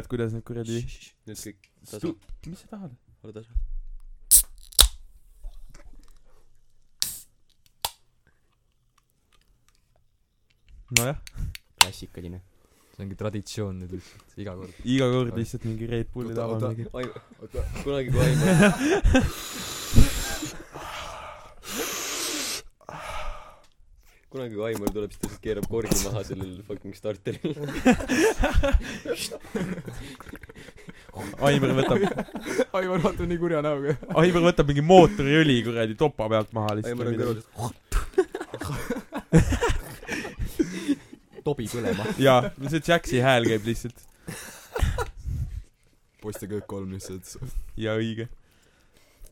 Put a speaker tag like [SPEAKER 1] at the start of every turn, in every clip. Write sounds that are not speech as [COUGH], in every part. [SPEAKER 1] kuuled , kuidas need kuradi
[SPEAKER 2] nüüd kõik tasa
[SPEAKER 1] stu- , mis sa tahad ?
[SPEAKER 2] ole tasa
[SPEAKER 1] nojah ,
[SPEAKER 2] klassikaline
[SPEAKER 3] see ongi traditsioon nüüd lihtsalt , iga kord .
[SPEAKER 1] iga kord lihtsalt mingi Red Bulli
[SPEAKER 3] Oota,
[SPEAKER 1] taha
[SPEAKER 3] oota.
[SPEAKER 1] mingi
[SPEAKER 2] Aim- oota kunagi kui Aimar [LAUGHS] kunagi kui Aimar tuleb siis ta lihtsalt keerab korgi maha sellel fucking starteril
[SPEAKER 1] Aimar võtab ,
[SPEAKER 3] Aivar vaatab nii kurja näoga .
[SPEAKER 1] Aimar Oh, võtab mingi mootoriõli kuradi topa pealt maha
[SPEAKER 2] Aimar on
[SPEAKER 1] lihtsalt
[SPEAKER 2] kõrval
[SPEAKER 3] tobi põlema .
[SPEAKER 1] jaa , see Jaxi hääl käib lihtsalt
[SPEAKER 3] poiste köök kolm lihtsalt .
[SPEAKER 1] ja õige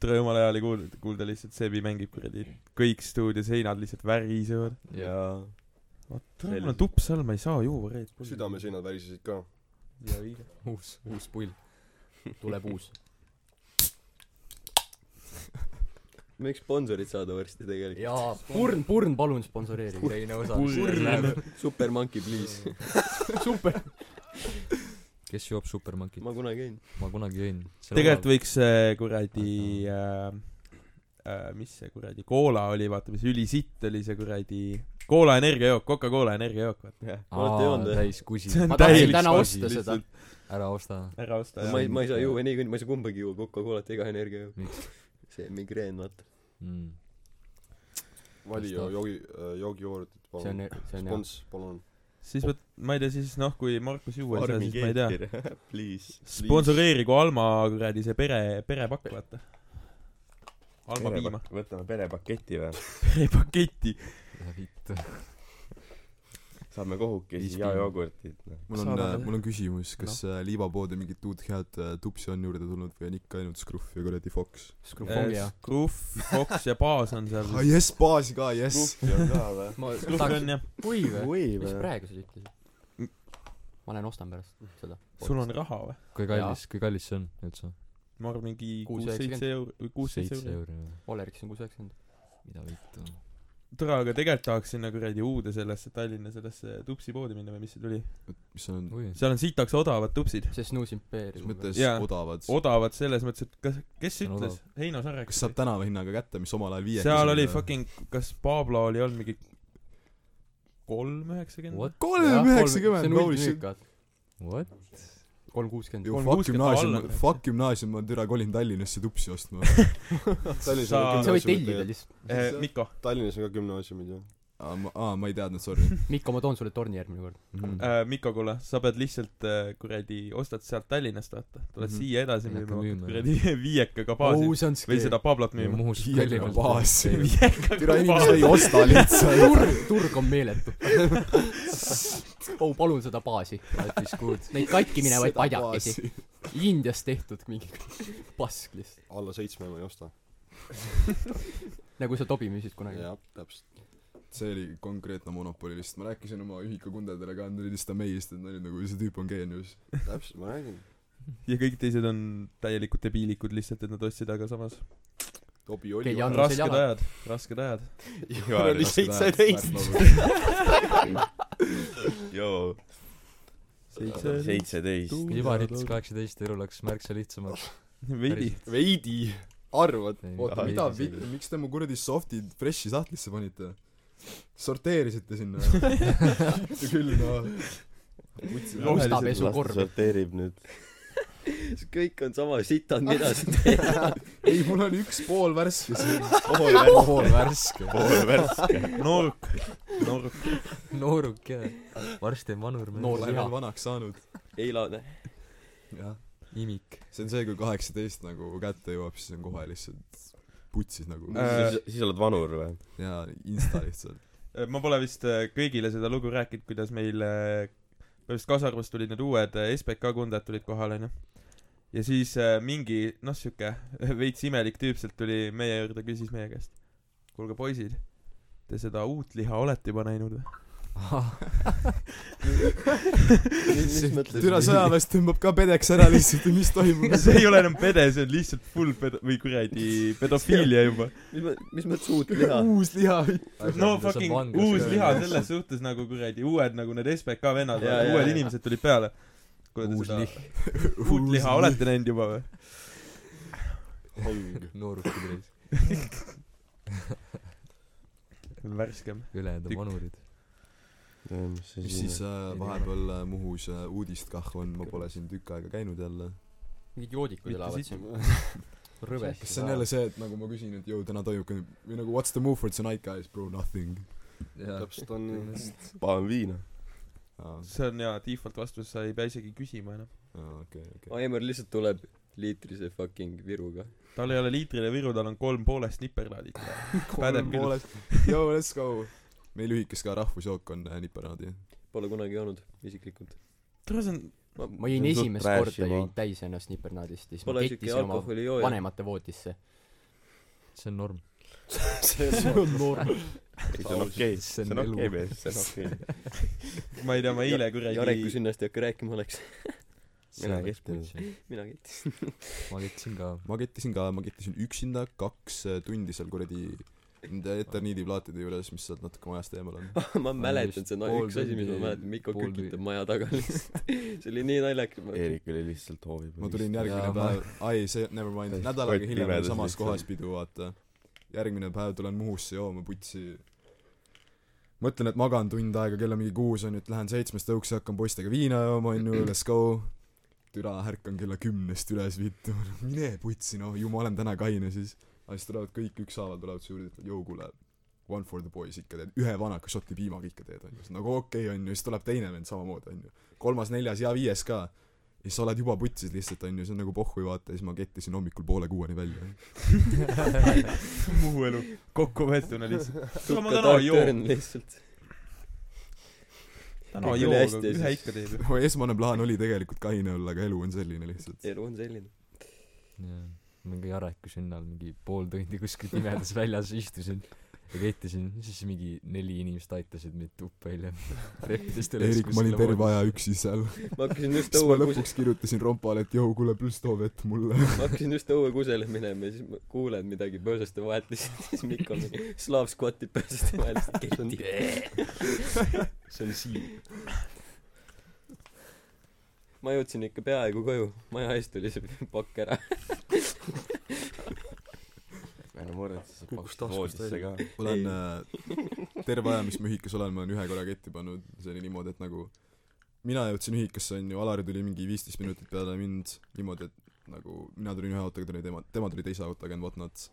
[SPEAKER 1] tore jumala hea oli kuulda , kuulda lihtsalt Sebi mängib kuradi kõik stuudio seinad lihtsalt värisevad
[SPEAKER 2] jaa
[SPEAKER 1] tule mul on tups all , ma ei saa juua Red Bulli
[SPEAKER 4] südameseinad värisesid ka .
[SPEAKER 1] ja õige
[SPEAKER 3] uus , uus pull . tuleb uus .
[SPEAKER 2] me võiks sponsorit saada varsti tegelikult
[SPEAKER 3] jaa , Purn , Purn , palun sponsoreerige teine osa .
[SPEAKER 1] Purn.
[SPEAKER 2] Super Monkey please
[SPEAKER 3] super . kes joob supermankit ?
[SPEAKER 2] ma kunagi ei
[SPEAKER 3] ma kunagi jõin .
[SPEAKER 1] tegelikult võiks äh, kuradi äh, äh, mis see kuradi koola oli vaata mis ülisitt oli see kuradi koola energiajook Coca-Cola energiajook vaata
[SPEAKER 2] jah olete
[SPEAKER 3] aa ,
[SPEAKER 2] joonud või
[SPEAKER 3] täis kusi .
[SPEAKER 1] see on
[SPEAKER 3] ma
[SPEAKER 1] täielik
[SPEAKER 3] tahtsin täna
[SPEAKER 1] asi
[SPEAKER 3] osta seda
[SPEAKER 1] lihtsalt .
[SPEAKER 3] ära osta .
[SPEAKER 1] ära osta
[SPEAKER 2] ma
[SPEAKER 1] jah
[SPEAKER 2] ei ma ei saa juua niikuinii ma ei saa kumbagi juua Coca-Colat ega energia
[SPEAKER 3] miks
[SPEAKER 2] see migreen vaata
[SPEAKER 3] mm. ?
[SPEAKER 4] vali
[SPEAKER 3] Kas ta-
[SPEAKER 4] joogi , joogijoogurtit ,
[SPEAKER 3] see on
[SPEAKER 4] palun .,
[SPEAKER 3] see on
[SPEAKER 4] spons , äh, palun .
[SPEAKER 1] siis vot ma ei tea siis noh kui Markus juua ei saa siis ma ei tea
[SPEAKER 2] tea [LAUGHS] please
[SPEAKER 1] sponsoreerigu Alma kuradi see pere perepakk vaata Alma piima
[SPEAKER 4] võtame perepaketi või ?
[SPEAKER 1] perepaketi
[SPEAKER 3] hea vitt .
[SPEAKER 4] saame kohukesi
[SPEAKER 3] Viis
[SPEAKER 4] ja
[SPEAKER 3] piima.
[SPEAKER 4] jogurtit , noh .
[SPEAKER 5] mul on äh,
[SPEAKER 1] Saadame. ,
[SPEAKER 5] mul on küsimus , kas no. liivapoodi mingit uut head äh, tupsi on juurde tulnud või on ikka ainult Scruff ja kuradi Fox ?
[SPEAKER 3] Skrufovia .
[SPEAKER 1] Scruff Fox Äh, ja baas on seal
[SPEAKER 5] aa Ah, jess , baasi ka , jess .
[SPEAKER 4] Scruffi on ka või ?
[SPEAKER 3] ma
[SPEAKER 1] Scruff on
[SPEAKER 3] tahaks ,
[SPEAKER 1] jah
[SPEAKER 3] kui või ?
[SPEAKER 4] või
[SPEAKER 3] miks
[SPEAKER 4] või ?
[SPEAKER 3] praegu seda ütlesid ? ma lähen ostan pärast seda .
[SPEAKER 1] sul on raha vä
[SPEAKER 3] kui kallis , kui kallis see on üldse ?
[SPEAKER 1] ma arvan mingi kuus
[SPEAKER 3] Kuus-
[SPEAKER 1] seitse euri või kuus seitse euri
[SPEAKER 3] euri või ?
[SPEAKER 5] Oleriks on kuus üheksakümmend .
[SPEAKER 3] mida vittu .
[SPEAKER 1] tore , aga tegelikult tahaks sinna kuradi uude sellesse Tallinna sellesse tupsipoodi minna või mis see tuli .
[SPEAKER 5] mis on ,
[SPEAKER 1] seal on sitaks odavad tupsid .
[SPEAKER 3] see Snooze Impeerium
[SPEAKER 5] mis . mõttes
[SPEAKER 1] Jaa.
[SPEAKER 5] odavad ?
[SPEAKER 1] odavad selles mõttes , et kas , kes
[SPEAKER 3] See on
[SPEAKER 1] ütles ? Heino Sarek .
[SPEAKER 5] kas saab tänavahinnaga kätte , mis omal ajal viiekas
[SPEAKER 1] seal oli fucking , kas Pablo oli olnud mingi kolm üheksakümmend ?
[SPEAKER 3] What ?
[SPEAKER 5] kolm üheksakümmend , holy shit .
[SPEAKER 3] What ?
[SPEAKER 5] kolm kuuskümmend .
[SPEAKER 1] Kolm
[SPEAKER 5] Fuck
[SPEAKER 1] kuuskümmend alla
[SPEAKER 5] gümnaasium
[SPEAKER 1] läheb. ,
[SPEAKER 5] fuck gümnaasium , ma türa kolin Tallinnasse tupsi ostma . [LAUGHS]
[SPEAKER 4] Tallinnas
[SPEAKER 1] Sa-
[SPEAKER 4] on
[SPEAKER 3] sa
[SPEAKER 4] ka
[SPEAKER 3] võid tellida
[SPEAKER 4] gümnaasiumid ju .
[SPEAKER 3] lihtsalt .
[SPEAKER 1] Äh, Mikko ,
[SPEAKER 4] Tallinnas on ka gümnaasiumid ju .
[SPEAKER 5] aa , Ah, ma , aa , ma ei teadnud , sorry .
[SPEAKER 3] Mikko , ma toon sulle torni järgmine kord .
[SPEAKER 1] Mhm.
[SPEAKER 5] [LAUGHS]
[SPEAKER 1] Mikko , kuule , Äh, sa pead lihtsalt äh, kuradi , ostad sealt Tallinnast , vaata . tuled
[SPEAKER 5] Mhm.
[SPEAKER 1] siia edasi
[SPEAKER 3] Ja hakkad
[SPEAKER 1] müüma ,
[SPEAKER 3] müüma,
[SPEAKER 1] kuradi [LAUGHS] viiekaga baasi
[SPEAKER 3] oh , see on
[SPEAKER 1] või
[SPEAKER 3] skeem
[SPEAKER 1] seda . Pablot müüma .
[SPEAKER 3] Muhus
[SPEAKER 5] viiega baas . [LAUGHS] türa
[SPEAKER 1] viiekaga
[SPEAKER 5] inimesed ei
[SPEAKER 1] baasi .
[SPEAKER 5] osta lihtsalt .
[SPEAKER 3] turg , turg on meeletu . oh , palun seda baasi . That is good . Neid katki minevaid padjakesi .. Indias tehtud mingi pask lihtsalt .
[SPEAKER 4] alla seitsme ma ei osta .
[SPEAKER 3] nagu sa Tobi müüsid kunagi .
[SPEAKER 4] jah , täpselt .
[SPEAKER 5] see oli konkreetne monopoli lihtsalt , ma rääkisin oma ühikukundadele ka , nad olid lihtsalt amazed , et nad olid nagu , see tüüp on geenius .
[SPEAKER 4] täpselt , ma räägin .
[SPEAKER 1] ja kõik teised on täielikud debiilikud lihtsalt , et nad ostsid , aga samas
[SPEAKER 4] Tobi oli
[SPEAKER 3] keegi . andis
[SPEAKER 1] rasked
[SPEAKER 3] seal jala .
[SPEAKER 1] ajad , rasked ajad .
[SPEAKER 4] Ivar oli seitseteist .
[SPEAKER 2] joo seitseteist
[SPEAKER 3] Ivarit kaheksateist elu läks märksa lihtsamaks .
[SPEAKER 1] veidi .
[SPEAKER 4] veidi . arvad ?
[SPEAKER 3] Ei,
[SPEAKER 5] oota ,
[SPEAKER 3] ei,
[SPEAKER 5] mida
[SPEAKER 3] ei,
[SPEAKER 5] vittu , miks te mu kuradi soft'i fresh'i sahtlisse panite ? sorteerisite sinna ? küll noh .
[SPEAKER 3] mustapesukorv .
[SPEAKER 2] sorteerib
[SPEAKER 4] [LAUGHS]
[SPEAKER 2] nüüd kõik on sama sitad mida sa teed
[SPEAKER 5] ei , mul oli üks pool värske siin . pool värske .
[SPEAKER 4] pool värske .
[SPEAKER 1] nooruk , nooruk .
[SPEAKER 3] nooruk jah . varsti on vanur mees .
[SPEAKER 5] olen veel vanaks saanud .
[SPEAKER 2] ei laada
[SPEAKER 5] jah ,
[SPEAKER 3] imik .
[SPEAKER 5] see on see , kui kaheksateist nagu kätte jõuab , siis on kohe lihtsalt putsis nagu
[SPEAKER 1] Äh.
[SPEAKER 2] siis siis oled vanur või
[SPEAKER 5] ja insta lihtsalt .
[SPEAKER 1] ma pole vist äh, kõigile seda lugu rääkinud , kuidas meil äh, põhimõtteliselt Kasarvas tulid need uued äh, SBK kundad tulid kohale onju . ja siis äh, mingi noh siuke [LAUGHS] veits imelik tüüp sealt tuli meie juurde , küsis meie käest . kuulge poisid , te seda uut liha olete juba näinud või ? [LAUGHS]
[SPEAKER 5] türa sõjaväes tõmbab ka pedeks ära lihtsalt , mis toimub .
[SPEAKER 1] [LAUGHS] see ei ole enam pede , see on lihtsalt full pedo- või kuradi pedofiilia juba .
[SPEAKER 2] mis mõ- mis mõttes uut liha
[SPEAKER 5] uus liha .
[SPEAKER 1] no fucking uus liha selles suhtes nagu kuradi uued nagu need SBK vennad
[SPEAKER 2] Jaa, jaa,
[SPEAKER 1] uued
[SPEAKER 2] jaa.
[SPEAKER 1] inimesed tulid peale kuule te
[SPEAKER 3] uus
[SPEAKER 1] seda
[SPEAKER 3] lih- ,
[SPEAKER 1] uut liha olete näinud juba või ?
[SPEAKER 2] hang .
[SPEAKER 3] noorukid reis ,
[SPEAKER 1] värskem .
[SPEAKER 3] ülejäänud
[SPEAKER 1] Tükk.
[SPEAKER 3] on vanurid .
[SPEAKER 2] mis
[SPEAKER 5] mis
[SPEAKER 2] asi
[SPEAKER 5] siis äh, vahepeal äh, Muhus äh, uudistkah on , ma pole siin tükk aega käinud jälle .
[SPEAKER 3] mingid joodikud
[SPEAKER 1] Mitte
[SPEAKER 3] elavad
[SPEAKER 1] siit-
[SPEAKER 3] siin rõves .
[SPEAKER 5] kas see on jälle see , et nagu ma küsin , et jõu , täna toimub ka- või nagu what's the move for tonight guys , bro nothing .
[SPEAKER 4] täpselt on ju .
[SPEAKER 2] panen viina .
[SPEAKER 1] see on jaa , default vastus , sa ei pea isegi küsima noh. enam .
[SPEAKER 5] okei , okei .
[SPEAKER 2] Aimar lihtsalt tuleb liitrise fucking viruga .
[SPEAKER 1] tal ei ole liitrine viru , tal on kolm poolest niperlaadit . pädev küll .
[SPEAKER 5] [LAUGHS] poolest , yo let's go . meil ühikas ka rahvusjook on äh, niparaadi .
[SPEAKER 2] Pole kunagi joonud isiklikult .
[SPEAKER 1] tule see on ,
[SPEAKER 3] ma jõin esimest korda , jõin täis ennast nipernaadist ja siis ma
[SPEAKER 2] Pole siuke
[SPEAKER 3] kettisin oma
[SPEAKER 2] alkoholijooja .
[SPEAKER 3] vanemate [LAUGHS] voodisse .
[SPEAKER 6] see on norm .
[SPEAKER 2] see on norm . see on okei ,
[SPEAKER 6] See on
[SPEAKER 2] see on okei
[SPEAKER 6] elu.
[SPEAKER 2] mees , see on
[SPEAKER 3] [LAUGHS]
[SPEAKER 2] okei .
[SPEAKER 1] ma ei tea , ma eile
[SPEAKER 2] Jarek , kui
[SPEAKER 1] [LAUGHS] kuradi ,
[SPEAKER 2] sinna hästi ei hakka rääkima oleks , [LAUGHS] Mina
[SPEAKER 6] See on
[SPEAKER 2] keskmine.
[SPEAKER 6] kutsi.
[SPEAKER 2] mina kettisin .
[SPEAKER 6] ma ketsin ka .
[SPEAKER 5] ma kettisin ka , ma kettisin üksinda kaks äh, tundi seal kuradi nende Eterniidi plaatide juures , mis sealt natuke majast eemal on .
[SPEAKER 2] [LAUGHS] ma mäletan
[SPEAKER 6] just
[SPEAKER 2] seda ,
[SPEAKER 6] pool
[SPEAKER 2] üks asi , mis ma
[SPEAKER 6] tundi-
[SPEAKER 2] mäletan , Mikko
[SPEAKER 6] pool
[SPEAKER 2] kükitab
[SPEAKER 6] tundi.
[SPEAKER 2] maja taga [LAUGHS] lihtsalt . see oli nii naljakas , ma
[SPEAKER 7] Eerik oli lihtsalt hoovi
[SPEAKER 5] ma tulin järgmine
[SPEAKER 6] Jaa, ma-
[SPEAKER 5] päev , ai see , never mind ,
[SPEAKER 7] Täiesti
[SPEAKER 5] nädal aega
[SPEAKER 7] kott
[SPEAKER 5] hiljem oli
[SPEAKER 7] pimedas
[SPEAKER 5] samas
[SPEAKER 7] lihtsalt.
[SPEAKER 5] kohas pidu , vaata . järgmine päev tulen Muhusse jooma putsi . mõtlen , et magan tund aega , kell on mingi kuus on ju , et lähen seitsmest õuksi , hakkan poistega viina jooma on ju , let's go . türa ärkan kella kümnest üles , vittu , [LAUGHS] mine putsi noh , ju ma olen täna kaine siis . aga siis tulevad kõik ükshaaval tulevad su juurde , ütlevad , joo kuule , one for the boys ikka teed , ühe vanaka šoti piimaga ikka teed onju , siis nagu okei okay, onju , siis tuleb teine vend samamoodi onju . kolmas , neljas ja viies ka ja siis sa oled juba putsis lihtsalt onju , see on nagu pohhu vaata ja siis ma kettisin hommikul poole kuueni välja .
[SPEAKER 1] muu elu , kokkuvõetuna lihtsalt . kuule , ma
[SPEAKER 2] tukka
[SPEAKER 1] täna ei joo ,
[SPEAKER 2] tahtjärn lihtsalt .
[SPEAKER 1] täna ei
[SPEAKER 2] Tuli
[SPEAKER 1] joo ,
[SPEAKER 2] hästi
[SPEAKER 1] aga
[SPEAKER 2] ja
[SPEAKER 1] ühe
[SPEAKER 2] siis-
[SPEAKER 1] ikka teeb ju .
[SPEAKER 5] mu esmane plaan oli tegelikult kaine olla , aga elu on selline lihtsalt .
[SPEAKER 2] elu on selline .
[SPEAKER 6] jah , mingi Jareku sünnal mingi pool tundi kuskil
[SPEAKER 3] [LAUGHS]
[SPEAKER 6] pimedas väljas istusin ja kettisin , siis mingi neli inimest aitasid mind tuppa
[SPEAKER 3] [LAUGHS]
[SPEAKER 6] hiljem . reppides
[SPEAKER 5] Eerik , ma olin terve aja . üksi seal .
[SPEAKER 2] ma hakkasin just
[SPEAKER 5] siis ma
[SPEAKER 2] õuekuuse ,
[SPEAKER 5] lõpuks kirjutasin rompale , et jõu , kuule , pluss too vett mulle .
[SPEAKER 2] ma hakkasin just õuekusele minema ja siis ma kuulen midagi põõsaste vahelt ja siis , siis Mikko mingi slaav skvatib põõsaste vahel ,
[SPEAKER 4] [LAUGHS]
[SPEAKER 2] siis kehtib .
[SPEAKER 6] see oli siin .
[SPEAKER 2] ma jõudsin ikka peaaegu koju , maja ees tuli see pakk ära .
[SPEAKER 7] ära muretse , sa
[SPEAKER 4] Kukkus
[SPEAKER 7] pakud
[SPEAKER 4] taskust
[SPEAKER 7] voodisse ka .
[SPEAKER 5] ma olen äh, terve aja , mis ma ühikas olen , ma olen ühe korra ketti pannud , see oli niimoodi , et nagu mina jõudsin ühikasse onju , Alari tuli mingi viisteist minutit peale mind niimoodi , et nagu mina tulin ühe autoga , tuli tema , tema tuli teise autoga and what not .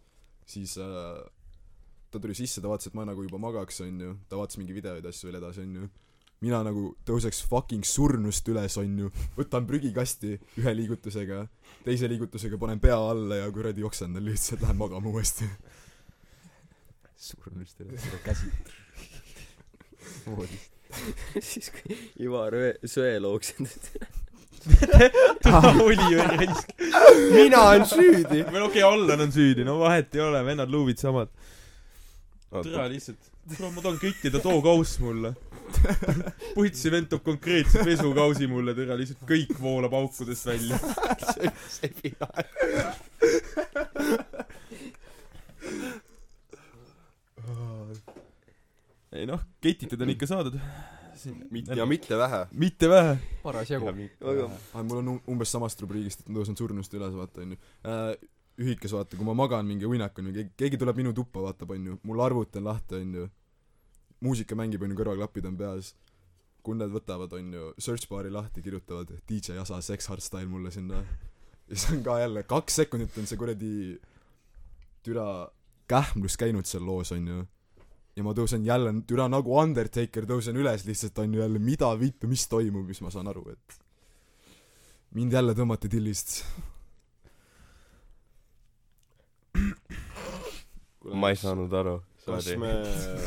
[SPEAKER 5] siis äh, ta tuli sisse , ta vaatas , et ma nagu juba magaks onju , ta vaatas mingi videoid ja asju veel edasi onju mina nagu tõuseks fucking surnust üles onju , võtan prügikasti ühe liigutusega , teise liigutusega panen pea alla ja kuradi jooksen tal lihtsalt , lähen magama uuesti .
[SPEAKER 6] surnust üle , seda käsi . voodist .
[SPEAKER 2] siis kui Ivar Öe- söe looksendas .
[SPEAKER 1] [LAUGHS] oli
[SPEAKER 4] [LAUGHS]
[SPEAKER 1] ju raisk .
[SPEAKER 4] mina
[SPEAKER 1] [LAUGHS]
[SPEAKER 4] olen süüdi .
[SPEAKER 1] või no okei , Allan on süüdi , no vahet ei ole , vennad luuvid samad . türa
[SPEAKER 7] oota ,
[SPEAKER 1] lihtsalt , kuule ma tahan küttida , too kauss mulle . [LAUGHS] putsi vend toob konkreetse pesukausi mulle , türa lihtsalt kõik voolab aukudest
[SPEAKER 4] [LAUGHS]
[SPEAKER 1] välja . ei noh , ketitud on ikka saadud .
[SPEAKER 4] ja mitte vähe .
[SPEAKER 1] mitte vähe .
[SPEAKER 3] parasjagu .
[SPEAKER 2] aga
[SPEAKER 5] aga mul on um- umbes samast rubriigist , et ma tõusen surnust üles , vaata onju äh, . ühikas vaata , kui ma magan mingi uinak onju , keegi , keegi tuleb minu tuppa , vaatab onju , mul arvuti on lahti onju . muusika mängib onju , kõrvaklapid on peas . kui nad võtavad onju , search bar'i lahti , kirjutavad DJ Asa Sex Hardstyle mulle sinna . ja see on ka jälle , kaks sekundit on see kuradi türa kähmlus käinud seal loos onju ja ma tõusen jälle türa nagu Undertaker tõusen üles lihtsalt onju jälle mida vittu mis toimub siis ma saan aru et mind jälle tõmmati tillist .
[SPEAKER 7] ma ei saanud aru .
[SPEAKER 4] kas
[SPEAKER 7] Sorry .
[SPEAKER 4] me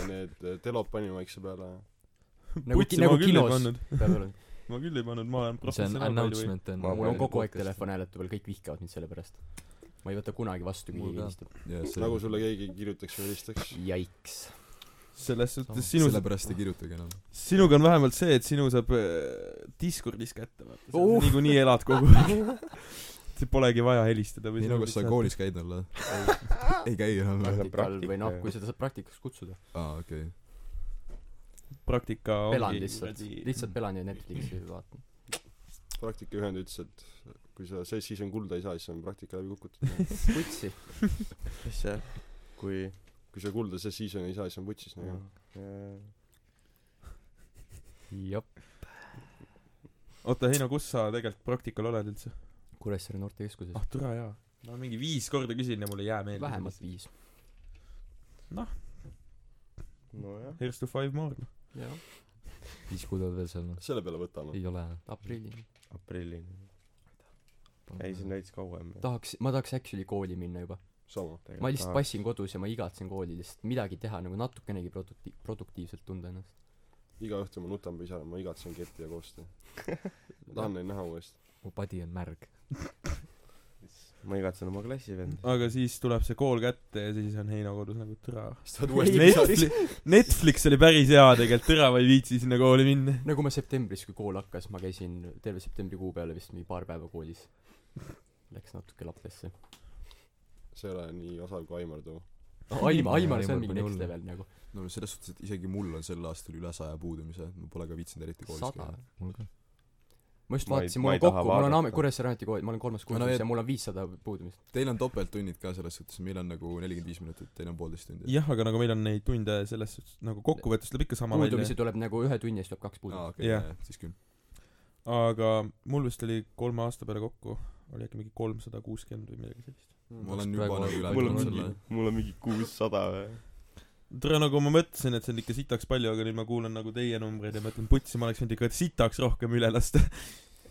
[SPEAKER 4] need eh, telod panime vaikse peale ?
[SPEAKER 3] nagu , nagu kinos . peab olema .
[SPEAKER 1] ma küll ei pannud , ma olen
[SPEAKER 6] Noh, see on
[SPEAKER 1] professionaal palju või .
[SPEAKER 6] announcement on
[SPEAKER 7] Ma
[SPEAKER 3] mul on
[SPEAKER 7] panin
[SPEAKER 3] kogu aeg telefon hääletu peal , kõik vihkavad mind selle pärast . ma ei võta kunagi vastu , kui
[SPEAKER 6] Mul
[SPEAKER 3] keegi
[SPEAKER 6] ka.
[SPEAKER 3] helistab .
[SPEAKER 5] nagu
[SPEAKER 4] nagu sulle keegi kirjutaks või helistaks .
[SPEAKER 3] jaiks .
[SPEAKER 1] selles suhtes sinu ,
[SPEAKER 5] sinu sellepärast ei kirjutage enam
[SPEAKER 1] sinuga on vähemalt see , et sinu saab äh, Discordis kätte , vaata . sa
[SPEAKER 3] Uh.
[SPEAKER 1] niikuinii elad kogu aeg . [LAUGHS] Polegi vaja helistada või
[SPEAKER 5] nii nagu sa koolis käid jälle [LAUGHS] ei käi enam või
[SPEAKER 3] praktikal või noh ,
[SPEAKER 7] praktika.
[SPEAKER 3] kui seda saab praktikaks kutsuda .
[SPEAKER 5] aa okei
[SPEAKER 1] praktika
[SPEAKER 3] pelan
[SPEAKER 1] ongi
[SPEAKER 3] lihtsalt ,
[SPEAKER 1] kuradi-
[SPEAKER 3] lihtsalt pelan ja Netflixi vaatan .
[SPEAKER 4] üks praktikajuhend ütles , et kui sa see siis on kulda ei saa , siis on praktika
[SPEAKER 5] [LAUGHS]
[SPEAKER 4] läbi kukutatud .
[SPEAKER 2] kutsi .
[SPEAKER 7] mis see , kui
[SPEAKER 4] kui sa kulda see siis on ei saa , siis on vutsis nagu .
[SPEAKER 6] jah ,
[SPEAKER 1] oota , Heino , kus sa tegelikult praktikal oled üldse ?
[SPEAKER 2] Kuressaare noortekeskuses .
[SPEAKER 1] ah , türa jaa . ma mingi viis korda küsin ja mulle ei jää meelde .
[SPEAKER 3] vähemalt viis .
[SPEAKER 7] nojah
[SPEAKER 1] Here's to five more .
[SPEAKER 3] jah ,
[SPEAKER 6] viis kuud veel seal ,
[SPEAKER 4] selle peale võtame .
[SPEAKER 6] ei ole .
[SPEAKER 3] aprillini .
[SPEAKER 7] aprillini ei see on . veits kauem
[SPEAKER 3] tahaks , ma tahaks actually kooli minna juba .
[SPEAKER 4] sama .
[SPEAKER 3] ma lihtsalt passin kodus ja ma igatsen kooli lihtsalt midagi teha , nagu natukenegi produkti- , produktiivselt tunda ennast .
[SPEAKER 4] iga õhtu ma nutan pisara , ma igatsen ketti ja
[SPEAKER 7] [LAUGHS]
[SPEAKER 4] koostöö . ma tahan neid näha uuesti .
[SPEAKER 6] mu padi on märg .
[SPEAKER 7] ma igatsen oma klassivenda
[SPEAKER 1] aga siis tuleb see kool kätte ja siis on Heino kodus nagu türa .
[SPEAKER 4] siis tahad
[SPEAKER 1] Netflix , Netflix oli päris hea tegelikult , türa ma ei viitsi sinna kooli minna .
[SPEAKER 3] nagu ma septembris , kui kool hakkas , ma käisin terve septembrikuu peale vist mingi paar päeva koolis . Läks natuke lappesse .
[SPEAKER 4] see ei ole nii osav kui Aimar Too .
[SPEAKER 3] Aimar , Aimar , see on
[SPEAKER 6] Aimar
[SPEAKER 3] mingi
[SPEAKER 6] pani
[SPEAKER 3] next
[SPEAKER 6] hullu.
[SPEAKER 3] level nagu .
[SPEAKER 5] no selles suhtes , et isegi mul on sel aastal üle saja puudumise , ma pole ka viitsinud eriti koolis
[SPEAKER 3] Sada?
[SPEAKER 5] käia .
[SPEAKER 6] mul ka .
[SPEAKER 3] ma just
[SPEAKER 7] Ma ei-
[SPEAKER 3] vaatasin ,
[SPEAKER 7] ma
[SPEAKER 3] mul
[SPEAKER 7] ei
[SPEAKER 3] on
[SPEAKER 7] taha
[SPEAKER 3] kokku , mul on
[SPEAKER 7] vaadata.
[SPEAKER 3] Aame- , Kuressaare Ametikool , ma olen kolmas
[SPEAKER 5] Aga no
[SPEAKER 3] kursus
[SPEAKER 5] veel-
[SPEAKER 3] ja mul on viissada puudumist .
[SPEAKER 5] Teil on topelttunnid ka selles suhtes , meil on nagu nelikümmend viis minutit , teil on poolteist tundi .
[SPEAKER 1] jah , aga nagu meil on neid tunde selles suhtes nagu kokkuvõttes tuleb ikka sama välja
[SPEAKER 3] puudumisi . tuleb nagu ühe tunni eest tuleb kaks
[SPEAKER 5] aa ,
[SPEAKER 3] puudumist .
[SPEAKER 5] okei
[SPEAKER 1] Jah. ,
[SPEAKER 5] siis küll .
[SPEAKER 1] aga mul vist oli kolme aasta peale kokku oli äkki mingi kolmsada kuuskümmend või midagi sellist .
[SPEAKER 4] Hmm.
[SPEAKER 5] ma olen
[SPEAKER 6] praegu
[SPEAKER 5] juba
[SPEAKER 6] on-
[SPEAKER 5] nagu üle
[SPEAKER 7] mul on
[SPEAKER 5] tulnud
[SPEAKER 7] mingi
[SPEAKER 5] selle .
[SPEAKER 7] mul on mingi kuussada või
[SPEAKER 1] tere , nagu ma mõtlesin , et see on ikka sitaks palju , aga nüüd ma kuulan nagu teie numbreid ja mõtlen , putsi , ma oleks võinud ikka sitaks rohkem üle lasta .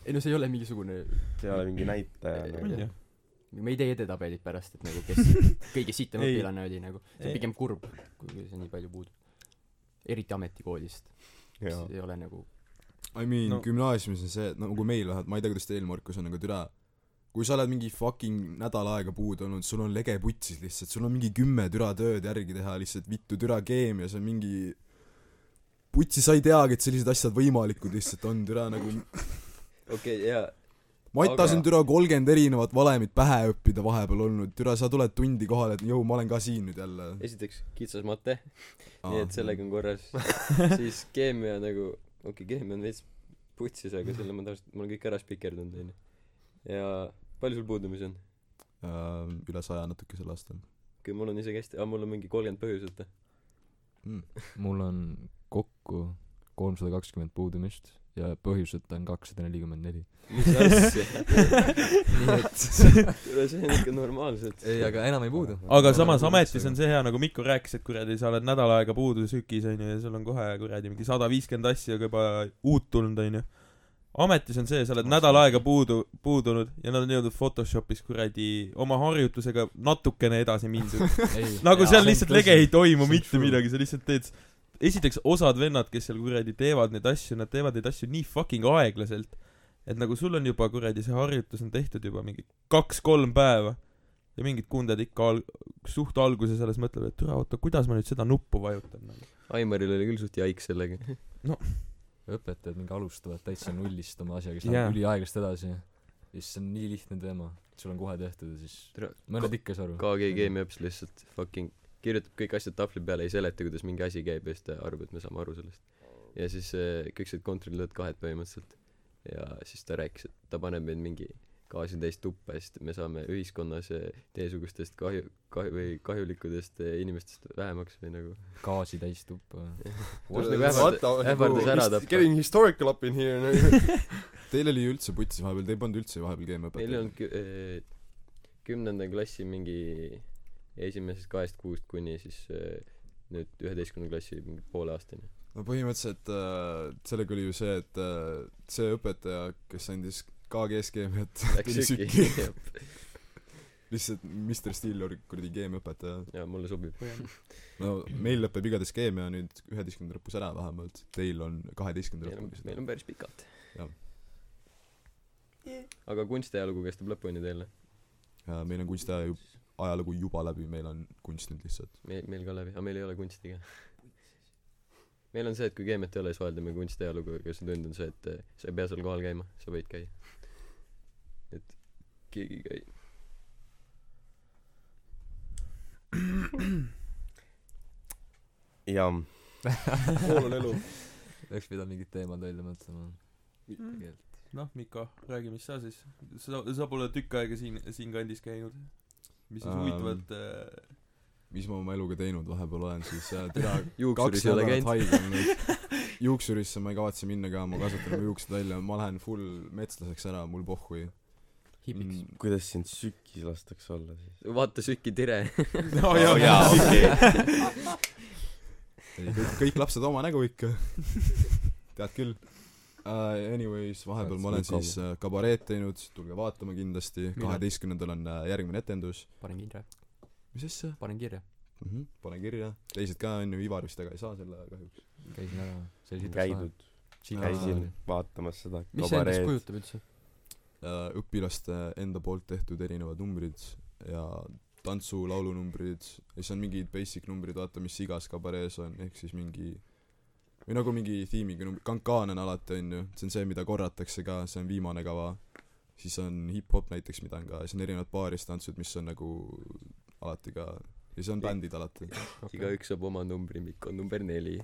[SPEAKER 3] ei no see ei ole mingisugune ,
[SPEAKER 7] see ei ole mingi näitaja
[SPEAKER 3] Ei,
[SPEAKER 7] nagu
[SPEAKER 1] on ju ?
[SPEAKER 3] me ei tee edetabelit pärast , et nagu kes
[SPEAKER 7] [LAUGHS]
[SPEAKER 3] kõige sitem
[SPEAKER 1] Ei.
[SPEAKER 3] õpilane oli nagu . see
[SPEAKER 1] Ei.
[SPEAKER 3] on pigem kurb , kui see nii palju puudub . eriti ametikoolist , mis
[SPEAKER 7] jaa
[SPEAKER 3] ei ole nagu
[SPEAKER 5] I mean
[SPEAKER 1] No.
[SPEAKER 5] no. , gümnaasiumis on see , et nagu meil vähemalt , ma ei tea , kuidas teil , Markus , on , aga türa , kui sa oled mingi fucking nädal aega puudu olnud , sul on lege putsis lihtsalt , sul on mingi kümme türa tööd järgi teha lihtsalt , vittu türa keemias on mingi putsi , sa ei teagi , et sellised asjad võimalikud lihtsalt on , türa nagu
[SPEAKER 2] okei , jaa .
[SPEAKER 5] Matas
[SPEAKER 2] Aga-
[SPEAKER 5] on türa kolmkümmend erinevat valemit pähe õppida vahepeal olnud , türa , sa tuled tundi kohale , et jõu , ma olen ka siin nüüd jälle .
[SPEAKER 2] esiteks kitsas mate , nii et sellega on
[SPEAKER 6] [LAUGHS]
[SPEAKER 2] korras . siis keemia nagu , okei okay, , keemia on veits putsis , aga selle ma tavaliselt , ma olen kõik ära spikerdanud , onju . ja palju sul puudumisi on ?
[SPEAKER 5] ähm, üle saja natuke sel aastal
[SPEAKER 2] okei , mul on isegi hästi , aa , mul on mingi kolmkümmend põhjust , et
[SPEAKER 5] mm. .
[SPEAKER 6] mul on kokku kolmsada kakskümmend puudumist ja põhjuseta on kakssada nelikümmend neli . [LAUGHS]
[SPEAKER 2] mis asja .
[SPEAKER 1] [LAUGHS]
[SPEAKER 3] [LAUGHS]
[SPEAKER 2] kuule , see on ikka normaalselt .
[SPEAKER 6] ei , aga enam ei puudu .
[SPEAKER 1] aga samas ametis on see hea , nagu Mikko rääkis , et kuradi , sa oled nädal aega puudu sükis , onju , ja sul on kohe kuradi mingi sada viiskümmend asja aga juba uut tulnud , onju . ametis on see , sa oled nädal aega puudu , puudunud ja nad on jõudnud Photoshopis kuradi oma harjutusega natukene edasi mindud . [LAUGHS] nagu seal lihtsalt lege ei toimu
[SPEAKER 6] See on
[SPEAKER 1] mitte
[SPEAKER 6] true.
[SPEAKER 1] midagi , sa lihtsalt teed esiteks osad vennad , kes seal kuradi teevad neid asju , nad teevad neid asju nii fucking aeglaselt , et nagu sul on juba kuradi see harjutus on tehtud juba mingi kaks-kolm päeva ja mingid kundad ikka al- , suht alguses alles mõtlevad , et türa , oota , kuidas ma nüüd seda nuppu vajutan nagu. .
[SPEAKER 2] Aimaril oli küll suht jaik sellega .
[SPEAKER 6] õpetajad mingi alustavad täitsa nullist oma asjaga , siis
[SPEAKER 1] Jaa.
[SPEAKER 6] läheb üliaeglaselt edasi ja siis see on nii lihtne teema , sul on kohe tehtud ja
[SPEAKER 2] Tere-
[SPEAKER 6] siis mõned ikka ei saa aru .
[SPEAKER 2] KG Keemiaõps lihtsalt fucking kirjutab kõik asjad tahvli peale , ei seleta , kuidas mingi asi käib ja siis ta arvab , et me saame aru sellest . ja siis eh, kõik said kontrollitud kahed põhimõtteliselt . ja siis ta rääkis , et ta paneb meid mingi gaasitäis tuppa ja siis me saame ühiskonnas eh, teiesugustest kahju , kahju või kahjulikudest eh, inimestest vähemaks või nagu
[SPEAKER 6] gaasi täis tuppa .
[SPEAKER 2] Just nagu ähvard- ähvardas ära tappa.
[SPEAKER 4] Getting historical up in here nagu .
[SPEAKER 5] Teil oli ju üldse putsi vahepeal , te ei pannud üldse vahepeal
[SPEAKER 2] meil ei olnud
[SPEAKER 5] keemiaõpetajat .
[SPEAKER 2] kü- eh, kümnenda klassi mingi esimesest kahest kuust kuni siis eh, nüüd üheteistkümnenda klassi mingi poole
[SPEAKER 4] [LAUGHS]
[SPEAKER 2] aastani
[SPEAKER 5] no põhimõtteliselt äh, sellega oli ju see , et äh, see õpetaja , kes andis KG-s keemiat , [LAUGHS]
[SPEAKER 2] läks
[SPEAKER 5] Tuli
[SPEAKER 2] sükki [LAUGHS]
[SPEAKER 5] sükki.
[SPEAKER 4] [LAUGHS]
[SPEAKER 5] lihtsalt Mr Steelor , kuradi keemiaõpetaja .
[SPEAKER 2] ja mulle sobib
[SPEAKER 5] no meil lõpeb igatahes keemia nüüd üheteistkümnenda lõpus ära vähemalt , teil on kaheteistkümnenda
[SPEAKER 2] meil on ,
[SPEAKER 5] lõpuni
[SPEAKER 2] meil
[SPEAKER 5] seda .
[SPEAKER 2] on päris pikalt
[SPEAKER 5] Jah. .
[SPEAKER 2] aga kunstiajalugu kestab lõpuni teil ,
[SPEAKER 5] meil on kunstiaja ju- ajalugu juba läbi , meil on kunst nüüd lihtsalt .
[SPEAKER 2] meil , meil ka läbi , aga meil ei ole kunsti ka . meil on see , et kui keemiat ei ole , siis vaheldame kunstiajalugu , aga see tund on see , et eh, sa ei pea seal kohal käima , sa võid käia . et keegi ei käi .
[SPEAKER 7] jaa
[SPEAKER 4] pool on elu .
[SPEAKER 6] oleks pidanud mingid teemad välja mõtlema . tegelikult .
[SPEAKER 1] noh , Miko , räägi , mis sa siis , sa , sa pole tükk aega siin , siinkandis käinud . mis siis
[SPEAKER 5] Ähm.
[SPEAKER 1] huvitavat äh,
[SPEAKER 5] mis ma oma eluga teinud vahepeal olen , siis äh,
[SPEAKER 2] [LAUGHS]
[SPEAKER 5] türa
[SPEAKER 2] juuksuris
[SPEAKER 5] kaks
[SPEAKER 2] ei ole
[SPEAKER 5] nädalat
[SPEAKER 2] käinud .
[SPEAKER 5] haigla on
[SPEAKER 2] [LAUGHS]
[SPEAKER 5] nüüd . juuksurisse ma ei kavatse minna ka , ma kasutan oma juuksed välja , ma lähen full metslaseks ära , mul pohhui .
[SPEAKER 3] hipiks .
[SPEAKER 7] Mm, kuidas sind sükis lastakse olla siis ?
[SPEAKER 2] vaata Süki
[SPEAKER 7] [LAUGHS]
[SPEAKER 2] Tire .
[SPEAKER 1] no jaa , jaa , okei .
[SPEAKER 5] ei , kõik , kõik lapsed oma nägu ikka . [LAUGHS] tead küll uh, . Anyways , vahepeal ma olen siis uh, kabareed teinud , tulge vaatama kindlasti ,
[SPEAKER 3] Millal?
[SPEAKER 5] kaheteistkümnendal on uh, järgmine etendus .
[SPEAKER 3] panen kirja ,
[SPEAKER 5] mis asja
[SPEAKER 3] panen kirja .
[SPEAKER 5] mm ? -hmm. panen kirja , teised ka on ju , Ivar vist väga ei saa selle kahjuks .
[SPEAKER 6] käisin ära , see oli sitaks lahe .
[SPEAKER 7] käidud , käisin vaatamas seda
[SPEAKER 3] mis see endast
[SPEAKER 7] kabareed .
[SPEAKER 3] kujutab üldse ?
[SPEAKER 5] uh, õpilaste enda poolt tehtud erinevad numbrid ja tantsu , laulunumbrid ja siis on mingid basic numbrid , vaata mis igas kabarees on , ehk siis mingi või nagu mingi tiimiga number , kankaan on alati onju , see on see , mida korratakse ka , see on viimane kava . siis on hip-hop näiteks , mida on ka , siis on erinevad baaristantsud , mis on nagu alati ka ja siis on bändid alati .
[SPEAKER 2] igaüks saab oma numbri , Mikk on number neli .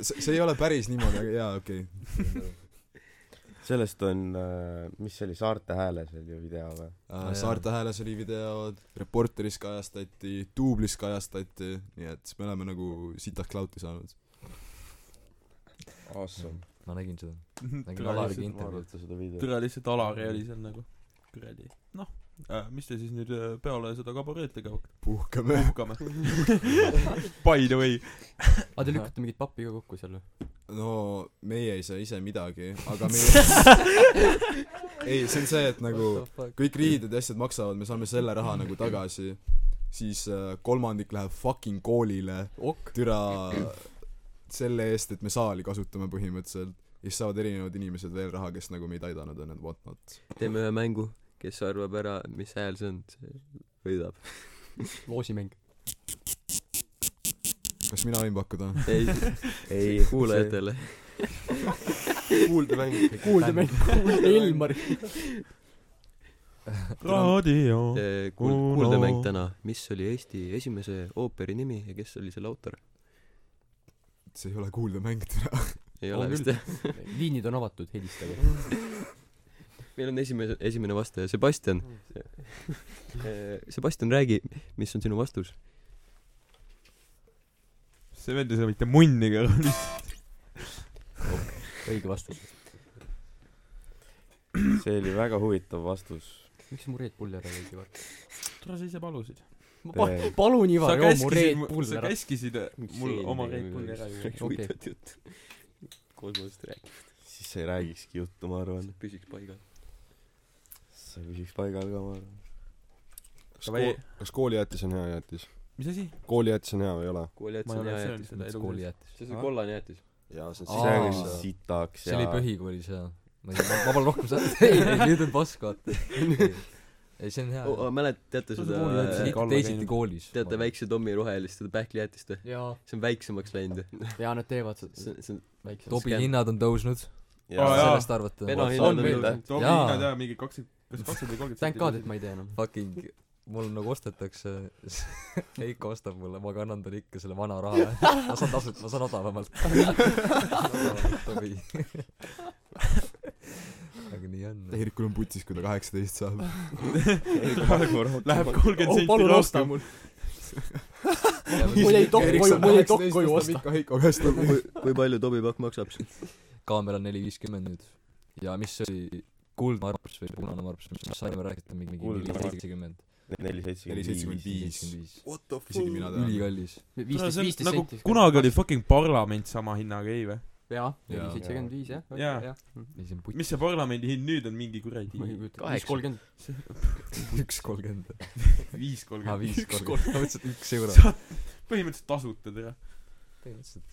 [SPEAKER 5] see , see ei ole päris niimoodi , aga jaa , okei okay. .
[SPEAKER 7] sellest on , mis see oli , Saarte Hääles oli ju video või ?
[SPEAKER 5] Äh, Saarte Hääles oli videod , Reporteris kajastati , Duublis kajastati , nii et me oleme nagu sitaks lauti saanud .
[SPEAKER 7] Awesome .
[SPEAKER 6] ma nägin seda ,
[SPEAKER 1] [LAUGHS]
[SPEAKER 6] nägin
[SPEAKER 1] türa
[SPEAKER 6] Alariga
[SPEAKER 1] lihtsalt ,
[SPEAKER 6] intervjuud .
[SPEAKER 7] vaadata seda videot .
[SPEAKER 1] türa lihtsalt Alari oli seal nagu , kuradi . noh äh, , mis te siis nüüd äh, peale seda kabareed tegema
[SPEAKER 5] puhkame .
[SPEAKER 1] [LAUGHS] hakkame ? By the way .
[SPEAKER 3] aa , te lükkate mingit pappi ka kokku seal või ?
[SPEAKER 5] no meie ei saa ise midagi , aga meie [LAUGHS] ei , see on see , et nagu kõik riided ja asjad maksavad , me saame selle raha nagu tagasi , siis äh, kolmandik läheb fucking koolile ,
[SPEAKER 3] ok ,
[SPEAKER 5] türa selle eest , et me saali kasutame põhimõtteliselt , ja siis saavad erinevad inimesed veel raha , kes nagu meid aidanud on , et what not .
[SPEAKER 2] teeme ühe mängu , kes arvab ära , mis hääl see on , see võidab .
[SPEAKER 3] loosimäng .
[SPEAKER 5] kas mina võin pakkuda ?
[SPEAKER 2] ei ,
[SPEAKER 7] ei ,
[SPEAKER 2] kuulajatele .
[SPEAKER 7] [LAUGHS] kuuldemäng .
[SPEAKER 3] kuuldemäng , Elmar .
[SPEAKER 1] raadio .
[SPEAKER 2] kuul- , kuuldemäng täna , mis oli Eesti esimese ooperi nimi ja kes oli selle autor ?
[SPEAKER 5] see ei ole kuuldemäng , türa .
[SPEAKER 2] ei
[SPEAKER 3] On
[SPEAKER 2] ole vist jah ?
[SPEAKER 3] liinid on avatud , helistage .
[SPEAKER 2] meil on esimese , esimene vastaja , Sebastian .
[SPEAKER 7] Mm.
[SPEAKER 2] [LAUGHS] Sebastian , räägi , mis on sinu vastus ?
[SPEAKER 1] see vend ei saa mitte munni ka .
[SPEAKER 3] õige vastus .
[SPEAKER 7] see oli väga huvitav vastus .
[SPEAKER 3] miks mu Red Bulli ära jäi , Ivar ?
[SPEAKER 1] tule sa ise palusid .
[SPEAKER 3] ma pa-
[SPEAKER 7] Tee-
[SPEAKER 3] palun ,
[SPEAKER 1] sa
[SPEAKER 3] Ivar , joo mu Red
[SPEAKER 1] käskisid ,
[SPEAKER 3] Bulli
[SPEAKER 1] sa
[SPEAKER 3] ära .
[SPEAKER 1] käskisid äh, mul oma Red Bulli ära juua .
[SPEAKER 2] rääkida . huvitavat
[SPEAKER 3] [LAUGHS]
[SPEAKER 2] juttu . kosmosest rääkida .
[SPEAKER 7] siis sa ei räägikski juttu , ma arvan .
[SPEAKER 2] püsiks paigal .
[SPEAKER 7] sa püsiks paigal ka , ma arvan .
[SPEAKER 4] kas kool , kas koolijäätis on hea jäätis ?
[SPEAKER 1] mis asi ?
[SPEAKER 4] koolijäätis on hea või ei ole ?
[SPEAKER 1] ma
[SPEAKER 2] koolijäätis
[SPEAKER 1] ei
[SPEAKER 2] on
[SPEAKER 1] ole
[SPEAKER 2] hea
[SPEAKER 1] söönud
[SPEAKER 2] jäätis .
[SPEAKER 1] seda elu sees .
[SPEAKER 6] koolijäätis .
[SPEAKER 2] see on see kollane jäätis .
[SPEAKER 4] jaa , see
[SPEAKER 7] see on
[SPEAKER 4] on
[SPEAKER 7] ikka
[SPEAKER 4] siis
[SPEAKER 7] sitaks
[SPEAKER 6] see oli
[SPEAKER 7] ja
[SPEAKER 6] põhikoolis jaa . ma ei , ma pole rohkem seda , [LAUGHS] ei , ei nüüd on pask , vaata . ei , see on hea
[SPEAKER 2] oh, . oh, . mälet- , teate
[SPEAKER 1] Kas
[SPEAKER 2] seda äh,
[SPEAKER 1] see koolijäätis on ikka- alla
[SPEAKER 6] teisiti
[SPEAKER 1] käinud.
[SPEAKER 6] koolis .
[SPEAKER 2] teate väikse Tommy rohelist , seda pähklijäätist või ?
[SPEAKER 3] jaa ,
[SPEAKER 2] see on väiksemaks läinud ju .
[SPEAKER 3] jaa , nad teevad seda
[SPEAKER 2] see , see on
[SPEAKER 6] Tobi hinnad on tõusnud ,
[SPEAKER 1] Aa, jaa.
[SPEAKER 6] sellest arvata . nagu
[SPEAKER 2] Vena
[SPEAKER 7] On
[SPEAKER 2] hinnad on
[SPEAKER 7] meil
[SPEAKER 2] tõusnud .
[SPEAKER 1] Toomi
[SPEAKER 6] Jaa.
[SPEAKER 1] hinnad jaa , mingi kakskümmend , kas kakskümmend või kolmkümmend
[SPEAKER 3] thank [LAUGHS] god , et ma ei tea enam .
[SPEAKER 6] fucking , mul nagu ostetakse , [LAUGHS] Heiko ostab mulle , ma kannan talle ikka selle vana raha . ma saan tasuta , ma saan odavamalt . odavamalt Tobi . [LAUGHS] aga nii on .
[SPEAKER 5] Eerikul on putis , kui ta kaheksateist saab .
[SPEAKER 1] Läheb kolmkümmend
[SPEAKER 3] oh ,
[SPEAKER 1] senti
[SPEAKER 3] palun osta
[SPEAKER 1] rohkem .
[SPEAKER 3] mul . mul jäi dokk koju , mul jäi dokk koju osta .
[SPEAKER 5] ikka Heiko käest nagu
[SPEAKER 2] kui , kui palju Tobi pakk maksab ?
[SPEAKER 6] kaamera on neli viiskümmend nüüd . ja mis see oli , kuldne arps või punane arps , mis me saime rääkida , mingi
[SPEAKER 7] Kuldne
[SPEAKER 6] neli
[SPEAKER 7] arps.
[SPEAKER 6] seitsekümmend .
[SPEAKER 7] neli
[SPEAKER 5] neli seitsekümmend
[SPEAKER 7] seitsekümmend viis .
[SPEAKER 5] viis .
[SPEAKER 6] viis .
[SPEAKER 5] isegi mina tean .
[SPEAKER 6] ülikallis .
[SPEAKER 3] viisteist , viisteist
[SPEAKER 1] nagu
[SPEAKER 3] senti .
[SPEAKER 1] kunagi oli . fucking parlament sama hinnaga , ei vä ?
[SPEAKER 3] jaa ,
[SPEAKER 5] Jaa.
[SPEAKER 3] neli seitsekümmend viis jah .
[SPEAKER 1] Jaa.
[SPEAKER 6] ei , see on putt .
[SPEAKER 1] mis see parlamendi hind nüüd on , mingi kuradi
[SPEAKER 3] ma ei kujuta , viis
[SPEAKER 2] Kaheksa.
[SPEAKER 3] kolmkümmend .
[SPEAKER 6] üks kolmkümmend .
[SPEAKER 1] viis
[SPEAKER 3] Ah,
[SPEAKER 6] aa ,
[SPEAKER 1] kolmkümmend . [LAUGHS]
[SPEAKER 6] viis kolmkümmend . ma mõtlesin , et üks euro .
[SPEAKER 1] saad põhimõtteliselt tasuta teha .
[SPEAKER 6] põhimõtteliselt .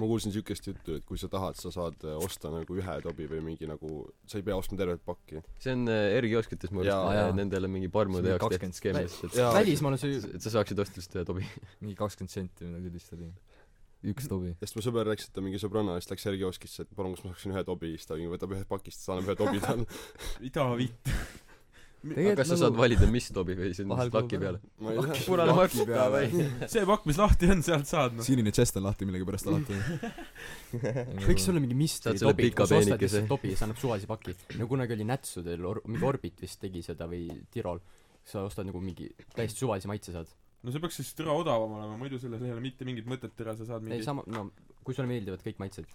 [SPEAKER 4] ma kuulsin siukest juttu , et kui sa tahad , sa saad äh, osta nagu ühe tobi või mingi nagu , sa ei pea ostma tervet pakki .
[SPEAKER 2] see on äh, R kioskites mu
[SPEAKER 4] Jaa.
[SPEAKER 6] Jaa.
[SPEAKER 2] arust , nendel on mingi parmude
[SPEAKER 6] See on
[SPEAKER 2] jaoks tehtud
[SPEAKER 6] 20
[SPEAKER 2] skeem lihtsalt ,
[SPEAKER 4] Jaa.
[SPEAKER 3] välismaal on see
[SPEAKER 2] et , et sa saaksid äh, osta lihtsalt ühe tobi .
[SPEAKER 6] mingi kakskümmend senti või midagi sellist oli . üks tobi .
[SPEAKER 4] ja siis mu sõber läks , et ta mingi sõbranna eest läks Sergei Oskisse , et palun , kas ma saaksin ühe tobi , siis ta mingi võtab ühest pakist , siis ta annab ühe tobi talle .
[SPEAKER 1] mida vitt .
[SPEAKER 2] aga kas sa
[SPEAKER 1] nagu
[SPEAKER 2] saad
[SPEAKER 6] [LAUGHS]
[SPEAKER 2] valida , mis tobi või siis
[SPEAKER 6] Vahel
[SPEAKER 2] laki
[SPEAKER 6] kulub
[SPEAKER 2] peale ?
[SPEAKER 6] ära.
[SPEAKER 4] ma ei tea .
[SPEAKER 2] punane mark .
[SPEAKER 1] see pakk , mis lahti on , sealt saad noh .
[SPEAKER 5] [LAUGHS] sinine džäss on lahti millegipärast alati .
[SPEAKER 3] võiks olla mingi mystery
[SPEAKER 2] Saad selle
[SPEAKER 3] tobi ,
[SPEAKER 2] pika
[SPEAKER 3] kus ostad
[SPEAKER 2] peenikese.
[SPEAKER 3] lihtsalt tobi ja sa annad suvalise paki . no kunagi oli nätsudel or- , mingi Orbit vist tegi seda või Tirol . sa ostad nagu mingi täiesti suvalise maitse saad .
[SPEAKER 1] no see peaks siis türa odavam olema , muidu selles ei ole mitte mingit mõtet , türa , sa saad
[SPEAKER 3] ei
[SPEAKER 1] mingi
[SPEAKER 3] sama , no kui sulle meeldivad kõik maitsed .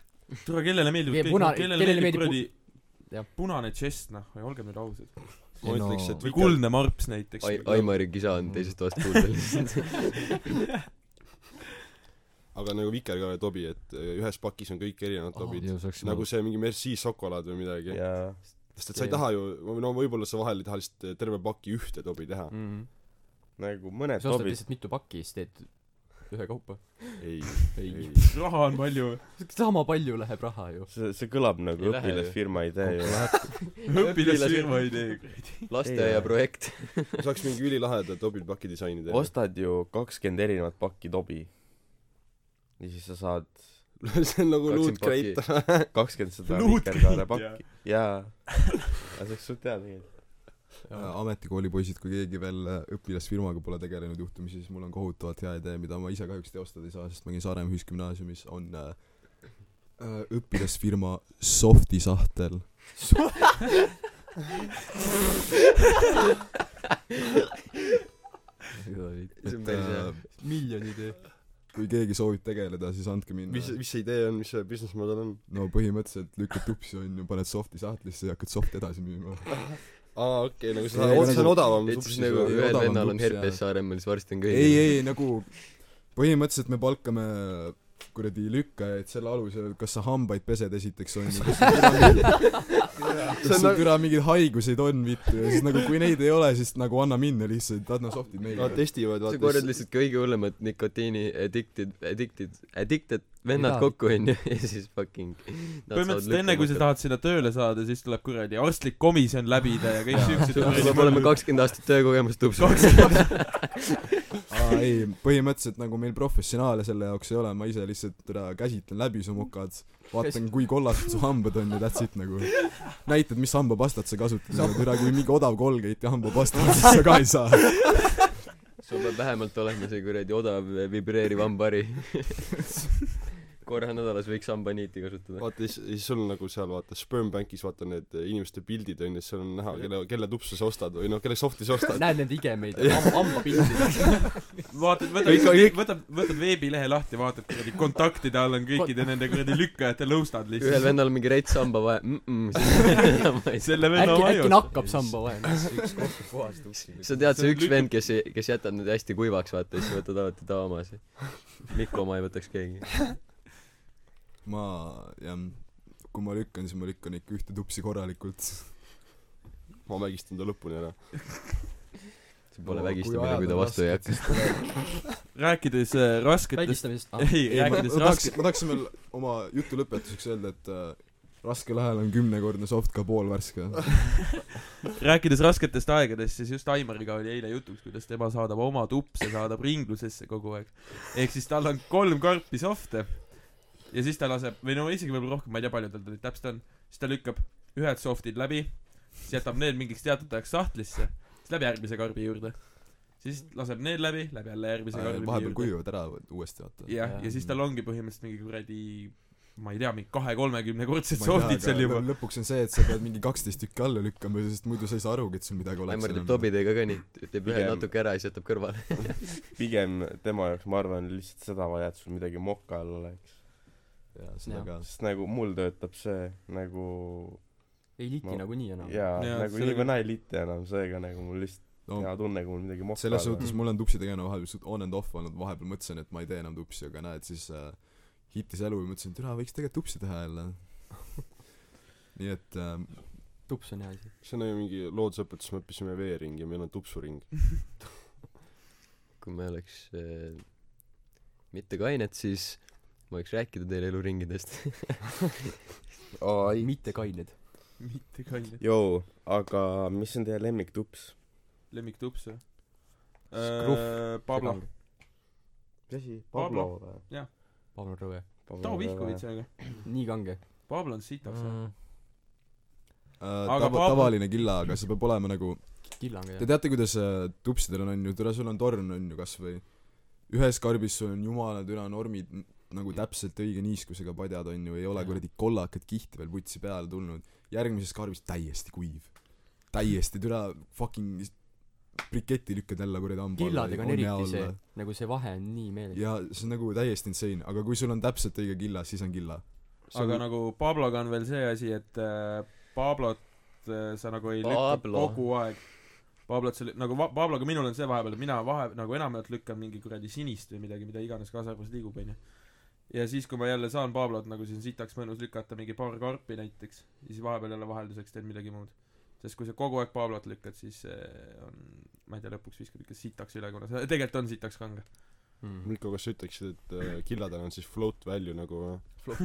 [SPEAKER 1] türa , kellele meeldib
[SPEAKER 3] Ei, puna- kellele meeldib pu-
[SPEAKER 1] kuradi
[SPEAKER 3] jah.
[SPEAKER 1] punane džest , noh , olgem nüüd ausad .
[SPEAKER 4] ma ütleks , et
[SPEAKER 1] või kuldne marps näiteks .
[SPEAKER 2] Ai- , Aimari kisa on teisest toast kuulda
[SPEAKER 4] [LAUGHS]
[SPEAKER 2] lihtsalt .
[SPEAKER 4] aga nagu vikerkaare tobi , et eh, ühes pakis on kõik erinevad tobid .
[SPEAKER 6] ju saaks
[SPEAKER 5] Noh.
[SPEAKER 6] [LAUGHS]
[SPEAKER 4] nagu see mingi Merci šokolaad või midagi .
[SPEAKER 7] jaa .
[SPEAKER 4] sest et sa ei taha ju , no võib-olla sa vahel ei taha lihtsalt eh, terve paki ühte tobi teha .
[SPEAKER 1] Mhm.
[SPEAKER 7] nagu mõned
[SPEAKER 3] sa ostad
[SPEAKER 7] tobid ,
[SPEAKER 3] lihtsalt mitu pakki , siis teed ühekaupa .
[SPEAKER 4] ei , ei
[SPEAKER 3] ei .,
[SPEAKER 1] raha on palju .
[SPEAKER 3] [LAUGHS] sama palju läheb raha ju .
[SPEAKER 7] see , see kõlab nagu
[SPEAKER 2] Ei lähe ju.
[SPEAKER 7] õpilasfirma idee ju .
[SPEAKER 1] õpilasfirma ei tee .
[SPEAKER 2] lasteaia projekt .
[SPEAKER 4] saaks mingi ülilaheda tobipaki disaini teha .
[SPEAKER 7] ostad ju kakskümmend erinevat pakki tobi . ja siis sa saad
[SPEAKER 4] see on nagu
[SPEAKER 2] Kakskümmend
[SPEAKER 4] loot crate .
[SPEAKER 7] [LAUGHS] kakskümmend seda
[SPEAKER 1] Luud
[SPEAKER 7] vikerkaare
[SPEAKER 1] kõik,
[SPEAKER 7] pakki . jaa . aga see oleks suht hea tegelikult .
[SPEAKER 5] ametikooli poisid , kui keegi veel äh, õpilasfirmaga pole tegelenud juhtumisi , siis mul on kohutavalt hea idee , mida ma ise kahjuks teostada ei saa , sest ma käin Saaremaa Ühisgümnaasiumis , on äh, äh, õpilasfirma Softi sahtel .
[SPEAKER 2] See on
[SPEAKER 4] äh,
[SPEAKER 2] päris hea.
[SPEAKER 3] miljon idee .
[SPEAKER 5] kui keegi soovib tegeleda , siis andke
[SPEAKER 4] mis ,
[SPEAKER 5] minna .
[SPEAKER 4] mis see idee on , mis see business model on ?
[SPEAKER 5] no põhimõtteliselt lükkad tupsi onju , paned Softi sahtlisse ja hakkad Softi edasi müüma .
[SPEAKER 4] aa , okei , nagu see
[SPEAKER 5] Ei,
[SPEAKER 4] on , see on
[SPEAKER 5] nagu-
[SPEAKER 4] odavam .
[SPEAKER 2] et siis nagu
[SPEAKER 5] või
[SPEAKER 2] ühel
[SPEAKER 5] odavam
[SPEAKER 2] vennal on
[SPEAKER 5] tups, jah.
[SPEAKER 2] herpes Saaremaal , siis varsti on
[SPEAKER 5] ei ,
[SPEAKER 2] kõigil .
[SPEAKER 5] ei nagu põhimõtteliselt me palkame kuradi lükkajaid selle alusel , kas sa hambaid pesed esiteks [LAUGHS] onju , kas sul türa mingi- kas sul türa mingeid haiguseid on vittu ja siis nagu kui neid ei ole , siis nagu anna minna lihtsalt , anna softid
[SPEAKER 4] Nad
[SPEAKER 5] meile .
[SPEAKER 4] testivad ,
[SPEAKER 2] sa korjad
[SPEAKER 4] vaata .
[SPEAKER 2] lihtsalt kõige hullemad nikotiini addicted , addicted , addicted vennad
[SPEAKER 3] Jaa.
[SPEAKER 2] kokku onju [LAUGHS] ja siis fucking .
[SPEAKER 1] põhimõtteliselt enne , kui sa . tahad sinna tööle saada , siis tuleb kuradi arstlik komisjon läbida ja kõik siuksed
[SPEAKER 2] tuleb olema kakskümmend aastat töökogemust tupsu .
[SPEAKER 1] [LAUGHS]
[SPEAKER 2] [LAUGHS]
[SPEAKER 5] aa ei , põhimõtteliselt nagu meil professionaale selle jaoks ei ole , ma ise lihtsalt türa käsitlen läbi su mokad , vaatan , kui kollased su hambad on ja that's it nagu . näitad , mis hambapastat sa kasutad , türa kui mingi odav Colgate ja hambapasta on , siis sa ka ei saa .
[SPEAKER 2] sul peab vähemalt olema see kuradi odav vibreeriv [LAUGHS] hambari . korra nädalas võiks hambaniiti kasutada .
[SPEAKER 4] [LAUGHS] vaata , siis , siis sul on nagu seal , vaata , sperm bank'is , vaata need inimeste pildid on ju , siis seal on näha , kelle , kelle tupsu sa ostad või noh , kelle soft'i sa ostad .
[SPEAKER 3] näed neid igemeid , hambapildid .
[SPEAKER 1] vaatad , võtad , võtad , võtad veebilehe lahti , vaatad kuradi kontaktide all on kõikide nende kuradi lükkajate lõustad
[SPEAKER 2] ühel
[SPEAKER 1] lihtsalt .
[SPEAKER 2] vennal mingi rets hamba vaja mm , [LAUGHS] -mm, siis
[SPEAKER 1] selle venna
[SPEAKER 3] äkki , äkki
[SPEAKER 1] vaju .
[SPEAKER 3] nakkab samba vahel .
[SPEAKER 2] sa tead , see üks vend , kes , kes jätab need hästi kuivaks , vaata , siis võtad alati ta oma , see Mikko oma ei võtaks keegi .
[SPEAKER 5] [LAUGHS] ma jah kui ma lükkan siis ma lükkan ikka ühte tupsi korralikult
[SPEAKER 4] ma märgistan ta lõpuni ära .
[SPEAKER 2] see pole vägistamine , kui ta vastu ei hakka .
[SPEAKER 1] rääkides äh, rasketest ,
[SPEAKER 3] vägistamisest ah, .
[SPEAKER 1] ei ,
[SPEAKER 5] ei ma ma
[SPEAKER 1] rääkides
[SPEAKER 5] tahaks
[SPEAKER 1] rasketest ,
[SPEAKER 5] ma tahaksin veel oma jutu lõpetuseks öelda et äh, raskel ajal on kümnekordne soft ka
[SPEAKER 4] [LAUGHS]
[SPEAKER 5] poolvärske
[SPEAKER 1] rääkides rasketest aegadest , siis just Aimariga oli eile jutuks , kuidas tema saadab oma tupse , saadab ringlusesse kogu aeg . ehk siis tal on kolm karpi soft'e ja siis ta laseb , või no isegi võib-olla rohkem , ma ei tea , palju tal neid täpselt on , siis ta lükkab ühed soft'id läbi , siis jätab need mingiks teatud ajaks sahtlisse , siis läheb järgmise karbi juurde . siis laseb need läbi , läheb jälle järgmise karbi
[SPEAKER 5] vahepeal
[SPEAKER 1] juurde .
[SPEAKER 5] kuivad ära uuesti vaata
[SPEAKER 1] jah , ja siis tal ongi põhimõtteliselt mingi kuradi ma ei tea , mingi kahe-kolmekümnekordsed
[SPEAKER 5] Ma ei tea,
[SPEAKER 1] soft'id seal
[SPEAKER 5] aga
[SPEAKER 1] juba .
[SPEAKER 5] lõ- lõpuks on see et sa pead mingi kaksteist tükki alla lükkama sest muidu sa ei saa arugi et sul midagi oleks
[SPEAKER 2] Aimar teeb
[SPEAKER 5] enam.
[SPEAKER 2] tobidega ka nii , teeb ühe
[SPEAKER 7] Pigem-
[SPEAKER 2] natuke ära ja siis jätab kõrvale .
[SPEAKER 7] pigem tema jaoks , ma arvan , lihtsalt seda vaja , et sul midagi moka all oleks .
[SPEAKER 5] jaa seda
[SPEAKER 3] Jah.
[SPEAKER 5] ka
[SPEAKER 7] sest nagu mul töötab see nagu
[SPEAKER 3] ei liti
[SPEAKER 7] Ma-
[SPEAKER 3] nagunii enam .
[SPEAKER 7] jaa
[SPEAKER 1] Jaa,
[SPEAKER 7] ja, , nagu
[SPEAKER 1] sellega-
[SPEAKER 7] nii või naa ei liita enam , seega nagu mul lihtsalt
[SPEAKER 5] no
[SPEAKER 7] on hea tunne , kui mul midagi moka
[SPEAKER 5] selles
[SPEAKER 7] all
[SPEAKER 5] suhtes mul on tupsi tegemine vahepeal suht on and off olnud , vahepeal mõtlesin , et ma ei tee enam tupsi , aga näed , siis äh, hittis elu ja mõtlesin , et türa , võiks tegelikult tupsi teha jälle . nii et äh,
[SPEAKER 3] tups on hea asi .
[SPEAKER 4] see on ju mingi loodusõpetus , me õppisime veering ja meil on tupsuring .
[SPEAKER 2] kui me oleks äh, mitte kained , siis ma võiks rääkida teile eluringidest .
[SPEAKER 7] Oi.
[SPEAKER 3] mitte kained .
[SPEAKER 1] mitte kaine .
[SPEAKER 7] joo , aga mis on teie lemmiktups ?
[SPEAKER 1] lemmiktups või ?
[SPEAKER 4] Äh,
[SPEAKER 3] Scruff.
[SPEAKER 1] Pablo .
[SPEAKER 7] mis asi ?
[SPEAKER 1] Pablo.
[SPEAKER 7] Pablo või ?
[SPEAKER 3] Pablo Rõve .
[SPEAKER 1] Too Vihkovits aega .
[SPEAKER 3] nii kange .
[SPEAKER 1] Pablo on sitaks mm. .
[SPEAKER 5] äh,
[SPEAKER 1] Aga
[SPEAKER 5] tava- ,
[SPEAKER 1] Pablo-
[SPEAKER 5] tavaline killa , aga see peab olema nagu
[SPEAKER 3] killangi
[SPEAKER 5] Te teate , kuidas äh, tupsidel on , on ju , tule , sul on torn , on ju , kas või ühes karbis sul on jumala türa normid n- nagu täpselt õige niiskusega padjad , on ju , ei ole kuradi kollakat kihti veel putsi peale tulnud . järgmises karbis täiesti kuiv . täiesti türa fucking s- briketi lükkad jälle kuradi hamba alla,
[SPEAKER 3] killadega on
[SPEAKER 5] ei- hea
[SPEAKER 3] eriti see
[SPEAKER 5] olla.
[SPEAKER 3] nagu see vahe on nii meeletu
[SPEAKER 5] ja see on nagu täiesti insane , aga kui sul on täpselt õige killa , siis on killa .
[SPEAKER 1] aga nagu Pabloga on veel see asi , et äh, Pablot äh, sa nagu ei lükka
[SPEAKER 2] Pablo.
[SPEAKER 1] kogu aeg . Pablot sa lü- , nagu va- , Pabloga minul on see vahepeal , et mina vahe , nagu enamjaolt lükkan mingi kuradi sinist või midagi , mida iganes kasarmus liigub , onju . ja siis , kui ma jälle saan Pablot nagu siin sitaks mõnus lükata mingi paar karpi näiteks , ja siis vahepeal jälle vahelduseks teen midagi muud . sest kui sa kogu aeg Pablot lükkad , siis äh, on , ma ei tea , lõpuks viskab ikka sitaks üle , kuna see tegelikult on sitaks kange .
[SPEAKER 3] mm.
[SPEAKER 4] Mikko , kas sa ütleksid , et äh, killadel on siis float value nagu või ?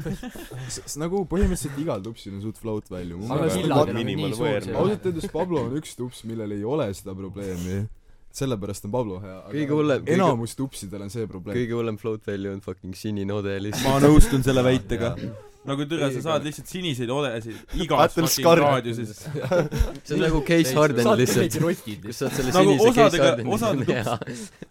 [SPEAKER 5] nagu põhimõtteliselt igal tupsil on suht float value .
[SPEAKER 3] aga
[SPEAKER 7] Aga
[SPEAKER 3] silladel on nagu
[SPEAKER 7] minimal
[SPEAKER 3] nii suur
[SPEAKER 7] wear-
[SPEAKER 3] see
[SPEAKER 7] Ma
[SPEAKER 5] ausalt öeldes Pablo on üks tups , millel ei ole seda probleemi . sellepärast on Pablo hea .
[SPEAKER 2] Kõige hullem- kõige-
[SPEAKER 5] enamus tupsidel on see probleem .
[SPEAKER 2] kõige hullem float value on fucking sinine ode
[SPEAKER 1] ma
[SPEAKER 2] lihtsalt .
[SPEAKER 1] nõustun selle väitega . nagu türa , sa saad lihtsalt siniseid odesid igas
[SPEAKER 7] Battle
[SPEAKER 1] fucking
[SPEAKER 7] Scar-
[SPEAKER 1] raadiuses .
[SPEAKER 2] see on nagu case harden
[SPEAKER 3] saad
[SPEAKER 2] lihtsalt
[SPEAKER 3] kellegi . rotid
[SPEAKER 2] kus saad selle
[SPEAKER 1] Nagu
[SPEAKER 2] sinise case
[SPEAKER 1] osadega-
[SPEAKER 2] harden'i , see on
[SPEAKER 1] osade
[SPEAKER 2] hea .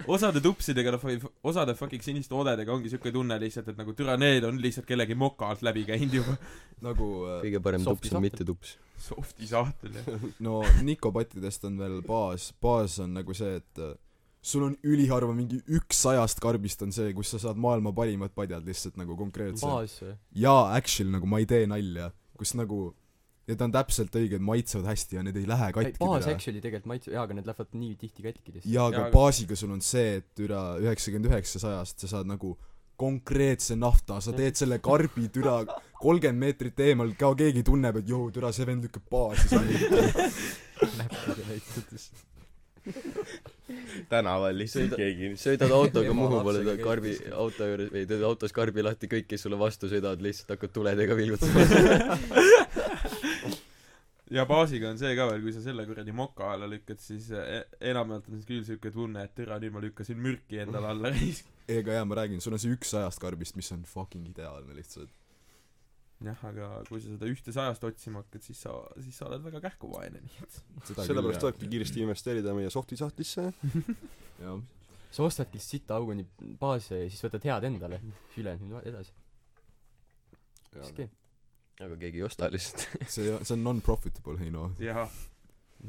[SPEAKER 1] osade tupsidega , osade fucking siniste odedega ongi siuke tunne lihtsalt , et nagu türa , need on lihtsalt kellegi moka alt läbi käinud juba . [LAUGHS]
[SPEAKER 5] nagu äh,
[SPEAKER 2] kõige parem
[SPEAKER 3] Softi
[SPEAKER 2] tups on
[SPEAKER 3] sahtel.
[SPEAKER 2] mitte tups .
[SPEAKER 1] Softi sahtel jah .
[SPEAKER 5] no nikopattidest on veel baas , baas on nagu see , et äh, sul on üliharva mingi üks sajast karbist on see , kus sa saad maailma parimad padjad lihtsalt nagu konkreetselt .
[SPEAKER 3] baas või
[SPEAKER 5] jaa , actually nagu ma ei tee nalja , kus nagu Need on täpselt õiged , maitsevad hästi ja need ei lähe
[SPEAKER 3] Ei, baas
[SPEAKER 5] katki .
[SPEAKER 3] actually tegelikult maitse- jaa aga need lähevad nii tihti katki lihtsalt
[SPEAKER 5] jaa ,
[SPEAKER 1] Jaa,
[SPEAKER 5] aga
[SPEAKER 1] aga-
[SPEAKER 5] baasiga sul on see , et üle üheksakümmend üheksa sajast sa saad nagu konkreetse nafta , sa teed selle karbi türa kolmkümmend meetrit eemal , ka keegi tunneb , et joo , türa , see vend lükkab baasi .
[SPEAKER 6] näppudega näitades .
[SPEAKER 7] tänaval lihtsalt
[SPEAKER 2] Sõida-
[SPEAKER 7] keegi [LAUGHS]
[SPEAKER 2] sõidad autoga
[SPEAKER 6] Ema
[SPEAKER 2] Muhu poole ,
[SPEAKER 6] lapsega
[SPEAKER 2] tahad karbi
[SPEAKER 6] käitus.
[SPEAKER 2] auto juures või teed autos karbi lahti , kõik , kes sulle vastu sõidavad , lihtsalt hakkad tuledega vilgutama .
[SPEAKER 1] ja baasiga on see ka veel , kui sa selle kuradi moka alla lükkad , siis eh, enamjaolt on siis küll siuke tunne , et türa , nüüd ma lükkasin mürki endale alla . [LAUGHS]
[SPEAKER 5] ega jaa , ma räägin , sul on see üks sajast karbist , mis on fucking ideaalne lihtsalt .
[SPEAKER 1] jah , aga kui sa seda ühte sajast otsima hakkad , siis sa , siis sa oled väga kähkuvaene .
[SPEAKER 4] sellepärast tulebki kiiresti investeerida meie soft'i sahtlisse .
[SPEAKER 5] jah .
[SPEAKER 3] sa ostadki sita auguni baase ja siis võtad head endale siis ülejäänud nüüd va- edasi mis skeem
[SPEAKER 2] aga keegi ei osta lihtsalt . [LAUGHS]
[SPEAKER 5] see , see on non-profitable , Heino .
[SPEAKER 1] jah ,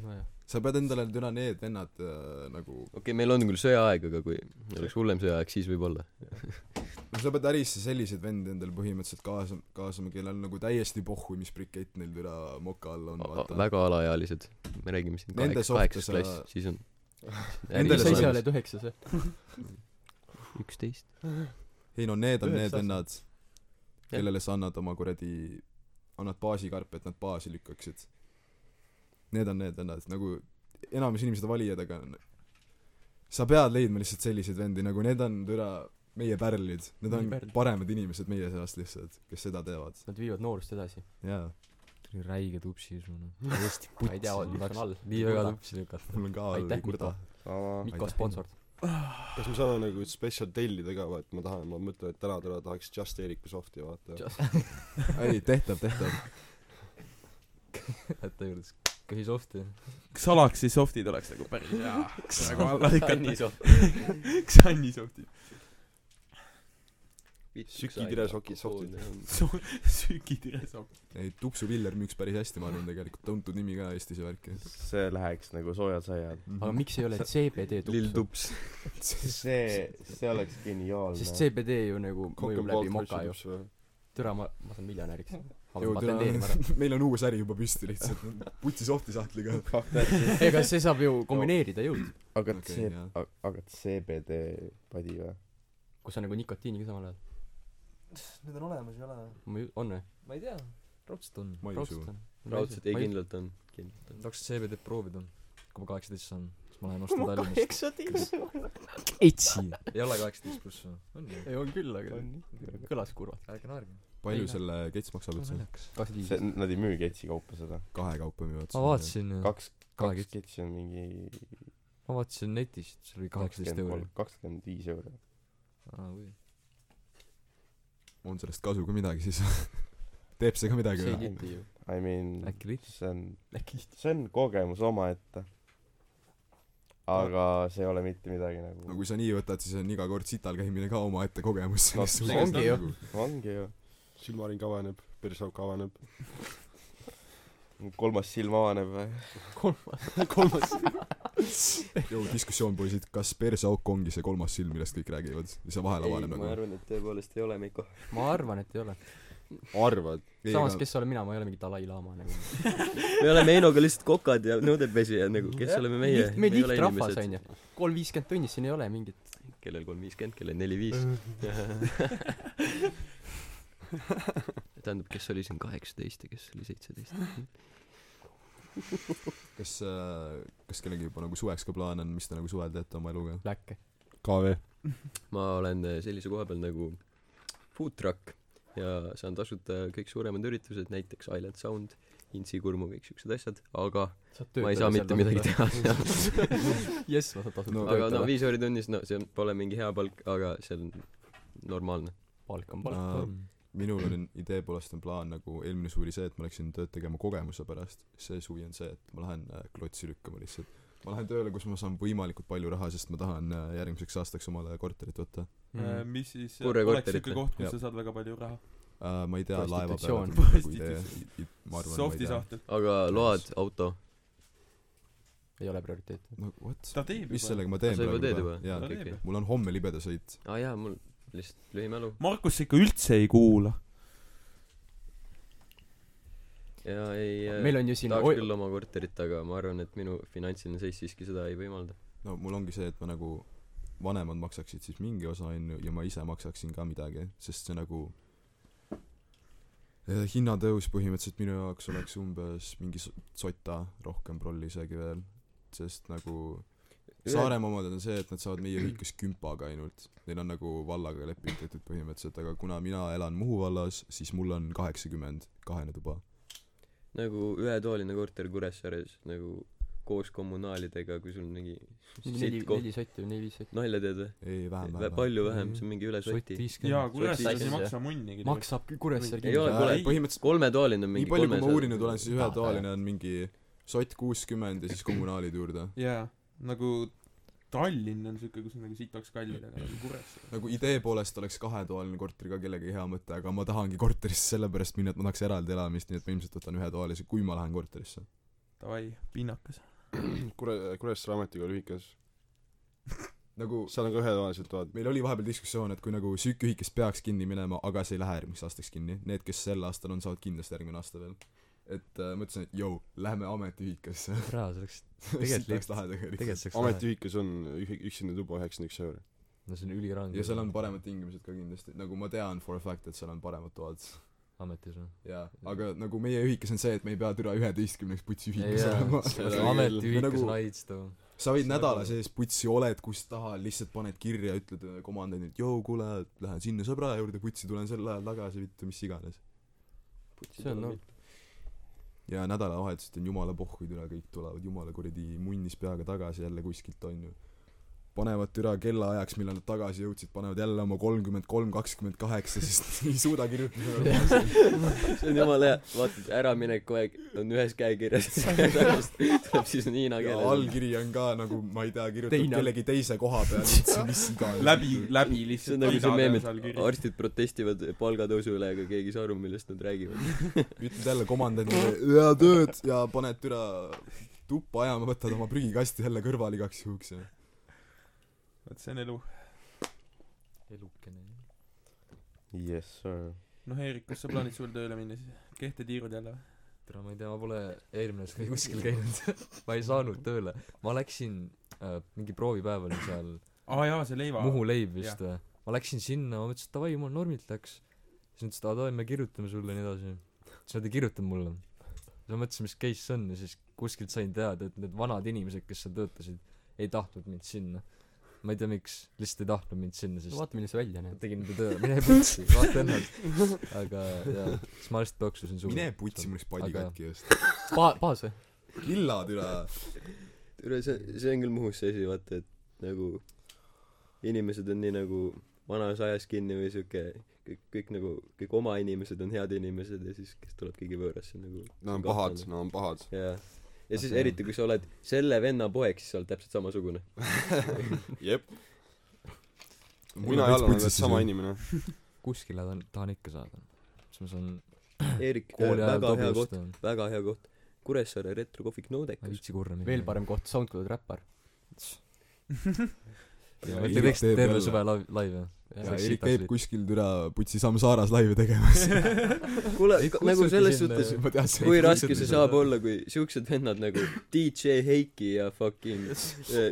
[SPEAKER 3] nojah
[SPEAKER 5] sa pead endale türa need vennad äh, nagu ,
[SPEAKER 2] okei okay, , meil on küll sõjaaeg , aga kui oleks hullem sõjaaeg , siis võib-olla .
[SPEAKER 5] no noh, sa pead ärisse selliseid vendi endale põhimõtteliselt kaasa , kaasama , kellel on nagu täiesti pohhu , mis brikett neil türa moka all on , vaata .
[SPEAKER 2] väga alaealised . me räägime siin
[SPEAKER 5] Nende
[SPEAKER 2] kaheksa ,
[SPEAKER 5] sohtu
[SPEAKER 2] kaheksas
[SPEAKER 5] sa-
[SPEAKER 2] klass , siis
[SPEAKER 7] [LAUGHS]
[SPEAKER 2] on .
[SPEAKER 5] Nendele
[SPEAKER 3] sa ise
[SPEAKER 5] sõnadele-
[SPEAKER 3] oled üheksas või
[SPEAKER 2] üksteist .
[SPEAKER 5] ei no need on
[SPEAKER 3] Üheksa
[SPEAKER 5] need
[SPEAKER 3] aastat.
[SPEAKER 5] vennad , kellele sa annad oma kuradi , annad baasikarpe , et nad baasi lükkaksid . Need on need vennad , nagu enamus inimesed on valijad , aga n- sa pead leidma lihtsalt selliseid vendi , nagu need on türa meie pärlid , need on
[SPEAKER 3] Meie pärlid.
[SPEAKER 5] paremad inimesed meie seast lihtsalt , kes seda teevad ,
[SPEAKER 3] nad viivad noorust edasi
[SPEAKER 5] jaa .
[SPEAKER 6] tuli räige tupsi su noh .
[SPEAKER 3] Eesti ma ei tea
[SPEAKER 6] putsi,
[SPEAKER 3] mis on all
[SPEAKER 6] [LAUGHS] nii väga tupsi lükata .
[SPEAKER 5] mul on ka all
[SPEAKER 3] Aitäh,
[SPEAKER 5] kurda .
[SPEAKER 7] sama
[SPEAKER 3] Mikko
[SPEAKER 5] Aitäh.
[SPEAKER 3] sponsor
[SPEAKER 4] kas me saame nagu spetsial tellida ka või , et ma tahan , ma mõtlen , et täna täna tahaks Just Eriku soft'i vaata .
[SPEAKER 5] ei , tehtav , tehtav .
[SPEAKER 6] hätta juures . köhi softi .
[SPEAKER 1] Galaxy softid oleks nagu päris hea . praegu alla lükata .
[SPEAKER 2] soft .
[SPEAKER 1] [LAUGHS] Xani softid .
[SPEAKER 4] Sükitire soki- softid. .
[SPEAKER 1] sükitire soft .
[SPEAKER 5] ei , Tupsu Viller müüks päris hästi , ma arvan tegelikult , tuntud nimi ka Eestis ja värki . Mhm.
[SPEAKER 7] see läheks nagu soojad saiad
[SPEAKER 3] aga miks ei ole CBD
[SPEAKER 2] lill
[SPEAKER 3] tupsu
[SPEAKER 2] tups .
[SPEAKER 7] see see oleks geniaalne
[SPEAKER 3] sest CBD ju nagu mõjub läbi moka ju
[SPEAKER 4] ju .
[SPEAKER 3] türa ma ma saan miljonäriks ma
[SPEAKER 5] Jõu,
[SPEAKER 3] pean
[SPEAKER 5] türa-
[SPEAKER 3] patenteerima ära
[SPEAKER 5] [LAUGHS] meil on uus äri juba püsti lihtsalt , putsi sohti sahtliga .
[SPEAKER 3] ega see saab ju kombineerida jõud
[SPEAKER 7] aga
[SPEAKER 5] Okei,
[SPEAKER 7] see
[SPEAKER 5] jah.
[SPEAKER 7] a- aga CBD padi või
[SPEAKER 3] kus on nagu nikotiiniga samal ajal
[SPEAKER 8] Need on olemas ei ole või ?
[SPEAKER 3] ma ju- on või
[SPEAKER 8] ma ei tea .
[SPEAKER 6] raudselt on .
[SPEAKER 5] ma ei usu .
[SPEAKER 3] raudselt on
[SPEAKER 2] raudselt , ei kindlalt on .
[SPEAKER 6] tahaks CBD proovida . kui ma kaheksateist saan , siis ma lähen ostan Tallinnast .
[SPEAKER 8] kaheksateist .
[SPEAKER 6] etsi . ei ole kaheksateist pluss või ? on ju .
[SPEAKER 3] ei on küll aga kõlas kurvalt
[SPEAKER 6] ärge naerge .
[SPEAKER 5] palju
[SPEAKER 3] Ei,
[SPEAKER 5] selle kets maksab üldse ?
[SPEAKER 3] kakskümmend viis
[SPEAKER 7] see nad ei müü ketsi kaupa seda
[SPEAKER 5] kahe kaupa müüvad
[SPEAKER 6] ma vaatasin ,
[SPEAKER 7] kaks
[SPEAKER 6] Kaheksa-
[SPEAKER 7] kaks ketsi on mingi
[SPEAKER 6] ma vaatasin netist , see oli kaheksateist
[SPEAKER 7] kakskümmend
[SPEAKER 6] euri
[SPEAKER 7] kolm . kakskümmend viis euri
[SPEAKER 6] aa või .
[SPEAKER 5] on sellest kasu ka midagi siis [LAUGHS] teeb see ka midagi
[SPEAKER 3] see ei
[SPEAKER 5] või
[SPEAKER 3] keti ju
[SPEAKER 7] I mean
[SPEAKER 6] äkki liit- ?
[SPEAKER 7] see on
[SPEAKER 3] äkki
[SPEAKER 7] see on kogemus omaette aga see ei ole mitte midagi
[SPEAKER 5] no
[SPEAKER 7] nagu
[SPEAKER 5] kui sa nii võtad , siis on iga kord sital käimine ka omaette
[SPEAKER 7] No
[SPEAKER 5] kogemus selles
[SPEAKER 7] see
[SPEAKER 5] suhtes.
[SPEAKER 7] ongi
[SPEAKER 3] ju.
[SPEAKER 7] ongi ju
[SPEAKER 4] silmaring avaneb , persauk avaneb . [CLEARS THROAT]
[SPEAKER 7] kolmas silm avaneb või
[SPEAKER 3] kolmas .
[SPEAKER 4] kolmas .
[SPEAKER 5] jõu diskussioon poisid , kas perseauk ongi see kolmas silm , millest kõik räägivad ja see vahel
[SPEAKER 2] ei ,
[SPEAKER 5] avaneb nagu.
[SPEAKER 2] ma arvan , et tõepoolest ei ole , Meiko .
[SPEAKER 3] ma arvan , et ei ole .
[SPEAKER 4] arvad ?
[SPEAKER 3] samas , kes olen mina , ma ei ole mingi Dalai-laama nagu .
[SPEAKER 2] me oleme Heinoga lihtsalt kokad ja nõudepesijad nagu , kes oleme meie ?
[SPEAKER 3] me lihtrahvas onju . kolm viiskümmend tunnis , siin ei ole mingit .
[SPEAKER 2] kellel kolm viiskümmend , kellel neli
[SPEAKER 3] [LAUGHS]
[SPEAKER 2] viis . tähendab , kes oli siin kaheksateist ja kes oli seitseteist .
[SPEAKER 5] kas äh, kas kellelgi juba nagu suveks ka plaan on , mis te nagu suvel teete oma eluga
[SPEAKER 3] Läkke .
[SPEAKER 4] KV .
[SPEAKER 2] ma olen eh, sellise koha peal nagu food truck ja saan tasuta kõik suuremad üritused , näiteks Island Sound , Intsi kurmu , kõik siuksed asjad , aga ma ei saa mitte midagi . teha seal .
[SPEAKER 3] [LAUGHS] jess , ma saan tasuta
[SPEAKER 5] No
[SPEAKER 3] no,
[SPEAKER 2] aga no
[SPEAKER 3] töötada no, .
[SPEAKER 2] viis euri tunnis , no see pole mingi hea palk , aga see on normaalne .
[SPEAKER 3] palk on palk .
[SPEAKER 5] Äh, minul on idee poolest on plaan nagu eelmine suvi oli see , et ma läksin tööd tegema kogemuse pärast , see suvi on see , et ma lähen äh, klotsi lükkama lihtsalt . ma lähen tööle , kus ma saan võimalikult palju raha , sest ma tahan äh, järgmiseks aastaks omale korterit võtta
[SPEAKER 1] Äh, mis siis äh,
[SPEAKER 2] Purre
[SPEAKER 1] oleks
[SPEAKER 2] korterit
[SPEAKER 1] siuke
[SPEAKER 2] või?
[SPEAKER 1] koht , kus
[SPEAKER 5] Jah.
[SPEAKER 1] sa saad väga palju raha .
[SPEAKER 5] äh, . ma ei tea , laeva peale
[SPEAKER 3] Prostitutsioon.
[SPEAKER 5] tuleb nagu idee , ma arvan , ma ei
[SPEAKER 1] Softi
[SPEAKER 5] tea .
[SPEAKER 1] sahtel .
[SPEAKER 2] aga load , auto ,
[SPEAKER 3] ei ole prioriteet .
[SPEAKER 5] no what ,
[SPEAKER 1] ta teeb
[SPEAKER 5] mis
[SPEAKER 1] juba .
[SPEAKER 5] sellega ma
[SPEAKER 2] Aa,
[SPEAKER 5] teen
[SPEAKER 2] Ah, sa juba teed
[SPEAKER 5] praegu
[SPEAKER 2] juba?
[SPEAKER 5] jaa
[SPEAKER 1] Ta
[SPEAKER 2] Okei,
[SPEAKER 1] teeb
[SPEAKER 2] okei.
[SPEAKER 1] ju.
[SPEAKER 5] mul on homme libedasõit
[SPEAKER 2] aa jaa , mul lihtsalt lühimälu
[SPEAKER 1] Markus ikka üldse ei kuula .
[SPEAKER 2] ja ei äh,
[SPEAKER 3] meil on ju siin
[SPEAKER 2] tahaks
[SPEAKER 3] oi-
[SPEAKER 2] küll oma korterit , aga ma arvan , et minu finantsiline seis siiski seda ei võimalda .
[SPEAKER 5] no mul ongi see , et ma nagu vanemad maksaksid siis mingi osa onju ja ma ise maksaksin ka midagi , sest see nagu eh, hinnatõus põhimõtteliselt minu jaoks oleks umbes mingi s- sota rohkem prolli isegi veel , sest nagu Saaremaa omad on see , et nad saavad meie ühikas kümpaga ainult , neil on nagu vallaga lepitatud põhimõtteliselt , aga kuna mina elan Muhu vallas , siis mul on kaheksakümmend kahene tuba .
[SPEAKER 2] nagu ühetoaline korter Kuressaares nagu koos kommunaalidega , kui sul on mingi
[SPEAKER 3] neli
[SPEAKER 2] sitt , koht ,
[SPEAKER 3] neli sotti või neli-viis sotti .
[SPEAKER 2] nalja teed
[SPEAKER 5] ei , vähem ,
[SPEAKER 2] või ?
[SPEAKER 5] vähem .
[SPEAKER 2] palju vähem , see on mingi üle
[SPEAKER 6] sott
[SPEAKER 2] soti .
[SPEAKER 1] jaa ,
[SPEAKER 6] viiskümmend .
[SPEAKER 1] Kuressaares ei
[SPEAKER 2] Sotsis, jah.
[SPEAKER 1] maksa munnigi .
[SPEAKER 3] maksab Kuressaare
[SPEAKER 2] ei ole
[SPEAKER 1] Äh,
[SPEAKER 2] kole-
[SPEAKER 1] ei. ,
[SPEAKER 5] põhimõtteliselt
[SPEAKER 2] kolmetoaline on
[SPEAKER 5] nii
[SPEAKER 2] mingi
[SPEAKER 5] palju , kui ma
[SPEAKER 2] kolmesaja-
[SPEAKER 5] uurinud olen , siis
[SPEAKER 6] Ah,
[SPEAKER 5] ühetoaline on mingi sott kuuskümmend ja siis kommunaalid juurde .
[SPEAKER 1] jaa , nagu Tallinn on siuke , kus on nagu sitaks kallid , aga nagu Kuressaare .
[SPEAKER 5] nagu idee poolest oleks kahetoaline korter ka kellegi hea mõte , aga ma tahangi korterisse sellepärast minna , et ma tahaks eraldi elamist , nii et ma ilmselt võtan ühetoalise , kui ma lähen korterisse .
[SPEAKER 1] Davai , pinnakas .
[SPEAKER 4] Kure- , Kuressaare ametiga oli ühikas .
[SPEAKER 5] nagu
[SPEAKER 4] seal on ka ühetoalised toad .
[SPEAKER 5] meil oli vahepeal diskussioon , et kui nagu süükiühikas peaks kinni minema , aga see ei lähe järgmiseks aastaks kinni , need , kes sel aastal on , saavad kindlasti järgmine aasta veel . et äh, mõtlesin , et jõu , lähme [LAUGHS] ametiühikasse .
[SPEAKER 6] jaa , see oleks ,
[SPEAKER 5] siit
[SPEAKER 6] tegelikult
[SPEAKER 5] läks lahe tegelikult .
[SPEAKER 6] tegelikult see oleks lahe .
[SPEAKER 4] ametiühikas on ühi- , üksinda tuba üheksakümmend üks euri .
[SPEAKER 6] no see on ülirange .
[SPEAKER 5] ja seal on paremad tingimused ka kindlasti , nagu ma tean for a fact , et seal on paremad toad .
[SPEAKER 6] ametis noh. või ?
[SPEAKER 5] jaa , aga nagu meie ühikas on see , et me ei pea türa üheteistkümneks putsi
[SPEAKER 6] ei
[SPEAKER 5] ühikas
[SPEAKER 6] jaa ,
[SPEAKER 5] olema .
[SPEAKER 6] see
[SPEAKER 4] Aga-
[SPEAKER 6] on ametiühikas
[SPEAKER 5] nagu-
[SPEAKER 6] on aits too .
[SPEAKER 5] sa võid nädala sees putsi oled kus taha , lihtsalt paned kirja , ütled komandandile , et jõu , kuule , lähen sinna sõbra juurde putsi , tulen sel ajal tagasi , vittu , mis iganes .
[SPEAKER 3] see on noh ,
[SPEAKER 5] ja nädalavahetused on jumala pohhuid üle , kõik tulevad jumala kuradi munnis peaga tagasi jälle kuskilt onju . panevad türa kellaajaks , millal nad tagasi jõudsid , panevad jälle oma kolmkümmend kolm , kakskümmend kaheksa , sest [LAUGHS] ei suuda
[SPEAKER 6] [LAUGHS]
[SPEAKER 5] kirjutada .
[SPEAKER 2] [LAUGHS] see on jumala hea , vaatad äramineku aeg on ühes
[SPEAKER 5] [LAUGHS]
[SPEAKER 2] käekirjas , tuleb siis on hiina
[SPEAKER 5] ja
[SPEAKER 2] keeles .
[SPEAKER 5] allkiri on ka nagu , ma ei tea , kirjutatud
[SPEAKER 3] Teine.
[SPEAKER 5] kellegi teise koha peal üldse , mis iganes .
[SPEAKER 1] läbi , läbi
[SPEAKER 2] see
[SPEAKER 1] lihtsalt .
[SPEAKER 2] on nagu see meem , et arstid protestivad palgatõusu üle , aga keegi ei saa aru , millest nad räägivad .
[SPEAKER 5] ütled jälle komandandile hea tööd ja paned türa tuppa ajama , võtad oma prügikasti jälle kõrvale igaks juhuks ja
[SPEAKER 1] vot see on elu .
[SPEAKER 6] elukene .
[SPEAKER 7] jess sir
[SPEAKER 1] noh , Eerik , kas sa plaanid suvel tööle minna siis ? kehtetiirud jälle või ?
[SPEAKER 6] tere , ma ei tea , ma pole eelmine aasta kuskil käinud . [LAUGHS] ma ei saanud tööle . ma läksin äh, , mingi proovipäev oli seal
[SPEAKER 1] aa jaa , see leiva .
[SPEAKER 6] Muhu leib vist või ? ma läksin sinna , ma mõtlesin , et davai , mul normilt läks . siis nad ütlesid , aa davai , me kirjutame sulle ja nii edasi . siis nad ei kirjutanud mulle . siis ma mõtlesin , mis case see on ja siis kuskilt sain teada , et need vanad inimesed , kes seal töötasid , ei tahtnud mind sinna . ma ei tea , miks , lihtsalt ei tahtnud mind sinna , sest
[SPEAKER 3] vaata , milline see välja
[SPEAKER 6] ma
[SPEAKER 3] näeb .
[SPEAKER 6] tegin enda töö , mine putsi , vaata ennast . aga jaa , siis ma lihtsalt pöksusin suhu .
[SPEAKER 5] mine putsi , mul läks padi
[SPEAKER 6] Aga-
[SPEAKER 5] katki just .
[SPEAKER 3] Pa- , paas või ?
[SPEAKER 5] killa türa .
[SPEAKER 2] tere , see , see on küll Muhus see asi , vaata , et nagu inimesed on nii nagu vanas ajas kinni või siuke kõik , kõik nagu , kõik oma inimesed on head inimesed ja siis kes tuleb keegi võõras , see on nagu
[SPEAKER 4] Nad on pahad , nad on pahad .
[SPEAKER 2] jaa . ja siis eriti , kui sa oled selle venna poeg , siis sa oled täpselt samasugune .
[SPEAKER 4] jep . mina ja Allan oleme sama . inimene .
[SPEAKER 6] kuskile tahan , tahan ikka saada . siis ma saan
[SPEAKER 2] Eerik ,
[SPEAKER 6] kooli ajal
[SPEAKER 2] äh, väga hea koht ,
[SPEAKER 6] toblustada .
[SPEAKER 2] väga hea koht . Kuressaare retrokohvik
[SPEAKER 6] ma ei
[SPEAKER 2] Noodekas .
[SPEAKER 6] viitsi kurna minna .
[SPEAKER 3] veel . parem koht , SoundCloud räppar .
[SPEAKER 6] Te teeksite terve suve live , live jah ?
[SPEAKER 5] ja Erik käib . kuskil türa putsi Samsaras laive tegemas .
[SPEAKER 2] kuule
[SPEAKER 6] Ei, ,
[SPEAKER 2] nagu
[SPEAKER 6] kutsuti
[SPEAKER 2] selles
[SPEAKER 6] sinna
[SPEAKER 2] suhtes ,
[SPEAKER 5] ma tean , see
[SPEAKER 2] kui raske see saab olla , kui siuksed vennad nagu DJ Heiki ja
[SPEAKER 5] [LAUGHS]
[SPEAKER 2] fucking ,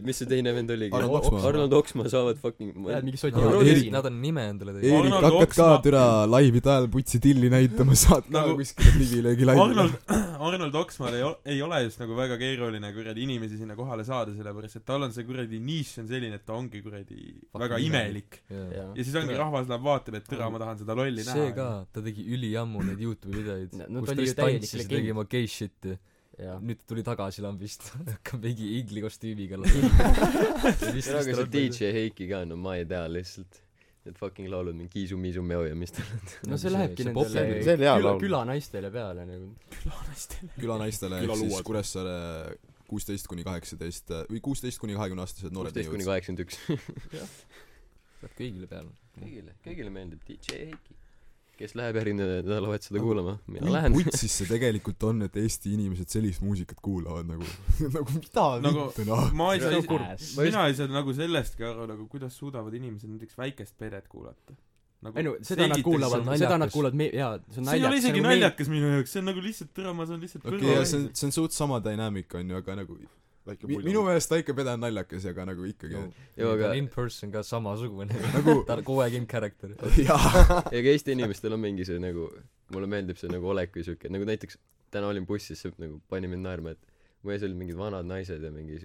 [SPEAKER 2] mis see teine vend oligi ?
[SPEAKER 5] Arnold Oksmaa.
[SPEAKER 2] Arnold Oksmaa saavad fucking ,
[SPEAKER 3] lähed mingi
[SPEAKER 6] Nad on-
[SPEAKER 5] Arnold-
[SPEAKER 3] soti
[SPEAKER 5] Erik-
[SPEAKER 6] nad on nime endale teinud .
[SPEAKER 5] Eerik ,
[SPEAKER 1] Arnold
[SPEAKER 5] hakkad ka
[SPEAKER 1] Oksmaa-
[SPEAKER 5] türa laivide ajal putsi tilli näitama , saad ka
[SPEAKER 1] Nagu-
[SPEAKER 5] kuskile digilegi laivi
[SPEAKER 1] Arnold , [CLEARS THROAT] Arnold Oksmaal ei ole , ei ole just nagu väga keeruline kuradi inimesi sinna kohale saada , sellepärast et tal on see kuradi nišš on selline , et ta ongi kuradi väga imelik . ja siis ongi , rahvas läheb vaatab , et türa , ma tahan seda lolli näha .
[SPEAKER 6] see ka , ta tegi üliammu neid Youtube'i videoid
[SPEAKER 3] No- , no
[SPEAKER 6] kus
[SPEAKER 3] ta oli
[SPEAKER 6] ta
[SPEAKER 3] ju
[SPEAKER 6] just
[SPEAKER 3] täielik
[SPEAKER 6] tantsis ja
[SPEAKER 3] legend.
[SPEAKER 6] tegi oma gay shit'i .
[SPEAKER 3] jah .
[SPEAKER 6] nüüd ta tuli tagasi lambist , [LAUGHS] hakkab mingi igli
[SPEAKER 3] [LAUGHS]
[SPEAKER 6] kostüümiga
[SPEAKER 2] aga see
[SPEAKER 6] laulma .
[SPEAKER 2] DJ Heiki ka , no ma ei tea lihtsalt . Need fucking laulud , mingi kiisu-miisu meo ja mis ta
[SPEAKER 3] no see lähebki
[SPEAKER 6] see pop-
[SPEAKER 3] nendele
[SPEAKER 7] see oli hea
[SPEAKER 3] küla ,
[SPEAKER 7] laul.
[SPEAKER 3] külanaistele peale nagu .
[SPEAKER 5] külanaistele ehk
[SPEAKER 4] Külaluued.
[SPEAKER 5] siis Kuressaare kuusteist kuni kaheksateist äh, või kuusteist kuni kahekümne aastased noored
[SPEAKER 2] kuusteist kuni
[SPEAKER 5] neiud .
[SPEAKER 2] kaheksakümmend
[SPEAKER 5] [LAUGHS]
[SPEAKER 2] üks .
[SPEAKER 6] Läheb kõigile peale .
[SPEAKER 2] kõigile , kõigile meeldib DJ Heiki . kes läheb järgmine nädalavahetus seda kuulama , mina
[SPEAKER 5] kui
[SPEAKER 2] lähen .
[SPEAKER 5] putsis see tegelikult on , et Eesti inimesed sellist muusikat kuulavad nagu , [LAUGHS] nagu mida
[SPEAKER 1] Nagu-
[SPEAKER 5] vittu noh .
[SPEAKER 1] [LAUGHS] ma ei
[SPEAKER 2] See on
[SPEAKER 1] saa ,
[SPEAKER 3] kurb.
[SPEAKER 1] mina ei saa nagu sellestki aru , nagu kuidas suudavad inimesed näiteks väikest peret kuulata . Nagu
[SPEAKER 3] ei no seda nad kuulavad ,
[SPEAKER 6] on
[SPEAKER 3] seda nad
[SPEAKER 6] naljakas.
[SPEAKER 3] kuulavad me- , jaa , see on
[SPEAKER 1] see ei ole
[SPEAKER 3] naljakas .
[SPEAKER 1] isegi naljakas minu jaoks , see on nagu lihtsalt türa , ma saan lihtsalt
[SPEAKER 5] okei ,
[SPEAKER 1] kõrva
[SPEAKER 5] ja see on
[SPEAKER 1] vahele. ,
[SPEAKER 5] see on suht sama dünaamika onju , aga nagu
[SPEAKER 4] väike
[SPEAKER 5] mi- minu meelest Taika Pede on naljakas , aga nagu ikkagi
[SPEAKER 6] Joo.
[SPEAKER 5] no.
[SPEAKER 2] Joo, aga-
[SPEAKER 6] ta on in person ka
[SPEAKER 5] [LAUGHS]
[SPEAKER 6] samasugune .
[SPEAKER 2] [LAUGHS]
[SPEAKER 5] nagu
[SPEAKER 6] ta on kogu aeg in character .
[SPEAKER 5] [LAUGHS] jaa ,
[SPEAKER 2] ja ka Eesti inimestel on mingi see nagu , mulle meeldib see nagu olek või siuke , nagu näiteks täna olin bussis , see nagu pani mind naerma , et mu ees olid mingid vanad naised ja mingi ,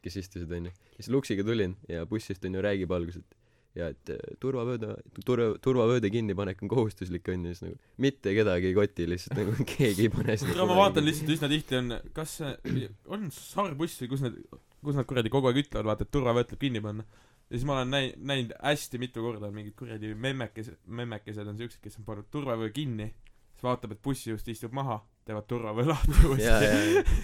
[SPEAKER 2] kes istusid onju . siis luksiga tulin ja bussist onju räägib alguses , et ja et eh, turvavööda , turva , turvavööde kinnipanek on kohustuslik onju , siis nagu mitte kedagi ei koti lihtsalt nagu [LAUGHS] keegi ei pane seda
[SPEAKER 1] türa , ma vaatan . lihtsalt üsna tihti on , kas see on Saarbuss või kus need , kus nad kuradi kogu aeg ütlevad , vaata , et turvavööd tuleb kinni panna . ja siis ma olen näi- , näinud hästi mitu korda on mingid kuradi memmekesed , memmekesed on siuksed , kes on pannud turvavöö kinni , siis vaatab , et bussijuht istub maha , teevad turvavöö lahti
[SPEAKER 2] [LAUGHS] jaa ,
[SPEAKER 1] uuesti .
[SPEAKER 2] jaa ,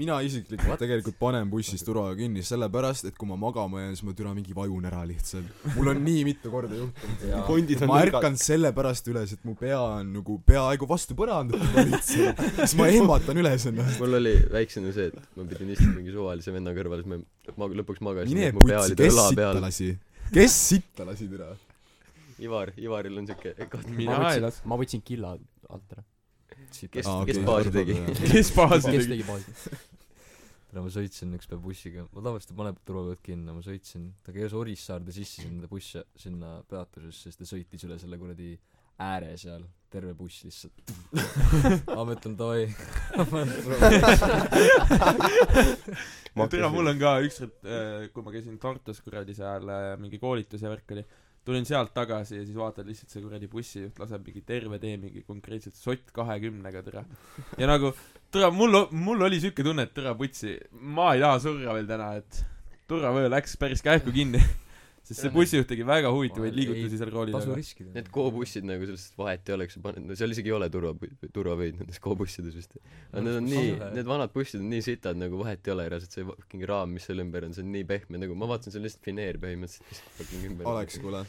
[SPEAKER 5] mina isiklikult tegelikult panen bussis turvaga kinni , sellepärast et kui ma magama jään , siis ma türa mingi vajun ära lihtsalt . mul on nii mitu korda juhtunud .
[SPEAKER 4] kondid on
[SPEAKER 5] ma ärkan sellepärast üles , et mu pea on nagu peaaegu vastu põrandat lihtsalt , siis ma ehmatan üles ennast .
[SPEAKER 2] mul oli väiksena see , et ma pidin istuma mingi suvalise venna kõrval , siis ma mag- , lõpuks magasin ,
[SPEAKER 5] mine
[SPEAKER 2] et mu pea
[SPEAKER 5] putsi ,
[SPEAKER 2] oli ta
[SPEAKER 5] kes
[SPEAKER 2] õla
[SPEAKER 5] sitta
[SPEAKER 2] peal .
[SPEAKER 5] lasi ? kes sitta lasi türa ?
[SPEAKER 2] Ivar , Ivaril on siuke
[SPEAKER 1] mina
[SPEAKER 3] Ma
[SPEAKER 1] ei
[SPEAKER 3] võtsin-
[SPEAKER 1] las- .
[SPEAKER 3] ma võtsin killa alt ära .
[SPEAKER 2] kes
[SPEAKER 5] Aa, ,
[SPEAKER 2] kes
[SPEAKER 5] okei,
[SPEAKER 2] baasi
[SPEAKER 5] arusaadav,
[SPEAKER 2] tegi
[SPEAKER 5] jah. ?
[SPEAKER 2] [LAUGHS]
[SPEAKER 1] kes baasi
[SPEAKER 3] kes
[SPEAKER 1] tegi ?
[SPEAKER 3] tegi baasi ?
[SPEAKER 6] täna ma sõitsin ükspäev bussiga , ma tavaliselt ei pane turvavööd kinni , ma sõitsin , ta käis Orissaarde sisse sinna buss , sinna peatusesse , siis ta sõitis üle selle kuradi ääre seal , terve buss lihtsalt . ma mõtlen davai ,
[SPEAKER 1] [LAUGHS] türa , mul on ka ükskord , kui ma käisin Tartus kuradi seal äh, mingi koolituse värk oli , tulin sealt tagasi ja siis vaatad lihtsalt see kuradi bussijuht laseb mingi terve tee mingi konkreetselt sott kahekümnega , türa . ja nagu , türa , mul , mul oli siuke tunne , et türa putsi , ma ei taha surra veel täna , et turvavöö läks päris kähku kinni . [LAUGHS] sest see bussijuht tegi väga huvitavaid liigutusi seal rooli
[SPEAKER 6] tasu
[SPEAKER 1] taga .
[SPEAKER 6] riskida
[SPEAKER 2] Need . koobussid nagu sellest vahet ei ole , eks ju , paned , no seal isegi ei ole turva , turvavöid nendes koobussides vist . aga need on nii
[SPEAKER 6] Ei ole. ,
[SPEAKER 2] need vanad bussid on nii sitad , nagu vahet ei ole reaalselt , see fucking raam , mis seal ümber on , see on nii pehme , nagu ma vaatasin , see on lihtsalt fineer põhimõtteliselt , mis fucking ümber
[SPEAKER 5] Aleks , kuule ,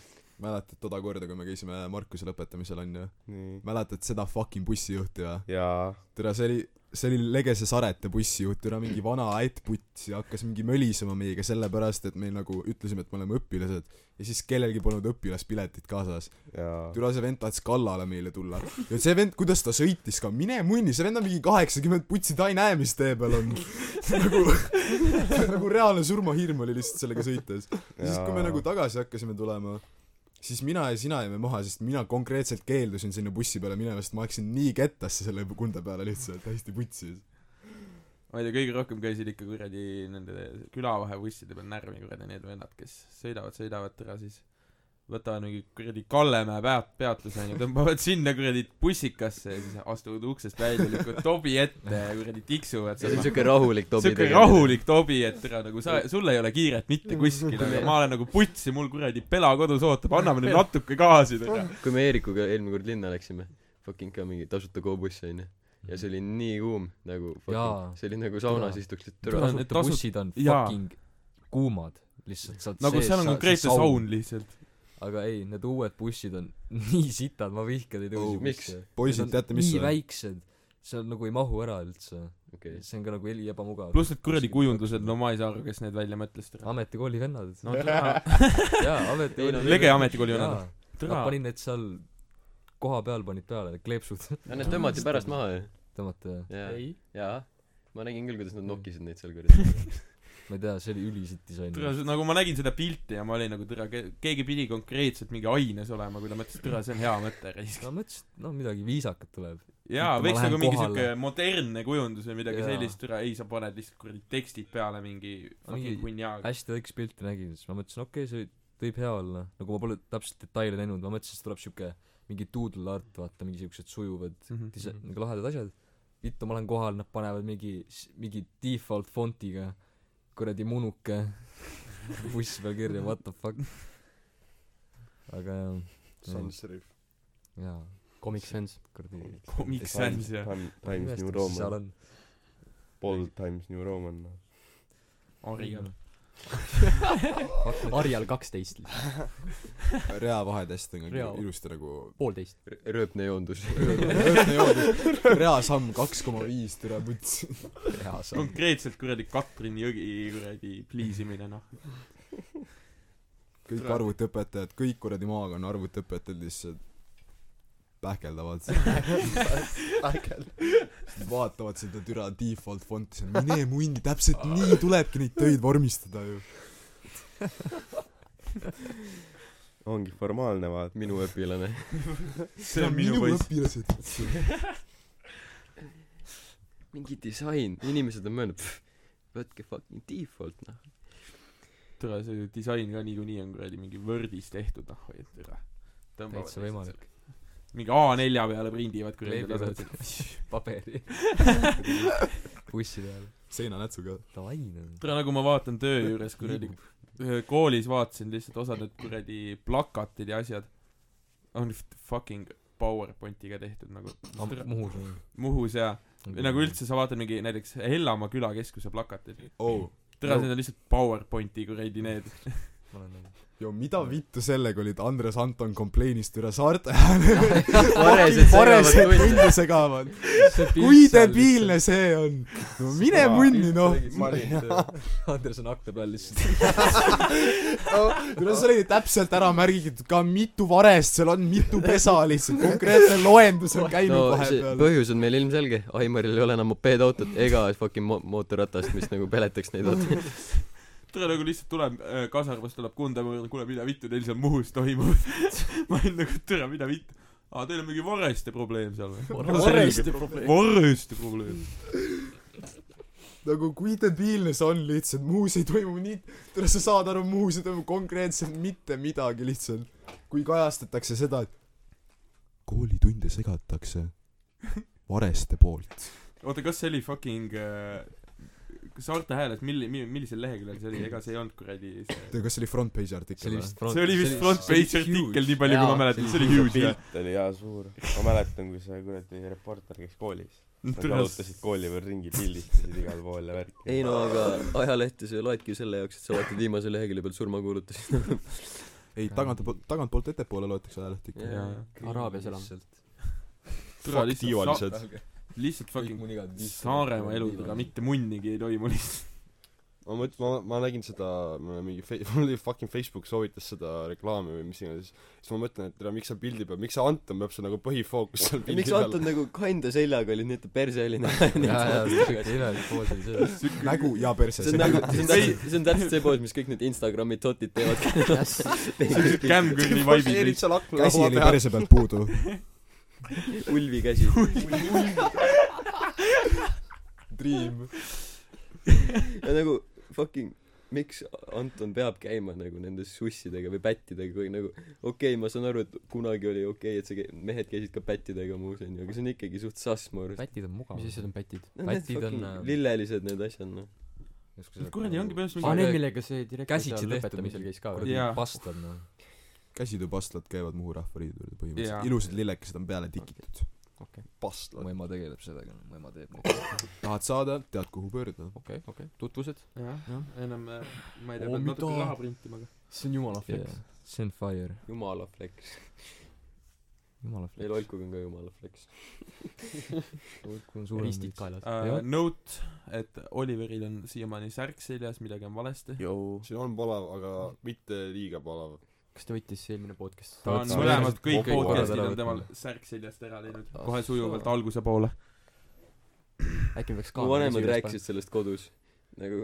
[SPEAKER 5] mäletad toda korda , kui me käisime Markuse lõpetamisel , onju ?
[SPEAKER 7] nii .
[SPEAKER 5] mäletad seda fucking bussijuhti või ?
[SPEAKER 7] jaa .
[SPEAKER 5] türa , see oli , see oli Legese Sarete bussijuht , türa mingi vana ättputs ja hakkas mingi mölisema meiega sellepärast , et meil nagu ütlesime , et me oleme õpilased ja siis kellelgi polnud õpilaspiletit kaasas .
[SPEAKER 7] jaa .
[SPEAKER 5] türa , see vend tahtis kallale meile tulla . ja see vend , kuidas ta sõitis ka , mine munni , see vend on mingi kaheksakümmend putsi , ta ei näe , mis tee peal on . nagu , nagu reaalne surmahirm oli lihtsalt sellega sõites . ja siis , kui me nagu tagasi hakkasime tulema , siis mina ja sina jäime maha , sest mina konkreetselt keeldusin sinna bussi peale minemast , ma läksin nii kettasse selle kunda peale lihtsalt , hästi putsis .
[SPEAKER 1] ma ei tea , kõige rohkem käisid ikka kuradi nende külavahebusside peal närvi kuradi need vennad , kes sõidavad , sõidavad ära siis võtavad mingi kuradi Kallemäe peat- , peatuse onju , tõmbavad sinna kuradi bussikasse ja siis astuvad uksest välja , lükkavad tobi ette ja kuradi tiksuvad
[SPEAKER 2] see on
[SPEAKER 1] seal .
[SPEAKER 2] siuke rahulik tobi
[SPEAKER 1] siuke rahulik tobi , et ära nagu sa , sul ei ole kiiret mitte kuskil , aga ma olen nagu putsi , mul kuradi pela kodus ootab , anname nüüd natuke gaasi täna .
[SPEAKER 2] kui me Eerikuga eelmine kord linna läksime , fucking ka mingi tasuta koobuss onju . ja see oli nii kuum nagu
[SPEAKER 6] Jaa.
[SPEAKER 2] fucking see oli nagu saunas
[SPEAKER 6] Jaa.
[SPEAKER 2] istuksid
[SPEAKER 1] Tule-
[SPEAKER 2] türa
[SPEAKER 1] need
[SPEAKER 6] tasuta
[SPEAKER 1] tasu-
[SPEAKER 6] bussid on
[SPEAKER 1] jaa.
[SPEAKER 6] fucking kuumad lihtsalt saad
[SPEAKER 1] nagu seal on konkreetne saun lihtsalt .
[SPEAKER 6] aga ei need uued bussid on [LAUGHS] nii sitad ma vihkan neid
[SPEAKER 2] Oh,
[SPEAKER 6] uusi
[SPEAKER 2] miks?
[SPEAKER 6] busse
[SPEAKER 5] poisid ,
[SPEAKER 6] Need on
[SPEAKER 5] teate , mis
[SPEAKER 6] nii
[SPEAKER 5] see on ?
[SPEAKER 6] väiksed seal nagu ei mahu ära üldse
[SPEAKER 2] okei
[SPEAKER 6] see on ka nagu heli ebamugav
[SPEAKER 1] pluss need kuradi kujundused , no ma ei saa aru , kes need välja mõtles .
[SPEAKER 6] ametikooli vennad
[SPEAKER 1] no türa ,
[SPEAKER 6] jaa ametikooli
[SPEAKER 1] lege ametikooli on
[SPEAKER 6] jaa
[SPEAKER 1] türa
[SPEAKER 6] nad . panin need seal koha peal panid peale need kleepsud [LAUGHS]
[SPEAKER 2] ja need tõmmati pärast maha ju
[SPEAKER 6] tõmmata
[SPEAKER 2] jaa
[SPEAKER 3] ei ,
[SPEAKER 2] jaa ma nägin küll kuidas nad nokkisid neid seal kuradi
[SPEAKER 6] ma ei tea see oli ülisitt disain
[SPEAKER 1] türa , nagu ma nägin seda pilti ja ma olin nagu türa , keegi pidi konkreetselt mingi aines olema , kui ta mõtles , türa , see on hea mõte , raisk .
[SPEAKER 6] no ma ütlesin et no midagi viisakat tuleb
[SPEAKER 1] jaa ,
[SPEAKER 6] Ma
[SPEAKER 1] võiks
[SPEAKER 6] lähen
[SPEAKER 1] nagu mingi
[SPEAKER 6] kohale.
[SPEAKER 1] siuke modernne kujundus või midagi
[SPEAKER 6] Jaa.
[SPEAKER 1] sellist , türa , ei , sa paned lihtsalt kuradi tekstid peale mingi
[SPEAKER 6] Mingi-
[SPEAKER 1] fucking hunniaga .
[SPEAKER 6] hästi väikest pilti nägin siis ma mõtlesin okei okay, see võib hea olla nagu ma pole täpselt detaile näinud ma mõtlesin siis tuleb siuke mingi doodle art vaata mingi siuksed sujuvad
[SPEAKER 1] Mhm.
[SPEAKER 6] dise- mm -hmm. nagu lahedad asjad vittu ma olen kohal nad panevad mingi s- mingi default fontiga kuradi munuke [LAUGHS] bussi peal kirja what the fuck aga jah
[SPEAKER 4] sans serif .
[SPEAKER 6] jaa
[SPEAKER 3] Comic Sans .
[SPEAKER 6] kuradi
[SPEAKER 1] Comic Sans ja
[SPEAKER 7] Times New
[SPEAKER 6] imestan, mis seal
[SPEAKER 7] Roman ,
[SPEAKER 6] on
[SPEAKER 7] pool Times New Roman .
[SPEAKER 4] noh.
[SPEAKER 1] Origal .
[SPEAKER 3] Arjal kaksteist ,
[SPEAKER 5] reavahedest on ka
[SPEAKER 3] Rea-
[SPEAKER 5] ilusti nagu
[SPEAKER 3] poolteist .
[SPEAKER 2] Rö- rööpnejoondus
[SPEAKER 5] reasamm kaks koma viis türa müts .
[SPEAKER 1] konkreetselt kuradi Katrin Jõgi kuradi pliisimine ,
[SPEAKER 6] [LAUGHS]
[SPEAKER 1] noh .
[SPEAKER 5] kõik arvutiõpetajad , kõik kuradi maakonna arvutiõpetajad lihtsalt
[SPEAKER 1] [LAUGHS]
[SPEAKER 5] pähkeldavad . vaatavad seda türa default fonti , see on mine mundi , täpselt nii tulebki neid töid vormistada ju .
[SPEAKER 7] ongi formaalne vaat- .
[SPEAKER 2] minu [LAUGHS] õpilane
[SPEAKER 1] see on minu poiss .
[SPEAKER 5] õpilased .
[SPEAKER 2] mingi disain inimesed on mõelnud pff, võtke fucking default noh
[SPEAKER 1] türa , see disain ka niikuinii on kuradi mingi Wordis tehtud , noh , et türa .
[SPEAKER 6] täitsa võimalik
[SPEAKER 1] mingi A4 peale prindivad kuradi
[SPEAKER 6] kleebivad
[SPEAKER 1] tasandil .
[SPEAKER 6] [LAUGHS] paberi bussi peal
[SPEAKER 5] seinanätsu ka .
[SPEAKER 6] davai noh
[SPEAKER 1] tule nagu ma vaatan töö juures kuradi koolis vaatasin lihtsalt osa need kuradi plakatid ja asjad on f- fucking PowerPointiga tehtud nagu
[SPEAKER 6] Am- Muhus on
[SPEAKER 1] Muhus ja või nagu üldse sa vaatad mingi näiteks Hellamaa külakeskuse plakatid
[SPEAKER 5] oo ,
[SPEAKER 1] tere need on lihtsalt PowerPointi kuradi need
[SPEAKER 6] ma olen nagu
[SPEAKER 5] jo mida vittu sellega olid Andres Anton komplainis türa saarte hääle .
[SPEAKER 1] [LAUGHS]
[SPEAKER 2] Varesed
[SPEAKER 5] varesed
[SPEAKER 2] segavad tunde.
[SPEAKER 5] tunde segavad . kui debiilne see on . no mine munni noh .
[SPEAKER 6] [LAUGHS] Andres on akna peal lihtsalt
[SPEAKER 5] no seal oli täpselt ära märgitud ka mitu varest seal on , mitu pesa lihtsalt , konkreetne loendus on käinud no,
[SPEAKER 2] no see
[SPEAKER 5] vahepeal .
[SPEAKER 2] põhjus on meil ilmselge Aimaril ei ole enam mopeedautot ega fucking mo- mootorratast mis nagu peletaks neid autosid
[SPEAKER 1] tere nagu lihtsalt tuleb äh, Kasarvas tuleb Kundama kuule mida vittu teil seal Muhus toimub [LAUGHS] ma olin nagu tere mida vittu aa teil on mingi Vareste probleem seal või
[SPEAKER 5] Vareste
[SPEAKER 1] probleem Vareste probleem
[SPEAKER 5] nagu kui debiilne see on lihtsalt , muus ei toimu nii , tule sa saad aru , muus ei toimu konkreetselt mitte midagi lihtsalt . kui kajastatakse seda , et koolitunde segatakse vareste poolt .
[SPEAKER 1] oota , kas see oli fucking äh, Saarte hääles , milli- , mi- , millisel leheküljel see oli , ega see ei olnud kuradi see
[SPEAKER 5] kas see oli front page
[SPEAKER 6] see
[SPEAKER 5] artikkel
[SPEAKER 6] oli
[SPEAKER 5] või ?
[SPEAKER 6] vist front
[SPEAKER 1] see oli vist front
[SPEAKER 6] see oli
[SPEAKER 1] page
[SPEAKER 6] huge.
[SPEAKER 1] artikkel , nii palju kui
[SPEAKER 3] Jaa,
[SPEAKER 1] ma mäletan , see oli huge jah .
[SPEAKER 7] pilt oli jaa suur . ma mäletan , kui see kuradi reporter käis koolis . Nad jalutasid kooli peal ringi , pildistasid igal pool ja värki .
[SPEAKER 2] [LAUGHS] ei no aga ajalehte sa loedki ju selle jaoks et sa vaatad viimase lehekülje peal surmakuulutusi [LAUGHS]
[SPEAKER 5] ei , tagant , tagantpoolt ettepoole loetakse ajalehti ikka .
[SPEAKER 1] jaa.
[SPEAKER 3] Araabias elan.
[SPEAKER 1] türa lihtsalt ,
[SPEAKER 7] tiivalised .
[SPEAKER 1] lihtsalt fucking Saaremaa eludega mitte munnigi ei toimu lihtsalt .
[SPEAKER 4] ma mõtlen , ma , ma nägin seda , mul oli mingi fe- , [LAUGHS] mul oli fucking Facebook soovitas seda reklaami või mis iganes , siis ma mõtlen , et tere, miks seal pildi peal , miks see Anton peab seal nagu põhifookus seal pildi
[SPEAKER 2] miks
[SPEAKER 4] peal
[SPEAKER 2] Anton nagu kinda seljaga oli nii et ta perse oli noh. [LAUGHS] näha
[SPEAKER 6] jaa jaa
[SPEAKER 2] [LAUGHS]
[SPEAKER 6] siuke imelik poos oli selles
[SPEAKER 5] nägu ja perse
[SPEAKER 2] see on nagu see on täpselt see on täpselt see poos mis kõik need Instagrami totid teevad
[SPEAKER 1] Cam Curry vibe'id
[SPEAKER 4] Poseerid
[SPEAKER 1] lihtsalt .
[SPEAKER 4] seal akna
[SPEAKER 5] käsi
[SPEAKER 4] laua
[SPEAKER 5] oli
[SPEAKER 4] peal
[SPEAKER 5] perse pealt puudu .
[SPEAKER 2] ulvi käsi
[SPEAKER 5] Dream .
[SPEAKER 2] ja nagu fucking miks Anton peab käima nagu nende sussidega või pättidega kui nagu okei okay, ma saan aru et kunagi oli okei okay, et see kä- mehed käisid ka pättidega muus onju aga see on ikkagi suht sass mu arust
[SPEAKER 6] pätid on
[SPEAKER 3] mis
[SPEAKER 6] mugavad
[SPEAKER 3] asjad on pätid ?
[SPEAKER 2] no need
[SPEAKER 6] pätid on,
[SPEAKER 2] fucking
[SPEAKER 6] äh,
[SPEAKER 2] lillelised need asjad noh
[SPEAKER 1] kuradi ongi põhimõtteliselt
[SPEAKER 3] aa ,
[SPEAKER 1] mingi
[SPEAKER 3] Ah, need , millega see direktor
[SPEAKER 6] Käsitsi
[SPEAKER 3] seal
[SPEAKER 6] tehtud
[SPEAKER 3] lõpetamisel
[SPEAKER 6] mingi-
[SPEAKER 3] käis ka või ?
[SPEAKER 6] kuradi
[SPEAKER 1] Jaa.
[SPEAKER 6] pastad noh
[SPEAKER 5] käsitööpastlad käivad Muhu rahvariidul
[SPEAKER 1] Jaa.
[SPEAKER 5] põhimõtteliselt , ilusad lillekesed on peale tikitud .
[SPEAKER 4] pastlad .
[SPEAKER 6] mu ema tegeleb sellega , mu ema teeb okei ,
[SPEAKER 5] tahad saada , tead , kuhu pöörduda .
[SPEAKER 6] okei , tutvused .
[SPEAKER 1] jah , ennem äh, ma ei tea ,
[SPEAKER 3] Oo,
[SPEAKER 1] peab natuke
[SPEAKER 3] mida?
[SPEAKER 1] raha printima , aga
[SPEAKER 3] see on jumala flex .
[SPEAKER 6] see on fire ,
[SPEAKER 2] jumala fleks .
[SPEAKER 6] jumala
[SPEAKER 2] ei ,
[SPEAKER 6] fleks .
[SPEAKER 2] lolkuga on ka jumala fleks .
[SPEAKER 6] kui on
[SPEAKER 3] ristid
[SPEAKER 6] suurem .
[SPEAKER 3] kaelas .
[SPEAKER 1] uh,
[SPEAKER 6] Jah. .
[SPEAKER 1] Note , et Oliveril on siiamaani särk seljas , midagi on valesti .
[SPEAKER 4] siin on palav , aga mitte liiga palav .
[SPEAKER 3] kas ta võttis eelmine podcast ?
[SPEAKER 1] ta on
[SPEAKER 6] Vaat-
[SPEAKER 1] mõlemad , kõik
[SPEAKER 6] Kokku
[SPEAKER 1] podcast'id
[SPEAKER 6] korra
[SPEAKER 1] on temal
[SPEAKER 6] ära
[SPEAKER 1] särk seljast ära läinud .
[SPEAKER 3] Ah,
[SPEAKER 1] kohe sujuvalt
[SPEAKER 3] soo.
[SPEAKER 1] alguse poole .
[SPEAKER 3] äkki me peaks
[SPEAKER 2] mu vanemad rääkisid . sellest kodus . nagu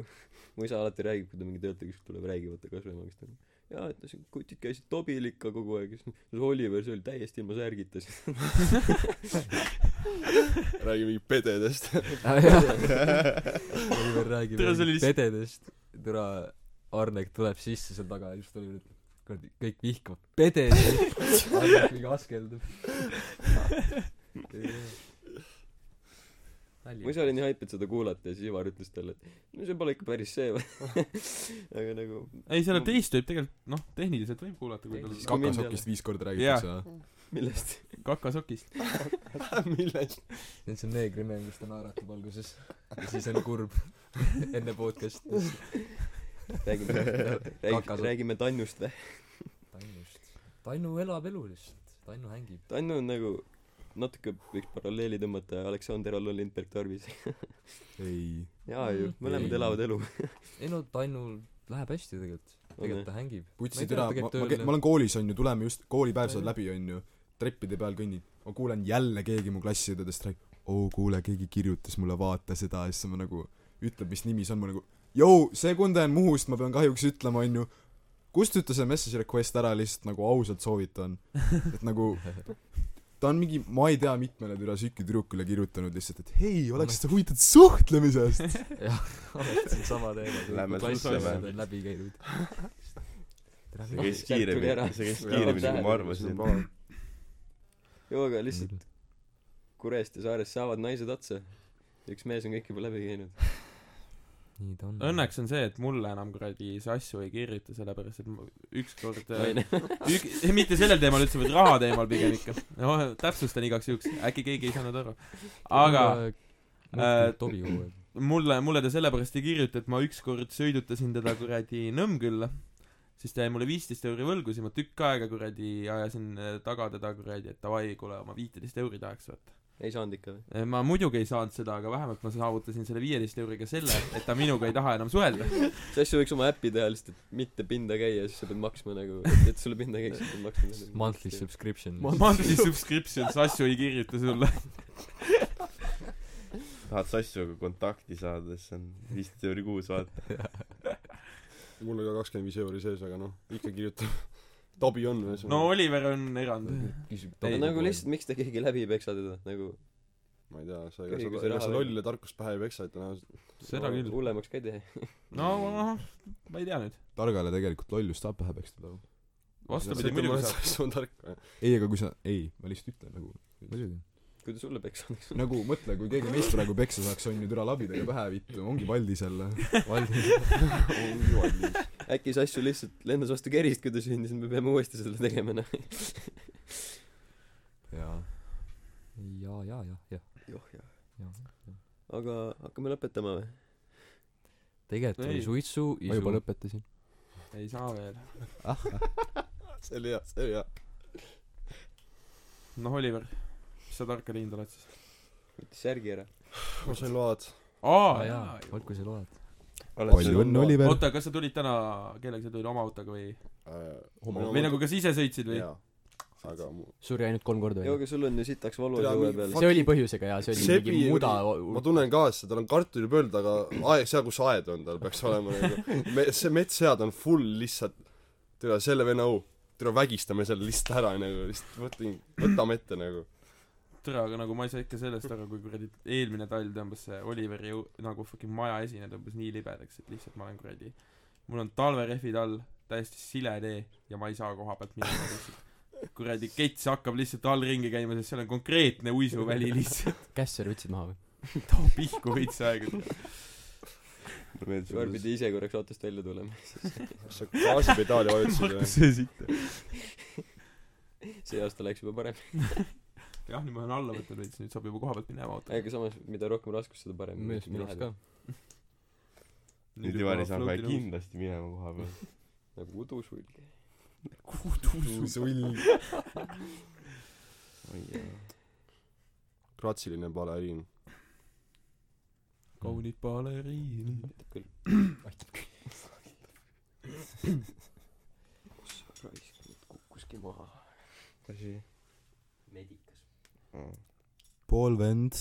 [SPEAKER 2] mu isa alati räägib , kui ta mingi töötaja kuskilt tuleb , räägib , et ta kasvõimaks on nagu, jaa , et no siin kutid käisid tobil ikka kogu aeg , siis see Oliver , see oli täiesti ilma särgita , siis
[SPEAKER 4] räägi mingi pededest .
[SPEAKER 6] Ah, [LAUGHS] Oliver räägib
[SPEAKER 1] Tere, see oli
[SPEAKER 6] jälle
[SPEAKER 1] lihtsalt-
[SPEAKER 6] pededest türa Arnek tuleb sisse seal taga ja just Oliver ütleb kuradi kõik vihkavad pedesid [LAUGHS] Arnek mingi askeldub
[SPEAKER 2] ma
[SPEAKER 6] [LAUGHS]
[SPEAKER 2] ise olin nii haip , et seda kuulata ja siis Ivar ütles talle , et no see pole ikka päris see [LAUGHS] või aga nagu
[SPEAKER 1] ei , selle teist võib tegelikult , noh , tehniliselt võib kuulata , kui
[SPEAKER 2] Siis
[SPEAKER 1] tal
[SPEAKER 2] kui mind ei
[SPEAKER 5] kakasokist viis korda räägitakse yeah. .
[SPEAKER 2] millest
[SPEAKER 7] [LAUGHS]
[SPEAKER 1] kakasokist .
[SPEAKER 4] millest ?
[SPEAKER 6] see on see neegrimees kes ta naeratab alguses ja siis on kurb [LAUGHS] enne podcast'i
[SPEAKER 7] [LAUGHS]
[SPEAKER 2] räägime räägi,
[SPEAKER 6] Kakasokk.
[SPEAKER 2] räägime Tannust või
[SPEAKER 6] Tannust Tannu elab elu lihtsalt Tannu hängib
[SPEAKER 2] Tannu on nagu natuke võiks paralleeli tõmmata Aleksander Allo Lindberg Tarvis
[SPEAKER 5] ei .
[SPEAKER 2] jaa ju mõlemad
[SPEAKER 5] Ei.
[SPEAKER 2] elavad elu
[SPEAKER 6] ei no Tannul läheb hästi tegelikult
[SPEAKER 2] On,
[SPEAKER 6] tegelikult ta hängib Ma
[SPEAKER 5] putsi
[SPEAKER 6] ei tea,
[SPEAKER 5] türa ,
[SPEAKER 6] ta käib
[SPEAKER 5] ma , ma
[SPEAKER 6] tööl
[SPEAKER 5] käin ,
[SPEAKER 6] ja-
[SPEAKER 5] ma olen koolis onju , tuleme just , koolipäev saad
[SPEAKER 6] Jah.
[SPEAKER 5] läbi onju , treppide peal kõnnin , ma kuulen jälle keegi mu klassiõdedest räägib , oo kuule , keegi kirjutas mulle , vaata seda , ja siis ma nagu , ütleb , mis nimi see on , ma nagu , jõu , see Kunde on Muhust , ma pean kahjuks ütlema onju , kustuta see message request ära lihtsalt nagu ausalt soovitan , et nagu ta on mingi , ma ei tea , mitmele türa sükki tüdrukule kirjutanud lihtsalt , et hei , oleks sa huvitatud suhtlemisest .
[SPEAKER 6] alati on sama teema
[SPEAKER 7] Lähme suhtleme.
[SPEAKER 6] suhtleme läbi käidud
[SPEAKER 7] see käis
[SPEAKER 2] Särk tuli ära.
[SPEAKER 7] kiiremini , see käis kiiremini , kui ma arvasin .
[SPEAKER 2] jaa aga lihtsalt Kurest ja Saarest saavad naised otsa üks mees on kõik juba läbi käinud
[SPEAKER 6] nii
[SPEAKER 5] Äh?
[SPEAKER 6] ta on
[SPEAKER 1] Õnneks on see , et mulle enam kuradi see asju ei kirjuta , sellepärast et ma ükskord
[SPEAKER 2] ma ei
[SPEAKER 1] äh,
[SPEAKER 2] näe
[SPEAKER 1] [LAUGHS] ük- , mitte sellel teemal üldse , vaid raha teemal pigem ikka . noh , täpsustan igaks juhuks , äkki keegi ei saanud aru . aga äh,
[SPEAKER 6] äh, tobi kogu aeg
[SPEAKER 1] mulle , mulle ta sellepärast ei kirjuta , et ma ükskord sõidutasin teda kuradi Nõmmkülla , siis ta jäi mulle viisteist euri võlgu , siis ma tükk aega kuradi ajasin äh, taga teda kuradi , et davai , kuule , oma viiteist euri tahaks vaata .
[SPEAKER 2] ei saanud ikka või
[SPEAKER 1] ma muidugi ei saanud seda , aga vähemalt ma saavutasin selle viieteist euriga selle , et ta minuga ei taha enam suhelda .
[SPEAKER 2] see asja võiks oma äpi teha lihtsalt et mitte pinda käia siis sa pead maksma nagu et et sulle pinda käiks sa pead maksma
[SPEAKER 6] monthly subscription
[SPEAKER 1] Monthly subscriptions , asju ei kirjuta sulle .
[SPEAKER 7] tahad Sassuga kontakti saada , siis on viisteist euri kuus , vaata .
[SPEAKER 4] mul on ka kakskümmend viis euri sees , aga noh , ikka kirjutab . Tobi on või ?
[SPEAKER 1] no Oliver on erand .
[SPEAKER 6] küsib
[SPEAKER 1] Ei,
[SPEAKER 2] aga nagu lihtsalt miks te keegi läbi ei peksa teda nagu
[SPEAKER 4] ma ei tea , sa ega
[SPEAKER 2] Kõige,
[SPEAKER 4] sa
[SPEAKER 2] kui see ,
[SPEAKER 4] ega sa
[SPEAKER 2] raha
[SPEAKER 4] lollile tarkust pähe ei peksa , et tõenäoliselt
[SPEAKER 1] seda küll .
[SPEAKER 2] hullemaks ka ei tee
[SPEAKER 1] no , noh , ma ei tea nüüd .
[SPEAKER 5] targale tegelikult lollust saab pähe peksta .
[SPEAKER 1] vastupidi , muidugi saab .
[SPEAKER 4] Sassu on tark .
[SPEAKER 5] ei , aga kui sa , ei , ma lihtsalt ütlen nagu
[SPEAKER 6] muidugi
[SPEAKER 2] kui ta sulle peksa annaks
[SPEAKER 5] nagu mõtle , kui keegi meist praegu peksa saaks , on ju türa labidega pähe vittu , ongi Valdis jälle .
[SPEAKER 2] [LAUGHS]
[SPEAKER 6] valmis
[SPEAKER 2] äkki see asju lihtsalt lendas vastu kerist , kui ta sündis , me peame uuesti seda tegema , noh .
[SPEAKER 5] jaa .
[SPEAKER 6] jaa jaa jah jah
[SPEAKER 2] joh jah .
[SPEAKER 6] jah
[SPEAKER 2] aga hakkame lõpetama või ?
[SPEAKER 6] tegelikult
[SPEAKER 1] Ei.
[SPEAKER 6] oli suitsu
[SPEAKER 3] ma juba
[SPEAKER 6] isu
[SPEAKER 3] lõpetasin .
[SPEAKER 1] ei saa veel .
[SPEAKER 4] see oli hea , see oli hea .
[SPEAKER 1] noh , Oliver , mis sa tarka lind oled siis ?
[SPEAKER 2] võttis särgi ära .
[SPEAKER 4] ma sain load .
[SPEAKER 1] aa
[SPEAKER 6] aa , jaa
[SPEAKER 1] jaa .
[SPEAKER 6] olgu see load
[SPEAKER 5] palju õnne , Oliver .
[SPEAKER 1] oota , kas sa tulid täna , kellega sa tulid , oma autoga või ? või nagu ,
[SPEAKER 4] Oliver .
[SPEAKER 1] kas ise sõitsid või ?
[SPEAKER 4] Äh, jaa , aga mu
[SPEAKER 3] suri ainult kolm korda
[SPEAKER 2] jaa ,
[SPEAKER 3] veel .
[SPEAKER 2] aga sul on ju sitaks valu
[SPEAKER 4] Tea,
[SPEAKER 2] kõue
[SPEAKER 4] mingi
[SPEAKER 2] peal .
[SPEAKER 4] fuck-
[SPEAKER 3] see oli põhjusega jaa , see oli
[SPEAKER 4] Sebi
[SPEAKER 3] mingi
[SPEAKER 4] oli-
[SPEAKER 3] muda .
[SPEAKER 4] ma tunnen ka seda , tal on kartulipõld , aga aeg , seal kus aed on , tal peaks olema nagu [LAUGHS] me, see metssead on full lihtsalt türa selle venna au türa vägistame selle lihtsalt ära nagu lihtsalt võtame võtame ette nagu
[SPEAKER 1] tere , aga nagu ma ei saa ikka sellest aru , kui kuradi eelmine talv tõmbas see Oliveri õu- nagu fucking maja esine tõmbas nii libedaks , et lihtsalt ma olen kuradi , mul on talverehvid all , täiesti sile tee ja ma ei saa koha pealt minema lihtsalt . kuradi kets hakkab lihtsalt all ringi käima , sest seal on konkreetne
[SPEAKER 7] [LAUGHS]
[SPEAKER 1] uisuväli lihtsalt .
[SPEAKER 3] Kässer võtsid maha või ?
[SPEAKER 1] too pihku veits aega .
[SPEAKER 7] mulle meeldis ,
[SPEAKER 2] Ivar
[SPEAKER 7] kuidas
[SPEAKER 2] pidi ise korraks autost välja tulema .
[SPEAKER 4] kas sa gaasipedaali vajutasid või
[SPEAKER 1] see siit .
[SPEAKER 2] see aasta läks juba parem .
[SPEAKER 1] jah , nüüd ma olen alla võtnud veits , nüüd saab juba koha pealt minema auto .
[SPEAKER 2] aga samas , mida rohkem raskust , seda parem .
[SPEAKER 6] minu arust , minu arust ka .
[SPEAKER 7] nüüd Ivari saab kohe . kindlasti minema koha peal .
[SPEAKER 2] nagu udusulge .
[SPEAKER 5] sull .
[SPEAKER 7] oi jaa .
[SPEAKER 4] kratsiline baleriin .
[SPEAKER 1] kaunid baleriinid .
[SPEAKER 2] raisk , nüüd kukkuski maha .
[SPEAKER 7] mis asi ?
[SPEAKER 2] medikas .
[SPEAKER 5] pool vend .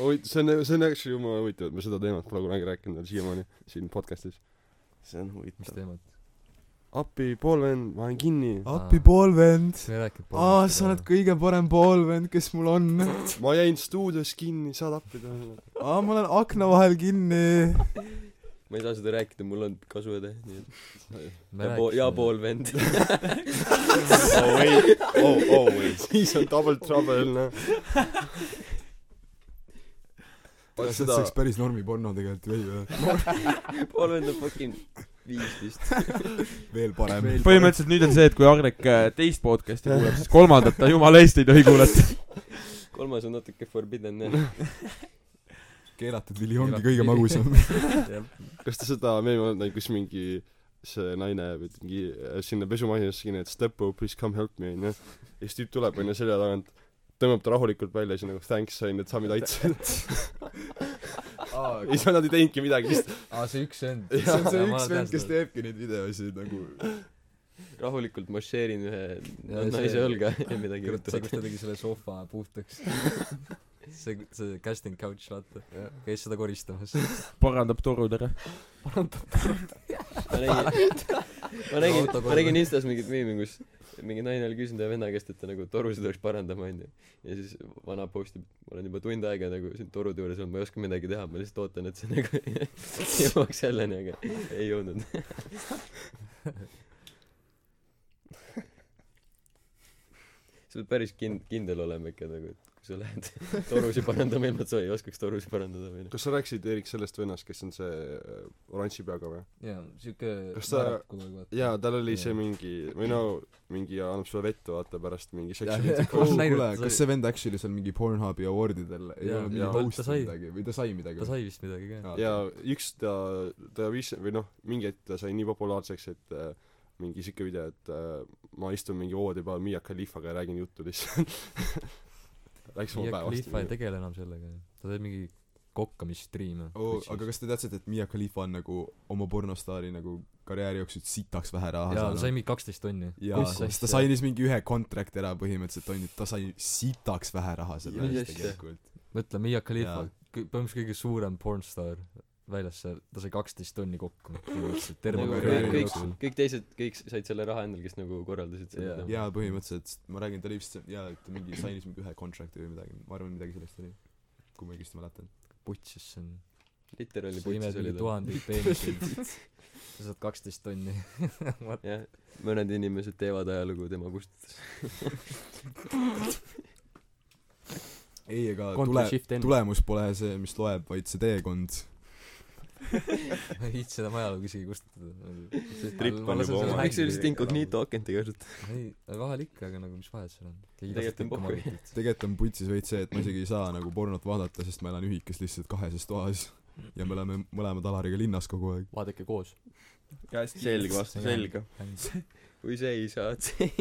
[SPEAKER 4] oi , see on , see on actually jumala huvitav , et me seda teemat pole kunagi rääkinud veel siiamaani siin podcast'is .
[SPEAKER 7] see on
[SPEAKER 6] mis
[SPEAKER 7] huvitav .
[SPEAKER 6] teemat ?
[SPEAKER 4] appi , pool vend , ma olen kinni .
[SPEAKER 5] appi , pool vend .
[SPEAKER 6] sa ei rääkinud
[SPEAKER 5] aa , sa oled . kõige parem pool vend , kes mul on .
[SPEAKER 4] ma jäin stuudios kinni , saad appi [LAUGHS] tulla .
[SPEAKER 5] aa , ma olen akna vahel kinni .
[SPEAKER 2] ma ei saa seda rääkida , mul on kasuõde , nii et .
[SPEAKER 6] me
[SPEAKER 2] ja pool , ja pool vend .
[SPEAKER 4] oh wait , oh , oh wait . siis on double trouble , noh . vaat
[SPEAKER 5] see
[SPEAKER 4] seda
[SPEAKER 5] oleks , päris normi porno tegelikult ju , ei või ?
[SPEAKER 2] pool vend on fucking viisteist .
[SPEAKER 5] veel parem .
[SPEAKER 1] põhimõtteliselt nüüd on see , et kui Arnek äh, teist podcast'i kuuleb , siis kolmandat ta jumala eest ei tohi kuulata .
[SPEAKER 2] kolmas on natuke forbidden jah .
[SPEAKER 5] keelatud vili ongi kõige magusam . [LAUGHS]
[SPEAKER 4] kas te seda meemi olete näinud , kus mingi see naine või mingi äh, sinna pesumasinasse kinni , et step up , please come help me , onju . ja siis tüüp tuleb , onju , selja tagant , tõmbab ta rahulikult välja ja siis on nagu thanks , onju , et sa mind aitasid . ja
[SPEAKER 5] aa ,
[SPEAKER 4] siis nad ei teinudki midagi , siis
[SPEAKER 6] Ah, see üks
[SPEAKER 5] [LAUGHS]
[SPEAKER 6] vend .
[SPEAKER 5] see on see üks vend , kes teebki neid videosid nagu
[SPEAKER 2] rahulikult maršeerin ühe
[SPEAKER 6] Ja
[SPEAKER 2] naise
[SPEAKER 6] see-
[SPEAKER 2] õlga ja midagi
[SPEAKER 6] kurat , see ,
[SPEAKER 2] juhtub
[SPEAKER 6] kus . ta tegi selle sohva puhtaks . [LAUGHS] see , see casting couch , vaata . käis seda koristamas .
[SPEAKER 1] [LAUGHS] parandab torud ära .
[SPEAKER 2] ma nägin , [LAUGHS] ma nägin ,
[SPEAKER 6] Auto
[SPEAKER 2] ma nägin Instas mingit meemi , kus mingi naine oli küsinud ühe venna käest , et ta nagu torusid peaks parandama , onju . ja siis vana postib , ma olen juba tund aega nagu siin torude juures olnud , ma ei oska midagi teha , ma lihtsalt ootan , et see nagu [LAUGHS] jõuaks selleni , aga ei jõudnud . [LAUGHS] sa pead päris kind- , kindel olema ikka nagu , et kui sa lähed torusid parandama , ilma et sa ei oskaks torusid parandada , onju .
[SPEAKER 4] kas sa rääkisid , Eerik , sellest vennast , kes on see äh, oranži peaga või ?
[SPEAKER 6] jaa , siuke
[SPEAKER 4] Kas ta-
[SPEAKER 6] naeraku kogu aeg vaata .
[SPEAKER 4] jaa , tal oli
[SPEAKER 6] Jaa.
[SPEAKER 4] see mingi , või no mingi annab sulle vett , vaata pärast mingi
[SPEAKER 6] Jaa.
[SPEAKER 4] seksi
[SPEAKER 6] Kas sa näinud-
[SPEAKER 5] kuule , kas see vend actually seal mingi Pornhubi awardidel ei
[SPEAKER 6] Jaa,
[SPEAKER 5] ole mingi
[SPEAKER 4] jaa.
[SPEAKER 5] host
[SPEAKER 6] Ta sai-
[SPEAKER 5] midagi või ta sai midagi
[SPEAKER 6] ta ? sai vist midagi ka .
[SPEAKER 4] ja üks ta , ta viis , või noh , mingi hetk ta sai nii populaarseks , et äh, mingi siuke video , et äh, ma istun mingi voodi peal Mia Khalifaga ja räägin juttu lihtsalt . [LAUGHS] Läks mu
[SPEAKER 6] Mia
[SPEAKER 4] päev
[SPEAKER 6] Khalifa ei
[SPEAKER 4] vastu .
[SPEAKER 6] tegele enam sellega . ta teeb mingi kokkamisstriime .
[SPEAKER 5] oo , Oh, aga kas te teadsite , et Mia Khalifa on nagu oma pornostaari nagu karjääri jooksul sitaks vähe raha
[SPEAKER 6] jaa , ta sai mingi kaksteist tonni .
[SPEAKER 5] jaa , sest ta sai siis mingi ühe contract ära põhimõtteliselt on ju , ta sai sitaks vähe raha selle
[SPEAKER 2] Mis
[SPEAKER 5] eest
[SPEAKER 2] asja?
[SPEAKER 5] tegelikult .
[SPEAKER 6] mõtle , Mia Khalifa
[SPEAKER 5] Jaa. ,
[SPEAKER 6] põhimõtteliselt kõige suurem pornstaar väljas seal , ta sai kaksteist tonni kokku . terve
[SPEAKER 2] nagu
[SPEAKER 5] Nagu
[SPEAKER 2] kõik ,
[SPEAKER 6] karjääri
[SPEAKER 2] kõik
[SPEAKER 6] jooksul .,
[SPEAKER 2] kõik teised , kõik said selle raha endale , kes nagu korraldasid
[SPEAKER 6] Jaa.
[SPEAKER 2] seda
[SPEAKER 5] jaa , põhimõtteliselt , sest ma räägin , ta oli vist jaa , et ta mingi sai siis mingi ühe contract'i või midagi , ma arvan , midagi sellist oli . kui ma õigesti mäletan .
[SPEAKER 6] putsis see on .
[SPEAKER 2] literaali
[SPEAKER 6] sa imed
[SPEAKER 2] putsis oli
[SPEAKER 6] mingi
[SPEAKER 2] ta [LAUGHS]
[SPEAKER 6] tuhandeid peeniseid . sa saad kaksteist tonni .
[SPEAKER 2] jah mõned inimesed teevad ajalugu tema kustutas
[SPEAKER 5] ei , aga
[SPEAKER 3] Control
[SPEAKER 5] tule ,
[SPEAKER 3] Shift N .
[SPEAKER 5] tulemus pole see , mis loeb , vaid see teekond .
[SPEAKER 6] ma ei viitsi seda majalugu isegi kustutada .
[SPEAKER 7] see stripp
[SPEAKER 6] Ma
[SPEAKER 7] on
[SPEAKER 6] lasen
[SPEAKER 7] juba
[SPEAKER 6] selle-
[SPEAKER 7] oma
[SPEAKER 2] miks sa lihtsalt incognito akent ei kasuta
[SPEAKER 6] ei , vahel ikka , aga nagu mis vahet seal on .
[SPEAKER 2] Tegelikult on pohhu.
[SPEAKER 5] tegelikult on putsis veits see , et ma isegi ei saa nagu pornot vaadata , sest ma elan ühikas lihtsalt kaheses toas ja me oleme mõlemad Alariga linnas kogu aeg .
[SPEAKER 3] vaadake koos .
[SPEAKER 7] selg vastu selga .
[SPEAKER 2] kui see ei saa see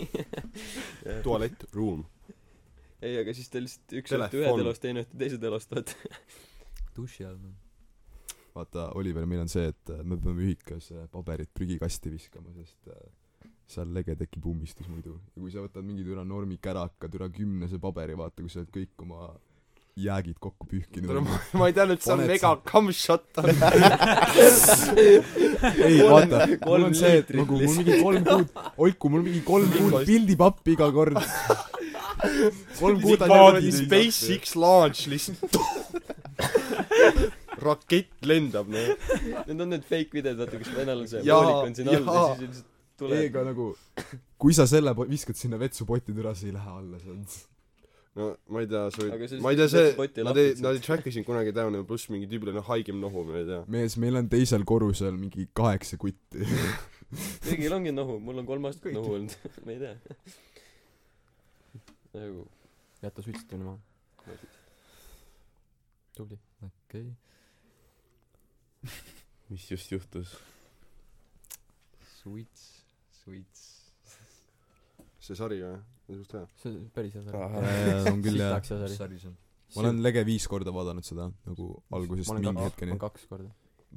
[SPEAKER 4] tualett , ruum .
[SPEAKER 2] ei aga siis ta lihtsalt üks õhtu
[SPEAKER 4] Telefon.
[SPEAKER 2] ühed elost teine õhtu teised elost vaata
[SPEAKER 6] duši all .
[SPEAKER 5] vaata , Oliver , meil on see , et äh, me peame ühikas äh, paberit prügikasti viskama , sest äh, seal lege tekib ummistus muidu . ja kui sa võtad mingi türa normi käraka , türa kümnese paberi , vaata , kui sa oled kõik oma jäägid kokku pühkinud .
[SPEAKER 4] ma ei teadnud , see on
[SPEAKER 5] Paned
[SPEAKER 4] mega come shot .
[SPEAKER 5] ei , vaata , mul
[SPEAKER 2] kolm
[SPEAKER 5] on see , et
[SPEAKER 2] liitrit
[SPEAKER 5] nagu mul mingi kolm kuud , oiku , mul mingi kolm kuud pildipappi iga kord . kolm kuud on
[SPEAKER 4] paadi SpaceX launch lihtsalt . [LAUGHS] rakett lendab , noh .
[SPEAKER 2] need on need fake videod vaata kus vennal on see
[SPEAKER 4] Jaa,
[SPEAKER 2] voolik on siin all ja
[SPEAKER 4] jaa.
[SPEAKER 2] siis lihtsalt
[SPEAKER 5] ei , aga
[SPEAKER 2] tuleb
[SPEAKER 5] nagu kui sa selle po- viskad sinna vetsupotti türa , see ei lähe alla , see on
[SPEAKER 4] no ma ei tea , sa
[SPEAKER 2] Aga
[SPEAKER 4] võid
[SPEAKER 2] see ,
[SPEAKER 4] ma ei tea , see
[SPEAKER 2] potti ,
[SPEAKER 4] nad ei ,
[SPEAKER 2] lapid
[SPEAKER 4] nad ei track isin kunagi down'i , pluss mingi tüübil on haigem nohu , noh, ma ei tea .
[SPEAKER 5] mees , meil on teisel korrusel mingi kaheksa kutti .
[SPEAKER 2] kõigil ongi nohu mul on kolm aastat nohu olnud ma ei tea nagu
[SPEAKER 3] jäta suitsetamine maha . tubli .
[SPEAKER 6] okei
[SPEAKER 7] mis just juhtus
[SPEAKER 6] suits suits
[SPEAKER 4] see sari või see on suht hea
[SPEAKER 3] see on päris hea sari .
[SPEAKER 7] Ahah.
[SPEAKER 5] see on küll
[SPEAKER 3] siis
[SPEAKER 5] jah
[SPEAKER 3] tahaks hea
[SPEAKER 6] mis
[SPEAKER 3] sari .
[SPEAKER 6] sari see on
[SPEAKER 5] ma olen lege viis korda vaadanud seda nagu algusest mingi hetkeni
[SPEAKER 3] kaks korda .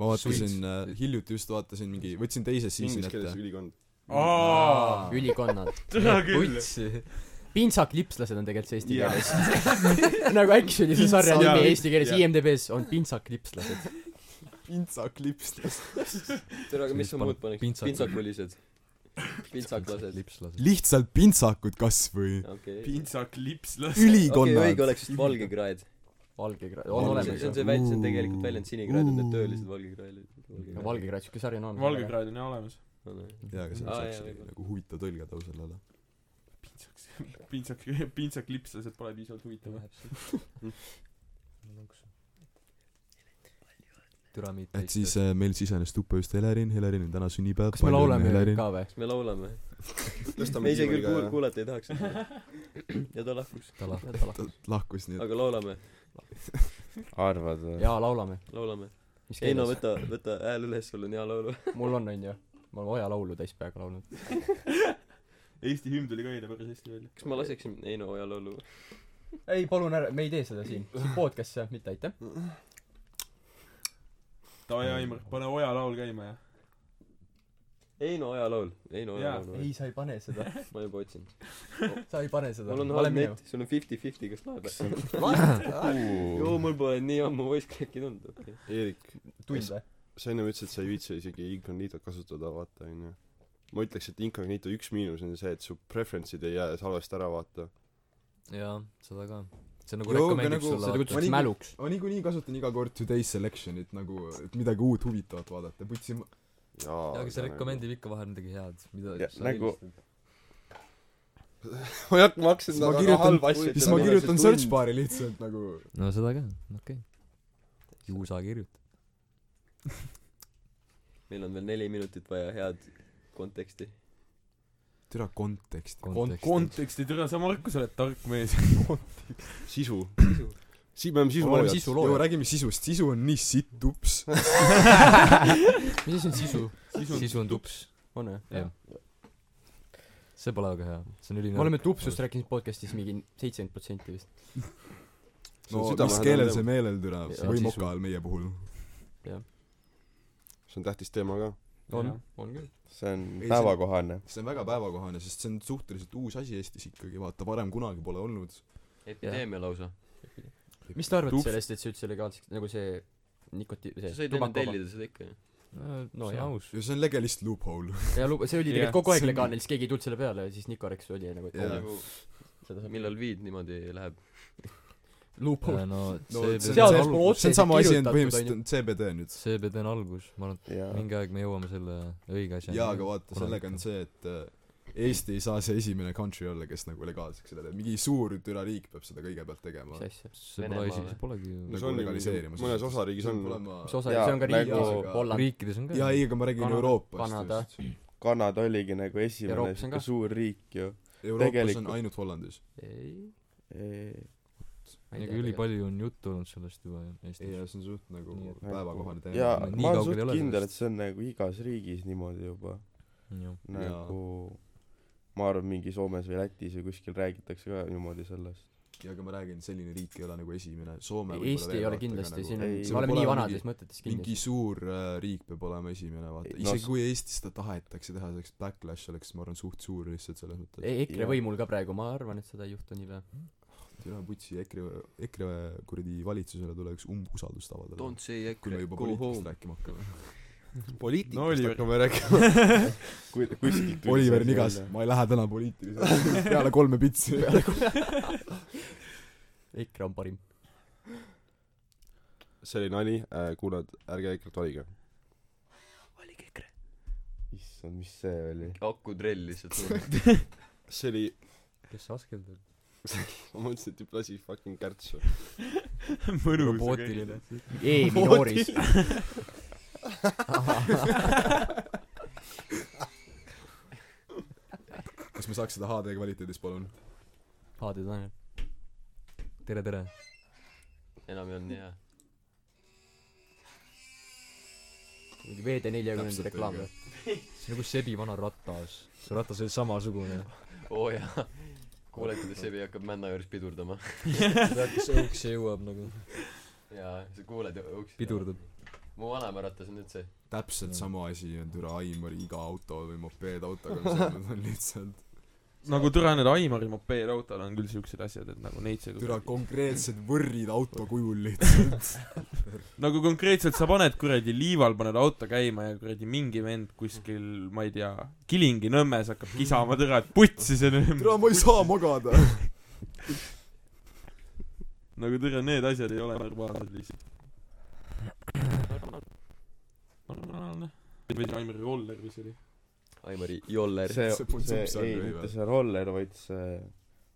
[SPEAKER 5] ma vaatasin äh, hiljuti just vaatasin mingi võtsin teise season'i
[SPEAKER 4] inglise keeles
[SPEAKER 2] [LAUGHS]
[SPEAKER 5] ette
[SPEAKER 4] ülikond
[SPEAKER 1] aa ,
[SPEAKER 3] ülikonnad .
[SPEAKER 1] tore küll .
[SPEAKER 6] utsi
[SPEAKER 3] pintsaknipslased on tegelikult see eesti
[SPEAKER 4] Jaa.
[SPEAKER 3] keeles . [LAUGHS] nagu äkki oli see sarja
[SPEAKER 4] Pintsak-
[SPEAKER 3] nimi
[SPEAKER 4] jaa.
[SPEAKER 3] eesti keeles ,
[SPEAKER 4] Jaa.
[SPEAKER 3] IMDB-s on pintsaknipslased .
[SPEAKER 5] pintsaklips
[SPEAKER 2] tere aga mis sa muud paneks
[SPEAKER 6] Pintsak-
[SPEAKER 2] pintsakulised pintsaklased
[SPEAKER 6] lipslased
[SPEAKER 5] lihtsalt pintsakud kas või
[SPEAKER 2] okei
[SPEAKER 1] pintsak lipslas .
[SPEAKER 2] okei õige
[SPEAKER 5] ülikonnad
[SPEAKER 2] oleks vist valgekraed
[SPEAKER 3] valge kraad ,
[SPEAKER 2] see
[SPEAKER 3] on
[SPEAKER 2] on
[SPEAKER 3] olemas
[SPEAKER 2] see on
[SPEAKER 3] ju .
[SPEAKER 2] see väl- see on tegelikult väljend sinikraed on need tõelised valgekraelid
[SPEAKER 3] valge kraad , siuke sari on olemas .
[SPEAKER 1] valge . kraad on jah olemas .
[SPEAKER 5] jaa aga see
[SPEAKER 2] Aa,
[SPEAKER 5] oleks
[SPEAKER 2] jaa,
[SPEAKER 5] actually
[SPEAKER 2] võib-olla.
[SPEAKER 5] nagu huvitav tõlge taustal olla
[SPEAKER 1] pintsaks , pintsak , pintsak lipslased pole piisavalt huvitavad .
[SPEAKER 6] türa mitte
[SPEAKER 5] et siis äh, meil sisenes tuppa just Helerin Helerin on täna sünnipäev
[SPEAKER 3] kas me laulame ka või ?
[SPEAKER 2] kas me laulame me
[SPEAKER 4] tõstame
[SPEAKER 2] ise küll kuul-
[SPEAKER 4] diivaniga
[SPEAKER 2] kuulata ei tahaks [CLEARS THROAT] ja ta lahkuks
[SPEAKER 6] ta lahti
[SPEAKER 5] lahkus nii et
[SPEAKER 2] aga laulame
[SPEAKER 7] arvad või
[SPEAKER 3] jaa , laulame .
[SPEAKER 2] laulame
[SPEAKER 3] mis
[SPEAKER 2] ei no
[SPEAKER 3] keeles ?
[SPEAKER 2] võta võta hääl üles sul on hea laulu
[SPEAKER 3] mul on , onju . ma olen Oja laulu täis peaga laulnud .
[SPEAKER 1] Eesti hümn tuli ka eile päris hästi välja .
[SPEAKER 2] kas ma laseksin Heino Oja laulu
[SPEAKER 3] ei , palun ära , me ei tee seda siin . siin podcast'is jah , mitte aitäh .
[SPEAKER 1] Davai , Aimar , pane Oja laul käima ja .
[SPEAKER 2] Heino Oja laul Heino Oja
[SPEAKER 1] Jaa.
[SPEAKER 2] laulu
[SPEAKER 3] ei , sa ei pane seda .
[SPEAKER 2] eh. ma juba otsin
[SPEAKER 3] sa ei pane seda .
[SPEAKER 2] mul on halb net sul on fifty fifty kas [LAUGHS]
[SPEAKER 3] [LAUGHS]
[SPEAKER 2] laeb joo mul pole nii ammu voice crack'i tulnud okei
[SPEAKER 4] Eerik
[SPEAKER 3] tund või ?
[SPEAKER 4] sa ennem ütlesid , et sa ei viitsi isegi incognito't kasutada , vaata onju . ma ütleks , et incognito üks miinus on see , et su preference'id ei jää salvest ära , vaata .
[SPEAKER 6] jaa seda ka see nagu
[SPEAKER 5] Joo, aga
[SPEAKER 6] rekomendeerib
[SPEAKER 5] nagu-
[SPEAKER 6] sulle
[SPEAKER 5] seda
[SPEAKER 6] vaata.
[SPEAKER 5] Ma
[SPEAKER 3] kutsutakse
[SPEAKER 5] nii-
[SPEAKER 3] mäluks .
[SPEAKER 5] ma niikuinii kasutan iga kord Today's Selectionit nagu , et midagi uut huvitavat vaadata , putsi ma-
[SPEAKER 4] jaa
[SPEAKER 6] jaa aga see . rekomendib ikka vahel midagi head
[SPEAKER 7] Ja,
[SPEAKER 6] mida sa
[SPEAKER 7] nagu-
[SPEAKER 6] eelistad.
[SPEAKER 4] ma ei hakka , ma hakkasin
[SPEAKER 5] siis ma
[SPEAKER 4] nagu kirjutan,
[SPEAKER 5] kirjutan
[SPEAKER 4] halba , asja
[SPEAKER 5] siis ma kirjutan search . bar'i lihtsalt nagu
[SPEAKER 6] no seda ka okei ju sa kirjuta
[SPEAKER 2] meil on veel neli minutit vaja head konteksti
[SPEAKER 5] türa kontekst
[SPEAKER 1] Kon- , konteksti , tere , sa Markus oled tark [LAUGHS] mees .
[SPEAKER 4] sisu . siin me oleme sisu
[SPEAKER 5] oleme
[SPEAKER 4] loojad .
[SPEAKER 5] sisu loojad . räägime sisust , sisu on nii sitt ups .
[SPEAKER 6] mis asi on sisu
[SPEAKER 1] sisu
[SPEAKER 6] sisu on tups
[SPEAKER 3] on või ?
[SPEAKER 6] jah see pole väga hea see on
[SPEAKER 3] me
[SPEAKER 6] ülinõrk
[SPEAKER 3] oleme tupsust rääkinud podcast'is mingi seitsekümmend protsenti vist .
[SPEAKER 5] no mis keelel see ? meelel türa
[SPEAKER 3] Ja
[SPEAKER 5] või
[SPEAKER 3] sisu.
[SPEAKER 5] mokal meie puhul .
[SPEAKER 4] see on tähtis teema ka .
[SPEAKER 3] on , on küll .
[SPEAKER 7] see on
[SPEAKER 5] see-
[SPEAKER 7] päevakohane
[SPEAKER 5] see on väga päevakohane , sest see on suhteliselt uus asi Eestis ikkagi , vaata varem kunagi pole olnud .
[SPEAKER 2] epideemia lausa
[SPEAKER 3] mis te arvate
[SPEAKER 1] Tups-
[SPEAKER 3] sellest , et see üldse legaalseks , nagu see nikoti- ,
[SPEAKER 2] sa
[SPEAKER 3] see
[SPEAKER 2] said enne tellida seda ikka ju
[SPEAKER 3] No
[SPEAKER 6] no
[SPEAKER 3] jaa.
[SPEAKER 6] jaa aus
[SPEAKER 5] ja see on legalist loophole .
[SPEAKER 3] ja luba , see oli
[SPEAKER 1] Jah.
[SPEAKER 3] tegelikult kogu aeg
[SPEAKER 5] See on-
[SPEAKER 3] legaalne , siis keegi ei tulnud selle peale ja siis Nicorex oli nagu , et
[SPEAKER 5] Jaa.
[SPEAKER 3] oo,
[SPEAKER 2] nagu
[SPEAKER 3] seda saab .
[SPEAKER 2] millal viid niimoodi läheb
[SPEAKER 3] oh, loophole .
[SPEAKER 6] no
[SPEAKER 5] no
[SPEAKER 6] see
[SPEAKER 5] see
[SPEAKER 3] seal
[SPEAKER 5] on
[SPEAKER 3] sees pole
[SPEAKER 5] see-
[SPEAKER 6] see
[SPEAKER 5] see
[SPEAKER 3] otseselt
[SPEAKER 5] on sama asi , on
[SPEAKER 3] kirjutatud,
[SPEAKER 5] põhimõtteliselt on CBD nüüd .
[SPEAKER 6] CBD on algus ma arvan
[SPEAKER 7] ja
[SPEAKER 6] et mingi aeg me jõuame selle õige asjani
[SPEAKER 5] jaa , aga vaata , sellega on see , et äh, Eesti ei saa see esimene country olla , kes nagu legaalseks selle teeb , mingi suur türa riik peab seda kõigepealt tegema .
[SPEAKER 3] mis asja ?
[SPEAKER 6] see pole
[SPEAKER 2] Venemaa või?
[SPEAKER 6] asi see polegi ju
[SPEAKER 5] Nagu
[SPEAKER 4] see on ju
[SPEAKER 5] legaliseerima
[SPEAKER 4] mõnes
[SPEAKER 5] seda.
[SPEAKER 4] osariigis on .
[SPEAKER 3] mis osa ,
[SPEAKER 7] Jaa,
[SPEAKER 3] see on ka riik
[SPEAKER 7] nagu- ,
[SPEAKER 3] Holland ,
[SPEAKER 6] riikides on ka
[SPEAKER 5] jaa , ei , aga ma räägin
[SPEAKER 3] Kanada- Kanada.
[SPEAKER 5] Euroopast .
[SPEAKER 7] Kanada oligi nagu esimene
[SPEAKER 3] Euroopas on
[SPEAKER 7] siuke
[SPEAKER 3] ka.
[SPEAKER 7] suur riik ju
[SPEAKER 5] Euroopas on
[SPEAKER 7] Tegelikult-
[SPEAKER 5] ainult Hollandis .
[SPEAKER 3] ei ,
[SPEAKER 7] Ei,
[SPEAKER 3] ma ei
[SPEAKER 6] ega
[SPEAKER 3] tea .
[SPEAKER 6] ülipalju on juttu olnud sellest juba ju
[SPEAKER 5] ei ,
[SPEAKER 6] Eestis
[SPEAKER 5] see on suht nagu
[SPEAKER 6] Nii et-
[SPEAKER 5] päevakohane teema .
[SPEAKER 7] jaa
[SPEAKER 6] Ma nii
[SPEAKER 7] ma olen
[SPEAKER 6] kaugel ei
[SPEAKER 7] suht
[SPEAKER 6] ole
[SPEAKER 7] kindel et
[SPEAKER 6] sellest.
[SPEAKER 7] see on nagu igas riigis niimoodi juba
[SPEAKER 6] jah
[SPEAKER 7] nagu ma arvan mingi Soomes või Lätis või kuskil räägitakse ka niimoodi sellest
[SPEAKER 5] jaa , aga ma räägin , selline riik ei ole nagu esimene , Soome
[SPEAKER 3] Eesti
[SPEAKER 6] nagu-
[SPEAKER 3] ei ole kindlasti , siin on
[SPEAKER 7] ei- , see
[SPEAKER 3] me oleme nii
[SPEAKER 5] pole
[SPEAKER 3] vanades
[SPEAKER 5] mingi-
[SPEAKER 3] mõtetes
[SPEAKER 5] nagu- mingi
[SPEAKER 3] kindlasti .
[SPEAKER 5] suur äh, riik peab olema esimene , vaata ,
[SPEAKER 7] Ei, no
[SPEAKER 5] isegi
[SPEAKER 7] s-
[SPEAKER 5] kui Eestis seda tahetakse teha , selleks backlash oleks , ma arvan , suht suur lihtsalt selles mõttes .
[SPEAKER 3] E-, EKRE
[SPEAKER 7] Jaa.
[SPEAKER 3] võimul ka praegu , ma arvan , et seda ei juhtu niipea .
[SPEAKER 5] türa putsi , EKRE , EKRE kuradi valitsusele tuleks umbusaldust avaldada .
[SPEAKER 2] don't say
[SPEAKER 5] kui me
[SPEAKER 2] EKRE
[SPEAKER 5] juba
[SPEAKER 2] go
[SPEAKER 5] poliitikast
[SPEAKER 2] home
[SPEAKER 5] rääkima hakkame .
[SPEAKER 1] No
[SPEAKER 4] poliitikast
[SPEAKER 1] Oliver.
[SPEAKER 4] hakkame rääkima .
[SPEAKER 7] kui kuskilt tuli
[SPEAKER 5] Oliver
[SPEAKER 7] see
[SPEAKER 5] Nigas
[SPEAKER 7] välja. ,
[SPEAKER 5] ma ei lähe täna poliitiliseks , [LAUGHS] peale kolme pitsi .
[SPEAKER 3] [LAUGHS] EKRE on parim .
[SPEAKER 4] see oli nali , kuulajad , ärge EKRE-t valige .
[SPEAKER 7] issand mis see oli
[SPEAKER 2] akutrell
[SPEAKER 7] [LAUGHS]
[SPEAKER 2] lihtsalt
[SPEAKER 4] see oli ,
[SPEAKER 6] kes askeldab
[SPEAKER 4] ma mõtlesin , et juba asi fucking kärtsu .
[SPEAKER 1] mõnus .
[SPEAKER 6] robootiline
[SPEAKER 3] E-minooris .
[SPEAKER 5] me saaks seda HD kvaliteedis , palun ?
[SPEAKER 6] Paade Tanel . tere , tere .
[SPEAKER 2] enam ei olnud nii hea .
[SPEAKER 3] mingi VD neljakümnenda
[SPEAKER 5] Täpselt
[SPEAKER 3] reklaam
[SPEAKER 5] õige.
[SPEAKER 3] või ?
[SPEAKER 6] see on nagu Sebi vana ratas . see ratas oli [LAUGHS] samasugune .
[SPEAKER 2] oo oh, jaa . kuuled , kuidas Sebi hakkab männa juures pidurdama .
[SPEAKER 6] tead , kas õuks see jõuab nagu .
[SPEAKER 2] jaa , sa kuuled ja õuks .
[SPEAKER 6] Pidurdab. .
[SPEAKER 2] mu vanaema ratas on üldse .
[SPEAKER 5] täpselt
[SPEAKER 6] Jah.
[SPEAKER 5] sama asi on türa Aimari iga auto või [LAUGHS] mopeedautoga , mis nad on lihtsalt
[SPEAKER 1] nagu türa need Aimari mopeedautol on küll siuksed asjad , et nagu neid see
[SPEAKER 5] türa konkreetsed võrrid auto kujul lihtsalt . [LAUGHS]
[SPEAKER 1] nagu konkreetselt sa paned kuradi liival paned auto käima ja kuradi mingi vend kuskil , ma ei tea , Kilingi-Nõmmes hakkab kisama türa , et putsi see nüüd
[SPEAKER 5] türa , ma ei saa [LAUGHS] magada .
[SPEAKER 1] nagu türa need asjad ei ole normaalsed lihtsalt . normaalne . või see Aimari Voller , mis oli ?
[SPEAKER 2] Aimari Joller .
[SPEAKER 7] see ,
[SPEAKER 5] see Putsu
[SPEAKER 7] see ,
[SPEAKER 5] Psalm
[SPEAKER 7] ei ,
[SPEAKER 5] või
[SPEAKER 7] mitte
[SPEAKER 5] või?
[SPEAKER 7] see roller , vaid see ,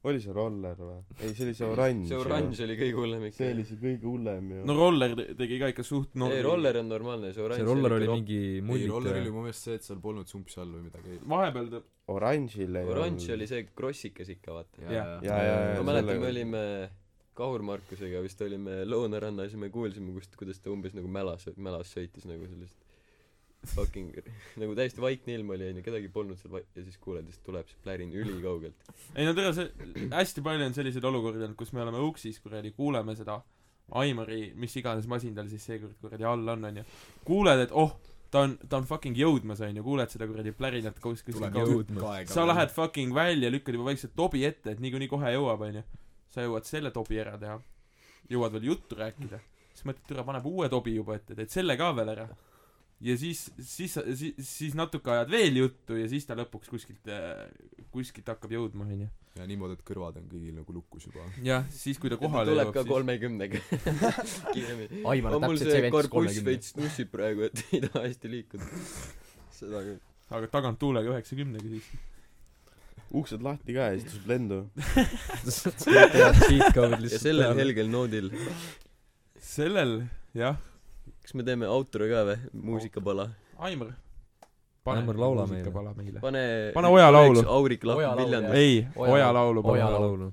[SPEAKER 7] oli see roller või ? ei , see oli see oranž .
[SPEAKER 2] [LAUGHS] see oranž oli kõige hullem ikka
[SPEAKER 7] see . oli see kõige hullem ju .
[SPEAKER 1] no Roller te- tegi ka ikka suht
[SPEAKER 2] ei ,
[SPEAKER 1] noor .
[SPEAKER 2] roller on normaalne , see oranž .
[SPEAKER 6] see roller oli . mingi
[SPEAKER 5] ei , roller
[SPEAKER 6] [LAUGHS] mullitaja
[SPEAKER 5] oli . mu meelest see , et seal polnud sumpsi all või midagi .
[SPEAKER 1] vahepeal ta ,
[SPEAKER 7] oranžil ei
[SPEAKER 2] oranž oli see krossikas ikka , vaata .
[SPEAKER 7] jaa , jaa ,
[SPEAKER 5] Äh,
[SPEAKER 7] jaa .
[SPEAKER 2] ma mäletan , me olime Kahur Markusega vist olime lõunarannas ja me kuulsime , kust , kuidas ta umbes nagu mälas , mälas sõitis nagu sellist fucking [LAUGHS] nagu täiesti vaikne ilm oli onju , kedagi polnud seal vaik- ja siis kuuled , siis tuleb see plärin ülikaugelt .
[SPEAKER 1] ei no tere , see , hästi palju on selliseid olukordi olnud , kus me oleme uksis kuradi , kuuleme seda Aimari , mis iganes masin tal siis seekord kuradi all on , onju . kuuled , et oh , ta on , ta on fucking jõudmas , onju , kuuled seda kuradi plärinat kus- kuskil
[SPEAKER 5] tuleb
[SPEAKER 1] kaugel .
[SPEAKER 5] jõudma .
[SPEAKER 1] sa lähed fucking välja , lükkad juba vaikselt tobi ette , et niikuinii kohe jõuab , onju . sa jõuad selle tobi ära teha , jõuad veel juttu rääkida , siis mõtled , türa paneb uue tobi juba ette , teed selle ka veel ära . ja siis , siis , siis , siis natuke ajad veel juttu ja siis ta lõpuks kuskilt , kuskilt hakkab jõudma , onju .
[SPEAKER 5] ja niimoodi , et kõrvad on kõigil nagu lukus juba .
[SPEAKER 1] jah , siis kui ta kohale
[SPEAKER 2] tuleb
[SPEAKER 1] jõuab ,
[SPEAKER 2] ka
[SPEAKER 1] siis
[SPEAKER 2] kolmekümnega kiiremini .
[SPEAKER 3] Aimar
[SPEAKER 2] on
[SPEAKER 3] on
[SPEAKER 2] mul
[SPEAKER 3] täpselt see
[SPEAKER 2] see
[SPEAKER 3] vend , kes
[SPEAKER 2] karbuss
[SPEAKER 3] kolmekümne .
[SPEAKER 2] veits nussib praegu , et [LAUGHS] ei taha hästi liikuda . seda küll .
[SPEAKER 1] aga taganttuulega üheksakümnega siis .
[SPEAKER 7] uksed lahti ka ja siis tõuseb lendu .
[SPEAKER 6] cheat code
[SPEAKER 2] ja
[SPEAKER 6] lihtsalt
[SPEAKER 2] sellel . helgel noodil ,
[SPEAKER 1] sellel , jah ,
[SPEAKER 2] kas me teeme outro ka või , muusikapala ?
[SPEAKER 1] Aimar .
[SPEAKER 6] Aimar, laula meile.
[SPEAKER 1] meile .
[SPEAKER 2] pane
[SPEAKER 1] Pane Oja laulu.
[SPEAKER 2] aurik
[SPEAKER 3] Oja
[SPEAKER 2] lahkub
[SPEAKER 3] laulu,
[SPEAKER 2] Viljandist .
[SPEAKER 1] ei ,
[SPEAKER 3] Oja
[SPEAKER 1] Oja laulu
[SPEAKER 3] Oja
[SPEAKER 1] palun .
[SPEAKER 3] laulu.
[SPEAKER 6] ajalaulu .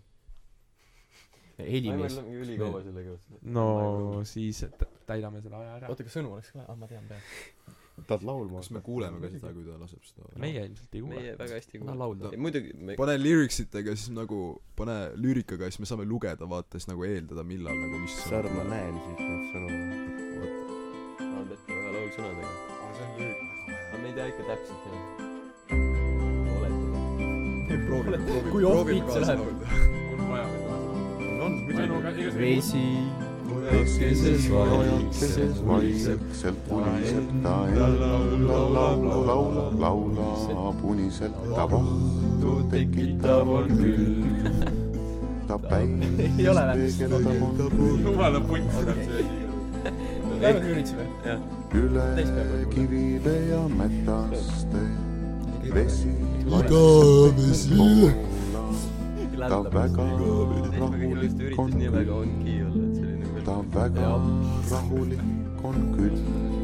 [SPEAKER 3] helimees .
[SPEAKER 2] on ülikaua sellega võtnud .
[SPEAKER 1] no siis t- täidame selle aja ära .
[SPEAKER 8] oota , kas sõnu oleks ka , ah ma tean peast .
[SPEAKER 7] tahad laulma
[SPEAKER 5] kas me kuuleme ka seda , kui ta laseb seda ?
[SPEAKER 1] meie ilmselt ei kuule .
[SPEAKER 2] meie väga hästi ei
[SPEAKER 3] no
[SPEAKER 2] kuule .
[SPEAKER 3] laulda .
[SPEAKER 2] ei muidugi , me
[SPEAKER 5] pane lüriksitega siis nagu , pane lüürikaga , siis me saame lugeda , vaata , siis nagu eeldada , millal nagu mis
[SPEAKER 7] sõrm ma näen siit neid sõnu .
[SPEAKER 2] Albert on väga laul sõnadega . aga me ei tea ikka täpselt jah . oletame .
[SPEAKER 5] proovime , proovime .
[SPEAKER 3] Kui off beat see läheb. .
[SPEAKER 1] on vaja veel kaasa .
[SPEAKER 5] on muidugi .
[SPEAKER 3] vesi .
[SPEAKER 5] keses
[SPEAKER 3] vajakses
[SPEAKER 9] vaiseb , puniseb ta end , laulab , laulab , laulab , uniseb ta vahtu , tekitab on küll . ta päiv
[SPEAKER 3] Ei ole või?
[SPEAKER 9] peegeldab on
[SPEAKER 1] jumala punt seda see [LAUGHS] asi .
[SPEAKER 3] lähme üritasime .
[SPEAKER 9] üle
[SPEAKER 3] Täispeaga.
[SPEAKER 9] kivide ja metaste . vesi
[SPEAKER 5] igavesi .
[SPEAKER 9] ta väga
[SPEAKER 2] kindlasti
[SPEAKER 9] rahulik
[SPEAKER 2] üritas
[SPEAKER 9] on
[SPEAKER 2] nii väga on kiiulla , et see oli nagu
[SPEAKER 9] ta väga rahulik on küll .